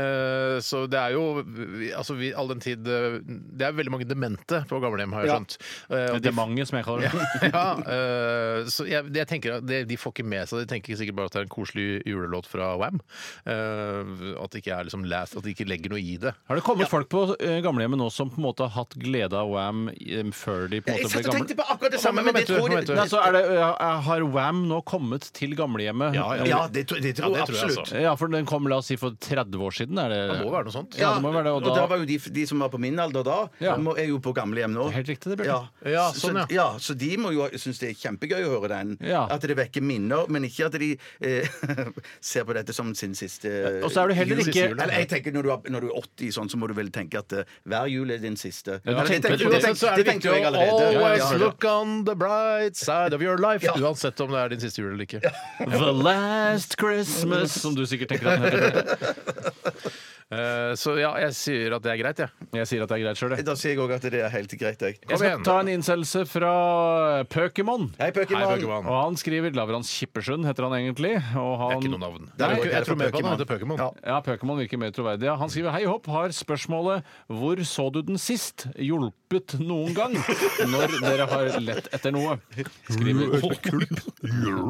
S5: Eh, så det er jo vi- Altså, vi, all den tid eh, Det er veldig mange demente på gamlehjem, har jeg skjønt. Eh, og de-
S7: Dementet, som jeg kaller det.
S5: ja, eh, så jeg, jeg tenker at det, De får ikke med seg det. De tenker sikkert bare at det er en koselig julelåt fra Wham. Eh, at det ikke er liksom last, at de ikke legger noe i det.
S7: Har det kommet folk på eh, gamlehjemmet nå som på en måte har hatt glede av Wham eh, før de på en
S6: jeg
S7: måte ble
S6: satt og
S7: gamle?
S6: tenkte på akkurat det samme, men
S5: Hva
S6: det
S5: mente du?
S6: tror
S5: Hva mente
S6: jeg
S5: du?
S7: Nei, så er det, eh, har Wham nå kommet til gamlehjemmet?
S6: Ja, det tror
S5: Ja,
S6: det tror jeg
S5: det tror jeg,
S6: absolutt.
S5: altså.
S7: Ja, for den kom la oss si for 30 år siden? Er det,
S5: Det må være noe sånt.
S7: Ja, det må være det, og
S6: og,
S7: da-
S6: da var jo de, de som var på min alder da,
S7: Ja.
S6: må- er jo på gamlehjem nå.
S7: Det er helt riktig, det, Bjørte.
S6: Ja.
S5: Ja,
S6: Så-
S5: sånn, ja.
S6: så, så de må jo synes det er kjempegøy å høre den.
S7: Ja.
S6: At det vekker minner, men ikke at de eh, ser på dette som sin siste eh,
S7: Og så er du heller
S6: jul.
S7: ikke-
S6: Eller jeg tenker når du, er, når du er 80 sånn, så må du vel tenke at eh, hver jul er din siste.
S7: Ja,
S6: Eller, det
S7: tenker
S6: tenkte-
S7: du det?
S6: det tenkte- det tenkte jo jeg allerede. Ja,
S5: Always
S6: ja, ja.
S5: look on the bright side of your life.
S6: Ja.
S5: Uansett om det er din siste jul eller ikke.
S7: The Last Christmas, som du sikkert tenker at den heter.
S5: Eh, så ja, jeg sier at det er greit, jeg. Ja.
S7: Jeg sier at det er greit sjøl, jeg.
S6: Da sier jeg òg at det er helt greit, jeg.
S7: Jeg skal
S5: igjen.
S7: ta en innsendelse fra Pøkemon.
S6: Hei, Pøkemann.
S5: Pokemon.
S7: Og han skriver Lavrans Kippersund heter han egentlig. Og
S5: Det
S7: han
S5: er ikke noe navn.
S6: Der
S5: jeg,
S6: går
S5: jeg,
S6: jeg for
S5: tror mer på at han
S6: Pokemon.
S5: heter Pokemon.
S6: Ja.
S7: Ja, Pøkemann virker mer troverdig. Ja. Han skriver Hei Hopp har spørsmålet Hvor så du den sist? Hjulpet noen gang? Når dere har lett etter noe. Skriver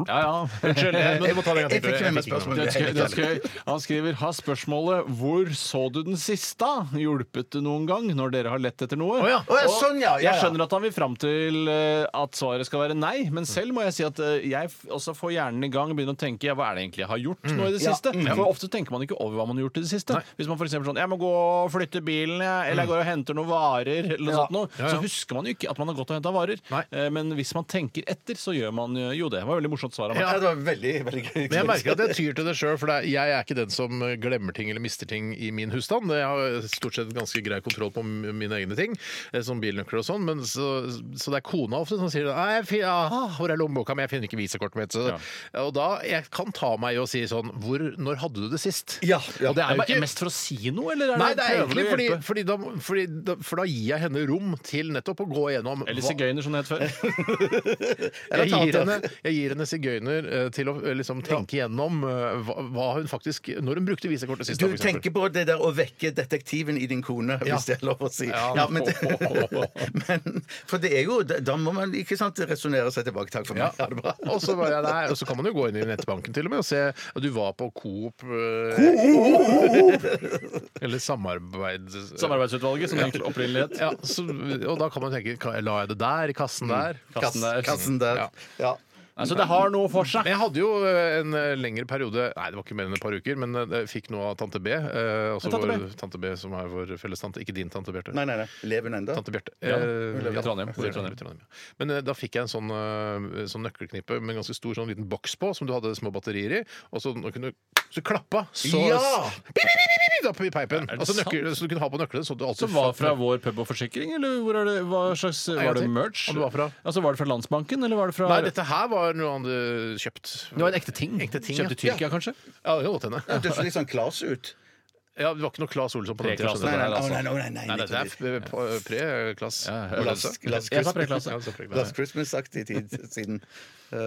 S7: Ja, ja. Unnskyld.
S5: Men du må ta den en gang
S6: Jeg
S5: til.
S6: fikk
S5: Jeg fikk ikke
S6: ikke med meg
S5: noe.
S6: spørsmålet.
S7: Dødsgøy, dødsgøy. Han skriver har spørsmålet 'Hvor så du den siste?' Hjulpet det noen gang når dere har lett etter noe?
S5: Å Eh, ja.
S6: Å, ja,
S7: Og
S6: sånn, ja, ja,
S7: Jeg
S6: ja.
S7: skjønner at han vil fram til eh, at svaret skal være nei, men selv må jeg si at eh, jeg f- også får hjernen i gang og begynner å tenke ja, hva er det egentlig jeg har gjort
S5: Mm.
S7: nå i det siste? For ofte tenker man ikke over hva man har gjort i det siste. Hvis man f.eks. sånn 'jeg må gå og flytte bilen', jeg, eller 'jeg går og henter noen varer', eller noe sånt noe,
S5: Mm. Ja, ja.
S7: så husker man jo ikke at man har gått og henta varer.
S5: Nei.
S7: Eh, Men hvis man tenker etter, så gjør man eh, jo det. Det var et veldig morsomt svar av meg.
S6: Ja, det var veldig, veldig gøy.
S5: Men jeg merker at jeg tyr til det sjøl, for det er, jeg er ikke den som glemmer ting eller mister ting i min husstand. Jeg har stort sett ganske grei kontroll på m- mine egne ting, eh, som bilnøkler og sånn, men så, så det er kona ofte som sier Nei, jeg fin- ah, hvor er lommeboka mi? Jeg finner ikke visakortet mitt. Så, Og da jeg kan ta meg i å si sånn hvor, Når hadde du det sist?
S6: Ja, ja.
S5: Og det
S7: Er
S5: er
S7: det
S5: jo
S7: bare
S5: ikke
S7: mest for å si noe, eller?
S5: Nei, det er
S7: prøver du
S5: egentlig
S7: å
S5: fordi,
S7: hjelpe?
S5: fordi, da, fordi da, For da gir jeg henne rom til nettopp å gå gjennom
S7: Eller
S5: hva-
S7: sigøyner, som det het før.
S5: jeg
S6: Eller
S5: gir,
S6: tater.
S5: henne, jeg gir henne sigøyner eh, til å eh, liksom, tenke gjennom eh, hva, hva hun faktisk Når hun brukte visakortet sist. da,
S6: Du
S5: for eksempel.
S6: tenker på det der å vekke detektiven i din kone, hvis det er lov å si.
S5: Ja.
S6: men, men, for det er jo Da må man ikke sant, resonnere seg tilbake. Takk for meg. Ha det bra.
S5: og så, var jeg, nei, og så kan man jo gå inn i nettbanken til og med og se at du var på Coop eh, Eller samarbeid...
S7: Samarbeidsutvalget, som egentlig opprinnelig het.
S5: Ja, så, og da kan man tenke "Ka- La jeg det der? I kassen der?
S7: Kassen der.
S6: Kassen der.
S5: Ja.
S6: Ja.
S7: Altså, det har noe for seg.
S5: Men jeg hadde jo eh, en eh, lengre periode Nei, det var ikke mer enn et par uker, men eh, jeg fikk noe av tante B. eh, Altså
S7: Tante
S5: tante,
S7: B.
S5: vår, tante B som er vår felles tante. Ikke din tante, Bjarte.
S6: Nei, nei, nei. Lever hun ennå?
S5: Tante Bjarte.
S7: Ja,
S5: Eh,
S7: hun lever i
S5: ja,
S7: Trondheim.
S5: hun lever i Trondheim. Trondheim, ja. Men eh, da fikk jeg en sånn, eh, sånn nøkkelknippe med en ganske stor sånn liten boks på, som du hadde små batterier i. Og så når du kunne så klappa så
S6: Ja!
S5: Pip, pip, pip, pip, pip, da, i peipen.
S7: det
S5: Altså,
S7: sant?
S5: nøkkel, så du kunne ha på nøkkelen. Så du alltid
S7: Som var
S5: fant-
S7: fra vår pub og forsikring, eller hvor er det, hva slags, var det merch?
S5: Om det var fra-
S7: Altså, var det fra Landsbanken, eller var det fra
S5: Nei, dette her var noe han hadde kjøpt.
S7: Det var en ekte ting.
S5: Ekte ting,
S7: Kjøpte i
S5: ja.
S7: Tyrkia, kanskje?
S5: Ja, det kan godt hende.
S6: Du så litt sånn Klas ut.
S5: Ja, det var ikke noe Claes Olsson på den tida.
S7: Pre-Claes,
S6: Nei,
S5: skjønner du.
S6: nei, nei. nei, nei, sånn nei,
S5: altså- Nei,
S6: nei,
S5: det er f- på- pre-Claes.
S7: Ja,
S6: Last,
S5: Lasse.
S6: last,
S7: Jeg sa
S6: Christmas,
S7: pre-Class, ja.
S5: Ja, så pre-Class,
S6: last Christmas-aktig tid siden. Eh,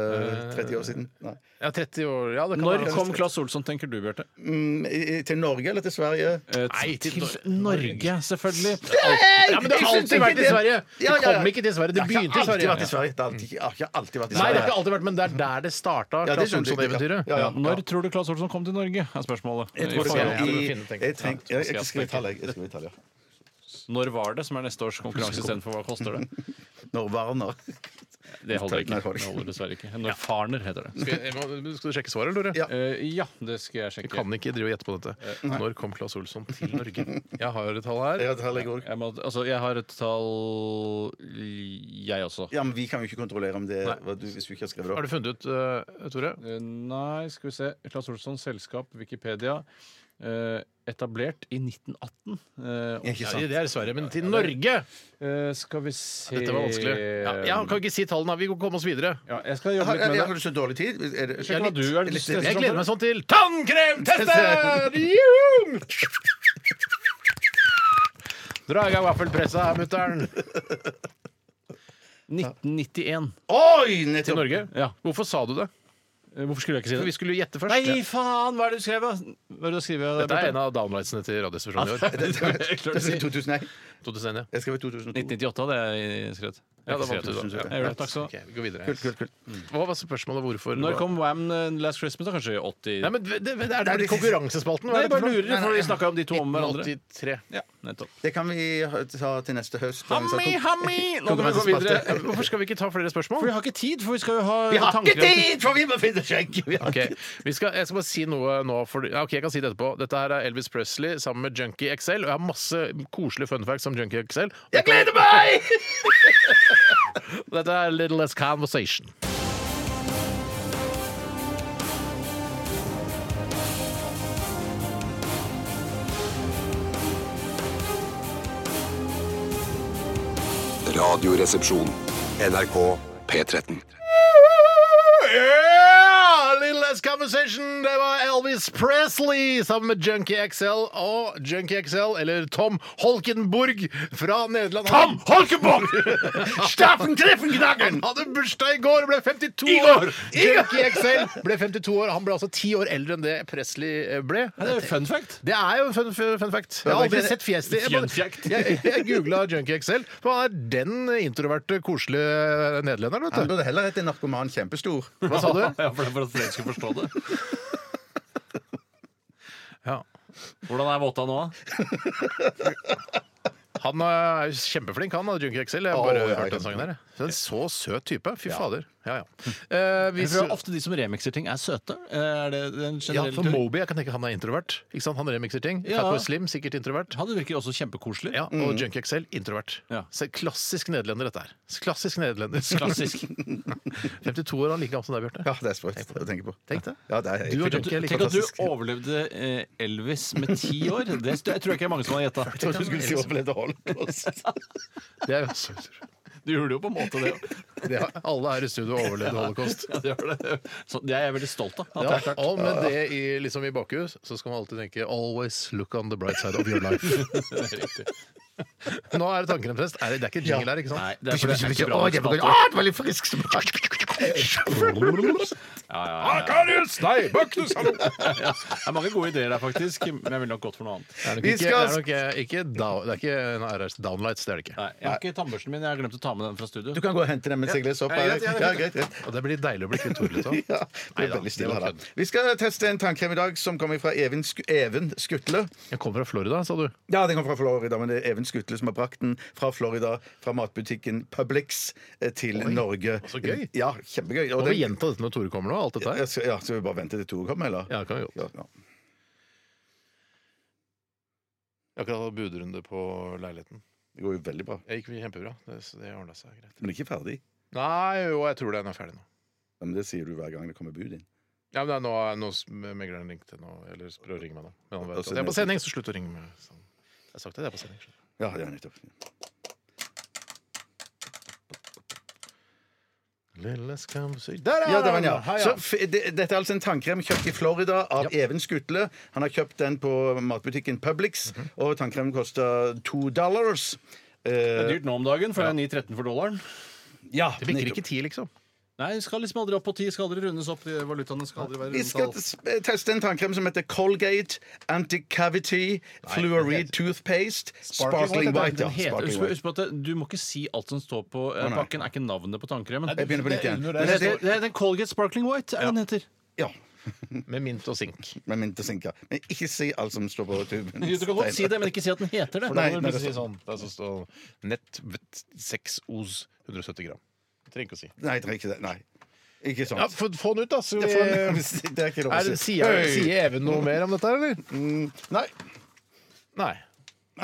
S6: 30 år siden. Nei.
S5: Ja, 30 år ja, det kan
S7: Når
S5: være.
S7: kom Claes Olsson, tenker du, Bjarte? Eh,
S6: Mm, i- i- til Norge eller til Sverige?
S5: Nei, til
S7: til
S5: Nor-
S7: Norge, selvfølgelig.
S5: Ja, men det
S6: Jeg
S5: har
S6: synes
S5: alltid
S6: ikke
S5: vært i
S6: det-
S5: Sverige!
S6: Ja,
S5: Det
S6: ja, ja.
S5: kom ikke til Sverige. Det
S6: Jeg har
S5: begynte i
S6: ikke alltid
S5: Sverige.
S6: vært i Sverige. Det har alltid- Jeg har ikke alltid vært i
S5: Nei,
S6: Sverige.
S5: det har ikke alltid vært, men det er der det starta.
S6: Ja, det
S5: Claes
S6: skjønte jeg,
S5: Olsson-eventyret.
S6: ja.
S7: Ja, når tror du Claes Olsson kom til Norge, er spørsmålet.
S6: Jeg
S5: I
S6: tror det var
S5: forhold til- Ja,
S6: i-
S5: men fine, tenker jeg.
S6: Jeg tenker- jeg- jeg skriver tall, jeg. Jeg skriver tall, ja.
S7: Når var det, som er neste års konkurranse istedenfor hva koster det?
S6: Når Warner
S7: Det holder ikke.
S6: Nei, det holder ikke.
S7: Det holder dessverre ikke. Når Farner heter det.
S5: Skal, jeg, jeg må- skal du sjekke svaret, Lore?
S6: Ja.
S7: Eh, ja, det skal jeg
S5: Jeg
S7: sjekke.
S5: kan ikke drive og gjette på dette. Når kom Claes Olsson til Norge? Jeg har et tall her.
S6: Ja, tall jeg også.
S7: Jeg, må, altså, jeg har et tall Jeg også.
S6: Ja, men vi kan jo ikke kontrollere om det
S5: Nei.
S6: hva du, hvis du ikke har skrevet det
S5: Har
S6: opp.
S5: du funnet ut, eh, Tore?
S7: Eh, Nei, skal vi se. Claes Olsson, selskap, Wikipedia. Eh, etablert i 1918. Eh, og-
S6: Ikke sant?
S5: det er Sverige, men til Norge!
S7: eh, skal vi se
S5: Dette var vanskelig.
S7: Eh,
S5: Ja, jeg kan ikke si tallene. Vi kan komme oss videre.
S7: Ja, jeg skal jobbe
S6: Har,
S7: litt med
S6: har
S7: det.
S6: du så dårlig tid? Er det,
S7: Sjekk hva du er. Litt,
S5: Jeg gleder meg sånn til tannkremtester! Juhu! Dra i gang vaffelpressa, mutter'n.
S7: 1991
S6: Oi!
S5: Til
S6: Nettopp!
S5: Norge?
S7: Ja.
S5: Hvorfor sa du det?
S7: Eh, Hvorfor skulle jeg ikke si
S5: For
S7: det?
S5: vi skulle jo gjette først.
S7: Nei, faen! Hva er det du skrev? da? Hva er det du skriver?
S5: Dette er en av downlightsene til Radioresepsjonen i år.
S7: Jeg klarer å si.
S6: 2000, nei,
S5: 2001, ja.
S6: jeg skrev 2002.
S7: 1998 hadde jeg skrevet.
S5: Ja, da
S7: Jeg har
S5: vant du,
S7: ikke
S5: da.
S7: skrevet
S5: Ja,
S7: det. Jeg gjør det, takk skal du ha.
S5: Ok, vi går videre.
S6: Kult, kult, kult.
S5: Hva var spørsmålet? Hvorfor?
S7: Når kom Wham eh, Last Christmas? da? Kanskje i 80...
S5: Nei, men det, det, Er det blitt konkurransespalten? Hva
S7: Nei,
S5: er
S7: jeg
S5: dette
S7: bare
S5: for noe?
S7: lurer, for vi snakka om de to om hverandre.
S5: 1983.
S7: Ja, nettopp.
S6: Det kan vi ha- ta til neste høst. da vi skal-
S7: Hammi, hammi! Nå kan vi gå videre.
S5: Eh, Hvorfor skal vi ikke ta flere
S7: For
S5: spørsmål?
S7: vi har ikke tid, for vi skal jo ha
S6: Vi har ikke
S7: tanker-
S6: tid, for vi må finne skjegg! Vi har
S5: Ok,
S6: ikke-
S5: vi skal, Jeg skal bare si noe nå. For, ja, ok, jeg kan si det etterpå. Dette her er Elvis Presley sammen med Junkie XL. Og jeg har masse koselige fun facts om Junkie XL.
S6: Jeg gleder meg!
S5: Dette er Little Less Conversation.
S2: Radioresepsjon. NRK P13.
S5: Yeah! Little Less Conversation, det var Elvis Presley sammen med Junkie XL og Junkie XL, eller Tom Holkenborg fra Nederland. Tom Holkenborg!
S6: Staffen Treffengnagen!
S5: Han hadde bursdag i går og ble 52
S6: går!
S5: år! Junkie XL ble 52 år. Han ble altså ti år eldre enn det Presley eh, ble.
S7: Ja, Det er jo fun fact.
S5: Det er jo en fun, fun fun fact. Jeg har aldri sett fjeset til Jeg,
S7: Fjønfjekt.
S5: jeg, jeg googla Junkie XL, for han er den introverte, koselige nederlenderen,
S6: Han
S5: vet du.
S6: burde heller hete narkoman kjempestor.
S5: Hva sa du?
S7: Ja, for det er for at flere skulle forstå det.
S5: Ja.
S7: Hvordan er våta nå, da?
S5: Han eh, er jo kjempeflink, han, av Junkie XL. Jeg har
S6: Å,
S5: bare
S6: ja,
S5: hørt
S6: jeg
S5: den sangen her. jeg. Så en så søt type. Fy fader. Ja,
S7: Hm.
S5: ja. Eh, hvis,
S7: For ofte de som remikser ting, er søte. Eh, Er det en
S5: ja,
S7: generell
S5: for Moby, jeg kan tenke han er introvert. Ikke sant? Han remikser ting.
S7: Ja.
S5: Fatboy Slim, sikkert introvert.
S7: Han virker også kjempekoselig.
S5: Ja, og Junkie XL, introvert.
S7: Ja.
S5: Så klassisk nederlender, dette her. Klassisk nederlender.
S7: Klassisk.
S5: 52 år, han like gammel som deg, Bjarte.
S6: Ja, det er sprøtt å tenke på.
S5: Tenk det.
S6: Ja, det er
S5: Du og
S6: helt
S5: Junkie er like
S7: Tenk at du
S5: fantastisk.
S7: overlevde eh, Elvis med ti år. Det det tror jeg ikke er mange som har gjetta.
S6: Jeg trodde du skulle si opplevde holocaust.
S5: Det er jo så
S7: Du gjorde jo på en måte det.
S5: det har, alle her i studio overlevde holocaust.
S7: Ja, det, gjør det. Så det er jeg veldig stolt av. at
S5: Ja,
S7: jeg har klart.
S5: og med det i, liksom i bakhus, så skal man alltid tenke 'always look on the bright side of your life'. Nå er det tankeremfest. Er det, det er ikke jingle her, ikke sant?
S7: Nei, det er fordi det er ikke bra resultater.
S6: veldig frisk språk!
S7: Det er mange gode ideer der, faktisk, men jeg ville nok gått for noe annet.
S5: Det er nok ikke,
S6: Vi
S5: det
S6: skal-
S5: er nok eh, ikke, down, det er ikke en RS Downlights, det er det ikke.
S7: Nei, jeg har ikke tannbørsten min. Jeg har glemt å ta med den fra studio.
S6: Du kan gå og hente den mens jeg leser opp.
S7: Ja,
S6: Erik.
S7: greit, ja,
S6: Ja, greit, greit.
S5: Og det blir deilig å bli kvitt Tore litt òg.
S6: Ja, det er
S5: Neida,
S6: veldig stille
S5: det var
S6: her.
S5: kødd.
S6: Vi skal teste en tannkrem i dag som kommer fra Even, Sku Even Skutle.
S5: Jeg kommer fra Florida, sa du.
S6: Ja, den kommer fra Florida, men det er Even Skutle som har brakt den fra Florida, fra matbutikken Publix eh, til Norge.
S5: så altså gøy.
S6: Ja, kjempegøy. Og
S5: Må vi
S6: den-
S5: gjenta dette når Tore kommer nå? alt dette
S6: ja,
S5: her?
S6: skal, ja, skal vi bare vente til Tore kommer, eller?
S5: Ja, det kan vi godt.
S6: Ja, ja.
S5: Jeg har akkurat hatt budrunde på leiligheten.
S6: Det går jo veldig bra.
S5: Det gikk kjempebra. Det, det ordna seg greit.
S6: Men ikke ferdig.
S5: Nei, jo, jeg tror den er ferdig nå.
S6: Ja, men det sier du hver gang det kommer bud inn.
S5: Ja, men det er nå, nå s- megleren ringte nå, eller prøver å ringe meg nå. Men han vet
S6: Altså,
S5: at jeg er på sending, så slutt å ringe meg. Sånn. Jeg har sagt det, jeg er på sending. skjønner du.
S6: Ja, ja, nettopp.
S5: Lille skamsy- Der
S6: Ja, det var den,
S5: den,
S6: ja. Så, f det, dette er altså en tannkrem kjøpt i Florida av Even Skutle. Han har kjøpt den på matbutikken Publix, og tannkremen koster to dollars.
S7: Det er dyrt nå om dagen, for det er 9,13 for dollaren.
S6: Ja,
S5: Det bikker ikke ti, liksom.
S7: Nei, det skal liksom aldri opp på 10, skal aldri rundes opp. de Valutaene skal aldri være
S6: Vi skal
S7: rundetall.
S6: s- eh, teste en tannkrem som heter Colgate Anti-Cavity Fluoride Toothpaste Sparkling White.
S7: Den
S6: Ja,
S7: heter,
S6: sparkling
S7: husk,
S6: white.
S7: husk på at det- du må ikke si alt som står på eh,
S6: nei.
S7: pakken. Er ikke navnet på tannkremen.
S6: Jeg begynner på nytt igjen.
S7: Den
S6: Den
S7: heter,
S6: heter-
S7: det er den Colgate Sparkling White er den heter.
S6: Ja,
S5: Med mint og sink.
S6: men mint og sinke. Men ikke si alt som står på tuben.
S7: Du kan godt si det, men ikke si at den heter det.
S6: Nei,
S5: Nei,
S6: nei,
S5: det
S6: det
S5: er sånn. Det er så står nett vett, 6 os 170 gram. Jeg trenger ikke å si.
S6: Nei, det er ikke det. Nei. Ikke sånn.
S5: Ja, få, få den ut, da. Så vi,
S6: Det er for- det er ikke lov
S5: er,
S6: å
S5: det-
S6: si.
S5: sier,
S6: Høy!
S5: sier Even noe mer om dette, her, eller?
S6: Nei.
S5: Nei.
S6: Han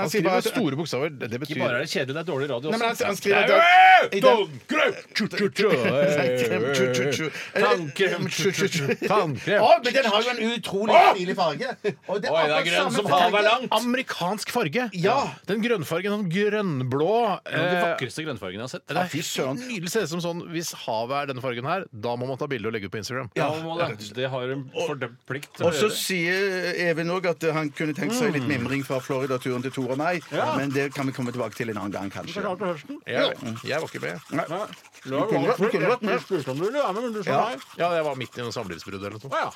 S5: Han
S6: sier
S5: skriver med
S6: bare at
S5: store bokstaver. Det det
S7: Ikke
S5: betyr
S7: bare er det kjedelig, det er dårlig radio altså.
S6: Nei, men altså, han,
S7: også.
S6: han skriver at i den- Tannkrem, tju, tju, tju. Eller-
S7: Tannkrem, tju, tju, tju.
S5: Tannkrem.
S6: Å, men den har jo en utrolig stilig farge. Og det
S7: Oi, det er
S6: akkurat
S7: grønn
S6: samme
S7: som
S6: farge.
S7: havet er
S5: Eh,
S7: langt!
S5: Amerikansk farge.
S6: Ja.
S5: Den grønnfargen, sånn grønnblå.
S7: Det er den
S5: eh,
S7: vakreste grønnfargen jeg har sett.
S5: Det
S6: fy
S5: er
S6: søren.
S5: helt nydelig ser det som sånn Hvis havet er denne fargen her, da må man ta bilde og legge ut på Instagram.
S7: Ja, må det. det har en fordømt plikt til å
S6: Og så
S7: gjøre.
S6: sier Even òg at han kunne tenkt seg litt mimring fra Florida-turen til Tor og meg. Men det kan vi komme tilbake til en annen gang, kanskje.
S7: Klart på høsten.
S5: Jeg, jeg var ikke med.
S7: Ja.
S6: kunne vært- du kunne vært med.
S7: Jeg spurte om du ville være med, men du sa
S6: Ja.
S7: nei.
S5: Ja, jeg var midt i noe samlivsbrudd eller noe.
S7: Å ja.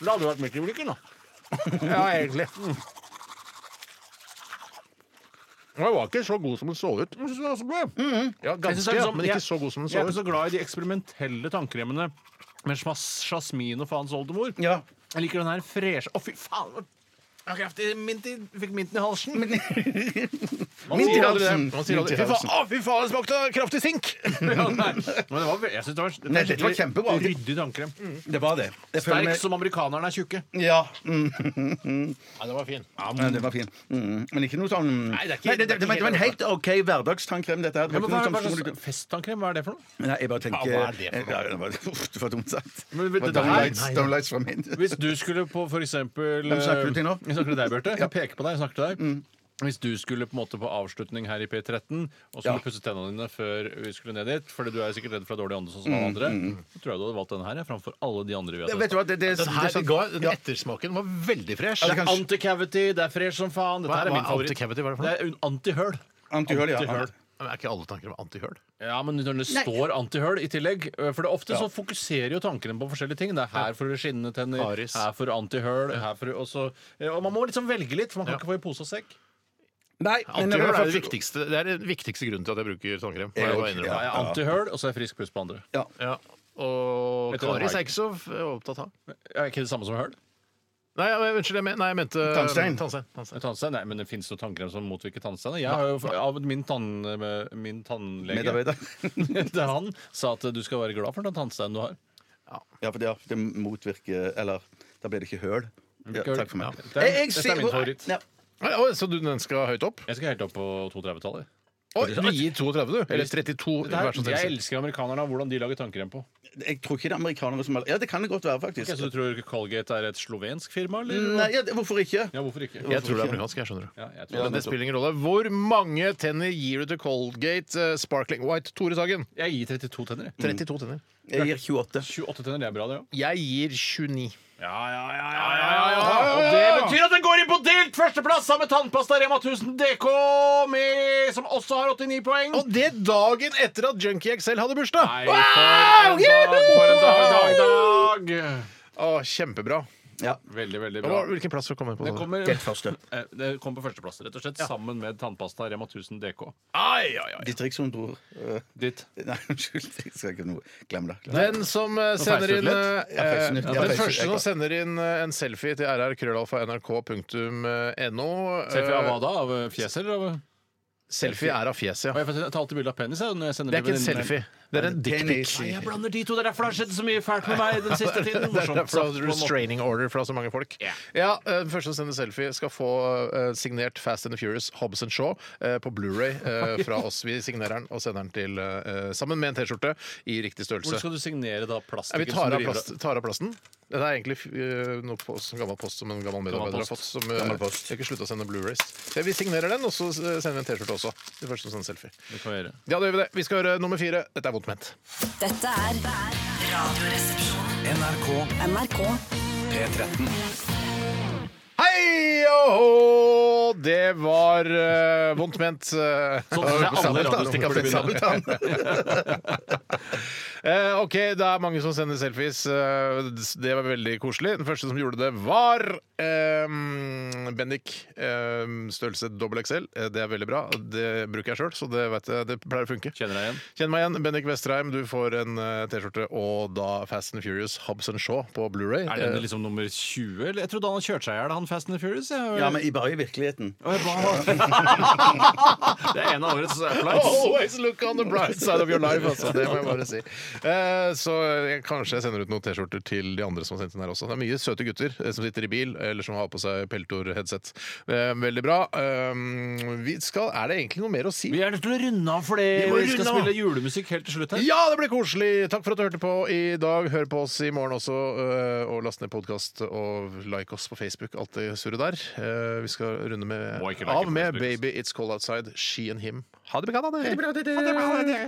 S7: Da hadde du vært midt i blikket, da.
S5: Ja, egentlig. Jeg var ikke så god som den så ut.
S7: Jeg synes det er så bra.
S5: Ja,
S7: Jeg synes
S5: ganske,
S7: det er
S5: ja,
S7: sånn-
S5: men ikke
S7: jeg-
S5: så god som den
S7: Jeg
S5: så
S7: er ikke
S5: ut.
S7: så glad i de eksperimentelle tannkremene med smas- jasmin og faens oldemor.
S6: Ja.
S7: Jeg liker den her freshe Å, fy faen! hvor- Jeg har kraftig mint i- Fikk minten i halsen.
S5: Man
S6: Mint i
S5: sier aldri det.
S6: halsen.
S5: Man sier aldri,
S6: Mint i
S5: Fy faen,
S6: halsen.
S5: å, fy faen, det smakte kraftig sink!
S7: Ja, nei. Men det var, ve- jeg synes det var, det
S6: Nei, dette var
S7: skikkelig
S6: kjempebra.
S7: Ryddig tannkrem.
S6: Det var det. Jeg føler
S7: Sterk
S6: meg-
S7: som amerikanerne er tjukke.
S6: Ja. Mm.
S5: Ja, det var fin.
S6: ja, det var fint. Mm. Men ikke noe sånn Nei,
S5: det er ikke-
S6: det, det, det var en helt OK hverdagstannkrem, dette her. Det
S7: Ja,
S6: var
S7: men
S6: ikke
S7: hva,
S6: noe
S7: hva
S6: sånn
S7: slags festtannkrem? Hva er det for noe?
S6: Nei, jeg bare tenker
S5: Ja, hva er det for noe?
S6: Ja, det var, uff, det var dumt sagt.
S7: Men
S6: Det var
S7: dette her-
S6: downlights,
S7: Nei, nei.
S6: downlights fra min.
S7: Hvis du skulle på for eksempel eh,
S6: Hvem snakker du til nå?
S7: Jeg snakker til deg, Bjarte. Jeg peker på deg. jeg snakker til deg. Hvis du skulle på en måte på avslutning her i P13 og skulle
S6: Ja.
S7: pusse tennene dine før vi skulle ned dit, fordi du er sikkert redd for dårlig ånde sånn som alle andre, så tror jeg du hadde valgt denne her jeg, framfor alle de andre vi har
S6: Vet du
S7: testet.
S6: hva, det, det, det,
S5: Den her
S6: det,
S5: ga, den ettersmaken var veldig fresh.
S7: Det er anti-cavity, det er fresh som faen. Dette
S5: Hva-
S7: her er
S5: hva
S7: min
S5: er
S7: favoritt.
S5: anti-cavity, hva er det for noe?
S7: er en antihøl.
S6: Antihøl, ja.
S7: Antihøl.
S5: Men Er ikke alle tanker om antihøl?
S7: Ja, men når det står antihøl i tillegg For det ofte så fokuserer jo tankene på forskjellige ting. Det er her for skinnende tenner,
S5: Aris.
S7: her for antihøl, her for og så- Og man må liksom velge litt, for man kan
S5: Ja.
S7: ikke få i pose og sekk.
S6: Nei, men jeg
S5: Antihøl er
S6: vil
S5: det
S6: faktisk-
S5: viktigste Det er den viktigste grunnen til at jeg bruker tannkrem. må
S6: Jeg
S5: jeg
S6: også,
S5: bare innrømme.
S7: Ja, jeg er antihøl, og så er jeg frisk pust på andre.
S6: Ja.
S5: Ja, og
S7: Vet du hva,
S5: Karis
S7: Mike?
S5: er ikke så f- opptatt av.
S7: Er ikke det samme som høl?
S5: Nei, ja, men unnskyld, jeg, men, nei, jeg mente
S6: Tannstein.
S5: Tannstein. tannstein.
S7: Tannstein? Nei, men det fins jo tannkrem som motvirker tannstein. Jeg har jo, av min, tann, min tannlege
S6: Medarbeider.
S7: Det er han sa at du skal være glad for den tannsteinen du har.
S6: Ja, for det, det motvirker Eller da blir det ikke høl. Ja,
S7: Ikke høl.
S6: takk for meg.
S7: Ja, det er-
S6: Jeg- jeg
S7: dette er
S6: sier-
S7: min favoritt.
S6: Ja.
S5: Nei, å, så du, den skal høyt opp?
S7: Jeg skal helt opp på 32-tallet.
S5: Oi, du gir 32, du. Eller 32. Vær så
S7: sånn. Jeg
S5: snill.
S7: elsker amerikanerne og hvordan de lager tannkrem på.
S6: Jeg tror ikke det er amerikanere som har Ja, det kan det godt være, faktisk.
S7: Ok, så du tror Colgate er et slovensk firma, eller?
S6: Nei, ja, det- hvorfor ikke?
S7: Ja, hvorfor ikke?
S5: Jeg tror det er amerikansk, jeg skjønner det.
S7: Ja, jeg, tror
S5: Men
S7: det.
S5: det spiller ingen rolle. Hvor mange tenner gir du til Colgate eh, Sparkling White? Tore Sagen.
S7: jeg gir 32 tenner. jeg.
S5: 32 tenner.
S6: Jeg gir 28.
S7: 28 tenner, det er bra, det òg.
S5: Jeg gir 29.
S7: Ja, ja, ja, ja, Og det betyr at den går inn på delt førsteplass sammen med tannpasta Rema 1000 DK, med, som også har 89 poeng.
S5: Og det dagen etter at Junkie XL hadde bursdag!
S7: Nei, for en dag, for en dag, dag, dag.
S5: Å, kjempebra.
S7: Veldig, veldig
S5: Hva
S7: bra.
S5: var- Hvilken plass kom jeg på?
S7: Det
S5: da?
S7: kommer,
S6: Delt første.
S7: Eh, det kommer på førsteplass, rett og slett, sammen med tannpasta Rema 1000 DK.
S5: Ai, ai, ai.
S6: Ditt Riksson, bror. Eh,
S7: Ditt.
S6: Nei, unnskyld. Jeg skal ikke noe. Glem det. Glem det.
S5: Den som eh, sender inn
S7: feilsnutt litt.
S5: eh,
S6: Ja,
S5: Den
S6: feilsnutt. Ja, feilsnutt.
S5: første
S6: Jeg er
S5: som
S6: klar.
S5: sender inn eh, en selfie til rrkrøllalfa.nrk.no eh,
S7: Selfie av hva da? Av eh, fjeset, eller? av-
S5: Selfie er av fjeset,
S7: Og
S5: ja.
S7: jeg får- jeg tar alltid bilde av penis. Jeg, når jeg sender
S5: Det er ikke en
S7: venninnene.
S5: selfie. Det er en dickpic.
S6: Penis.
S7: Jeg blander de to. Det er derfor det har skjedd så mye fælt med meg den siste tiden.
S5: Det er
S7: Morsomt,
S5: derfor det er
S7: sagt, på en måte.
S5: restraining order fra så mange folk.
S7: Ja.
S5: Ja, eh, Den første som sender selfie, skal få eh, signert Fast and the Furious Hobbs and Shaw eh, på Blu-ray eh, fra oss. Vi signerer den og sender den til eh, sammen med en T-skjorte i riktig
S7: Hvordan
S5: størrelse.
S7: skal du signere da
S5: Ja,
S7: plastikken?
S5: vi tar av,
S7: som driver-
S5: plast, tar av plasten. Dette er egentlig eh, noe post, gammel post som en gammel medarbeider har fått.
S7: post.
S5: Som eh,
S6: Gammel post.
S5: jeg har ikke slutta å sende Blu-rays. Ja, vi signerer den, og så eh, sender vi en T-skjorte også. Det første som sender selfie.
S7: Det kan vi gjøre.
S5: Ja, da gjør vi det. Vi skal høre nummer fire. Dette er vondt ment.
S1: Dette er Radioresepsjonen.
S4: NRK
S1: NRK
S4: P13.
S5: Hei og hå! Det var eh, vondt ment. eh,
S7: Sånn synes jeg alle
S5: Sabeltann.
S7: radiostykker burde begynne.
S5: Sabeltann. Eh, OK, det er mange som sender selfies. eh, det var veldig koselig. Den første som gjorde det, var eh, Bendik. eh, størrelse dobbel XL. Eh, Det er veldig bra. Det bruker jeg sjøl, så det, vet jeg, det pleier å funke.
S7: Kjenner deg igjen.
S5: Kjenn meg igjen. Bendik Vestheim, du får en eh, T-skjorte og da Fast and Furious Hobbs and Shaw på Blu-ray.
S7: Er
S5: Eh,
S7: den liksom nummer 20? Eller? Jeg trodde han kjørte seg i hjel, han Fast and the Furious. jeg, eller?
S6: Ja, men i- bare i virkeligheten.
S7: Å, jeg ba- det er en av årets applaus.
S5: Always look on the bright side of your life, altså. Det må jeg bare si. Eh, så jeg, kanskje jeg sender ut noen T-skjorter til de andre som har sendt inn her også. Det er mye søte gutter eh, som sitter i bil, eller som har på seg Peltor-headset. Eh, veldig bra. Eh, vi skal, er det egentlig noe mer å si?
S7: Vi er nødt til å runde av, for vi,
S5: må
S7: skal
S5: runde av.
S7: spille julemusikk helt til slutt her.
S5: Ja, det ble koselig! Takk for at du hørte på i dag. Hør på oss i morgen også, eh, og last ned podkast og like oss på Facebook. Alt det surret der. Eh, Vi skal runde med,
S7: Må ikke like
S5: av
S7: på
S5: med
S7: Facebook, altså. ass.
S5: Baby It's Cold Outside, She and Him. Ha det eh. bra, da. dere.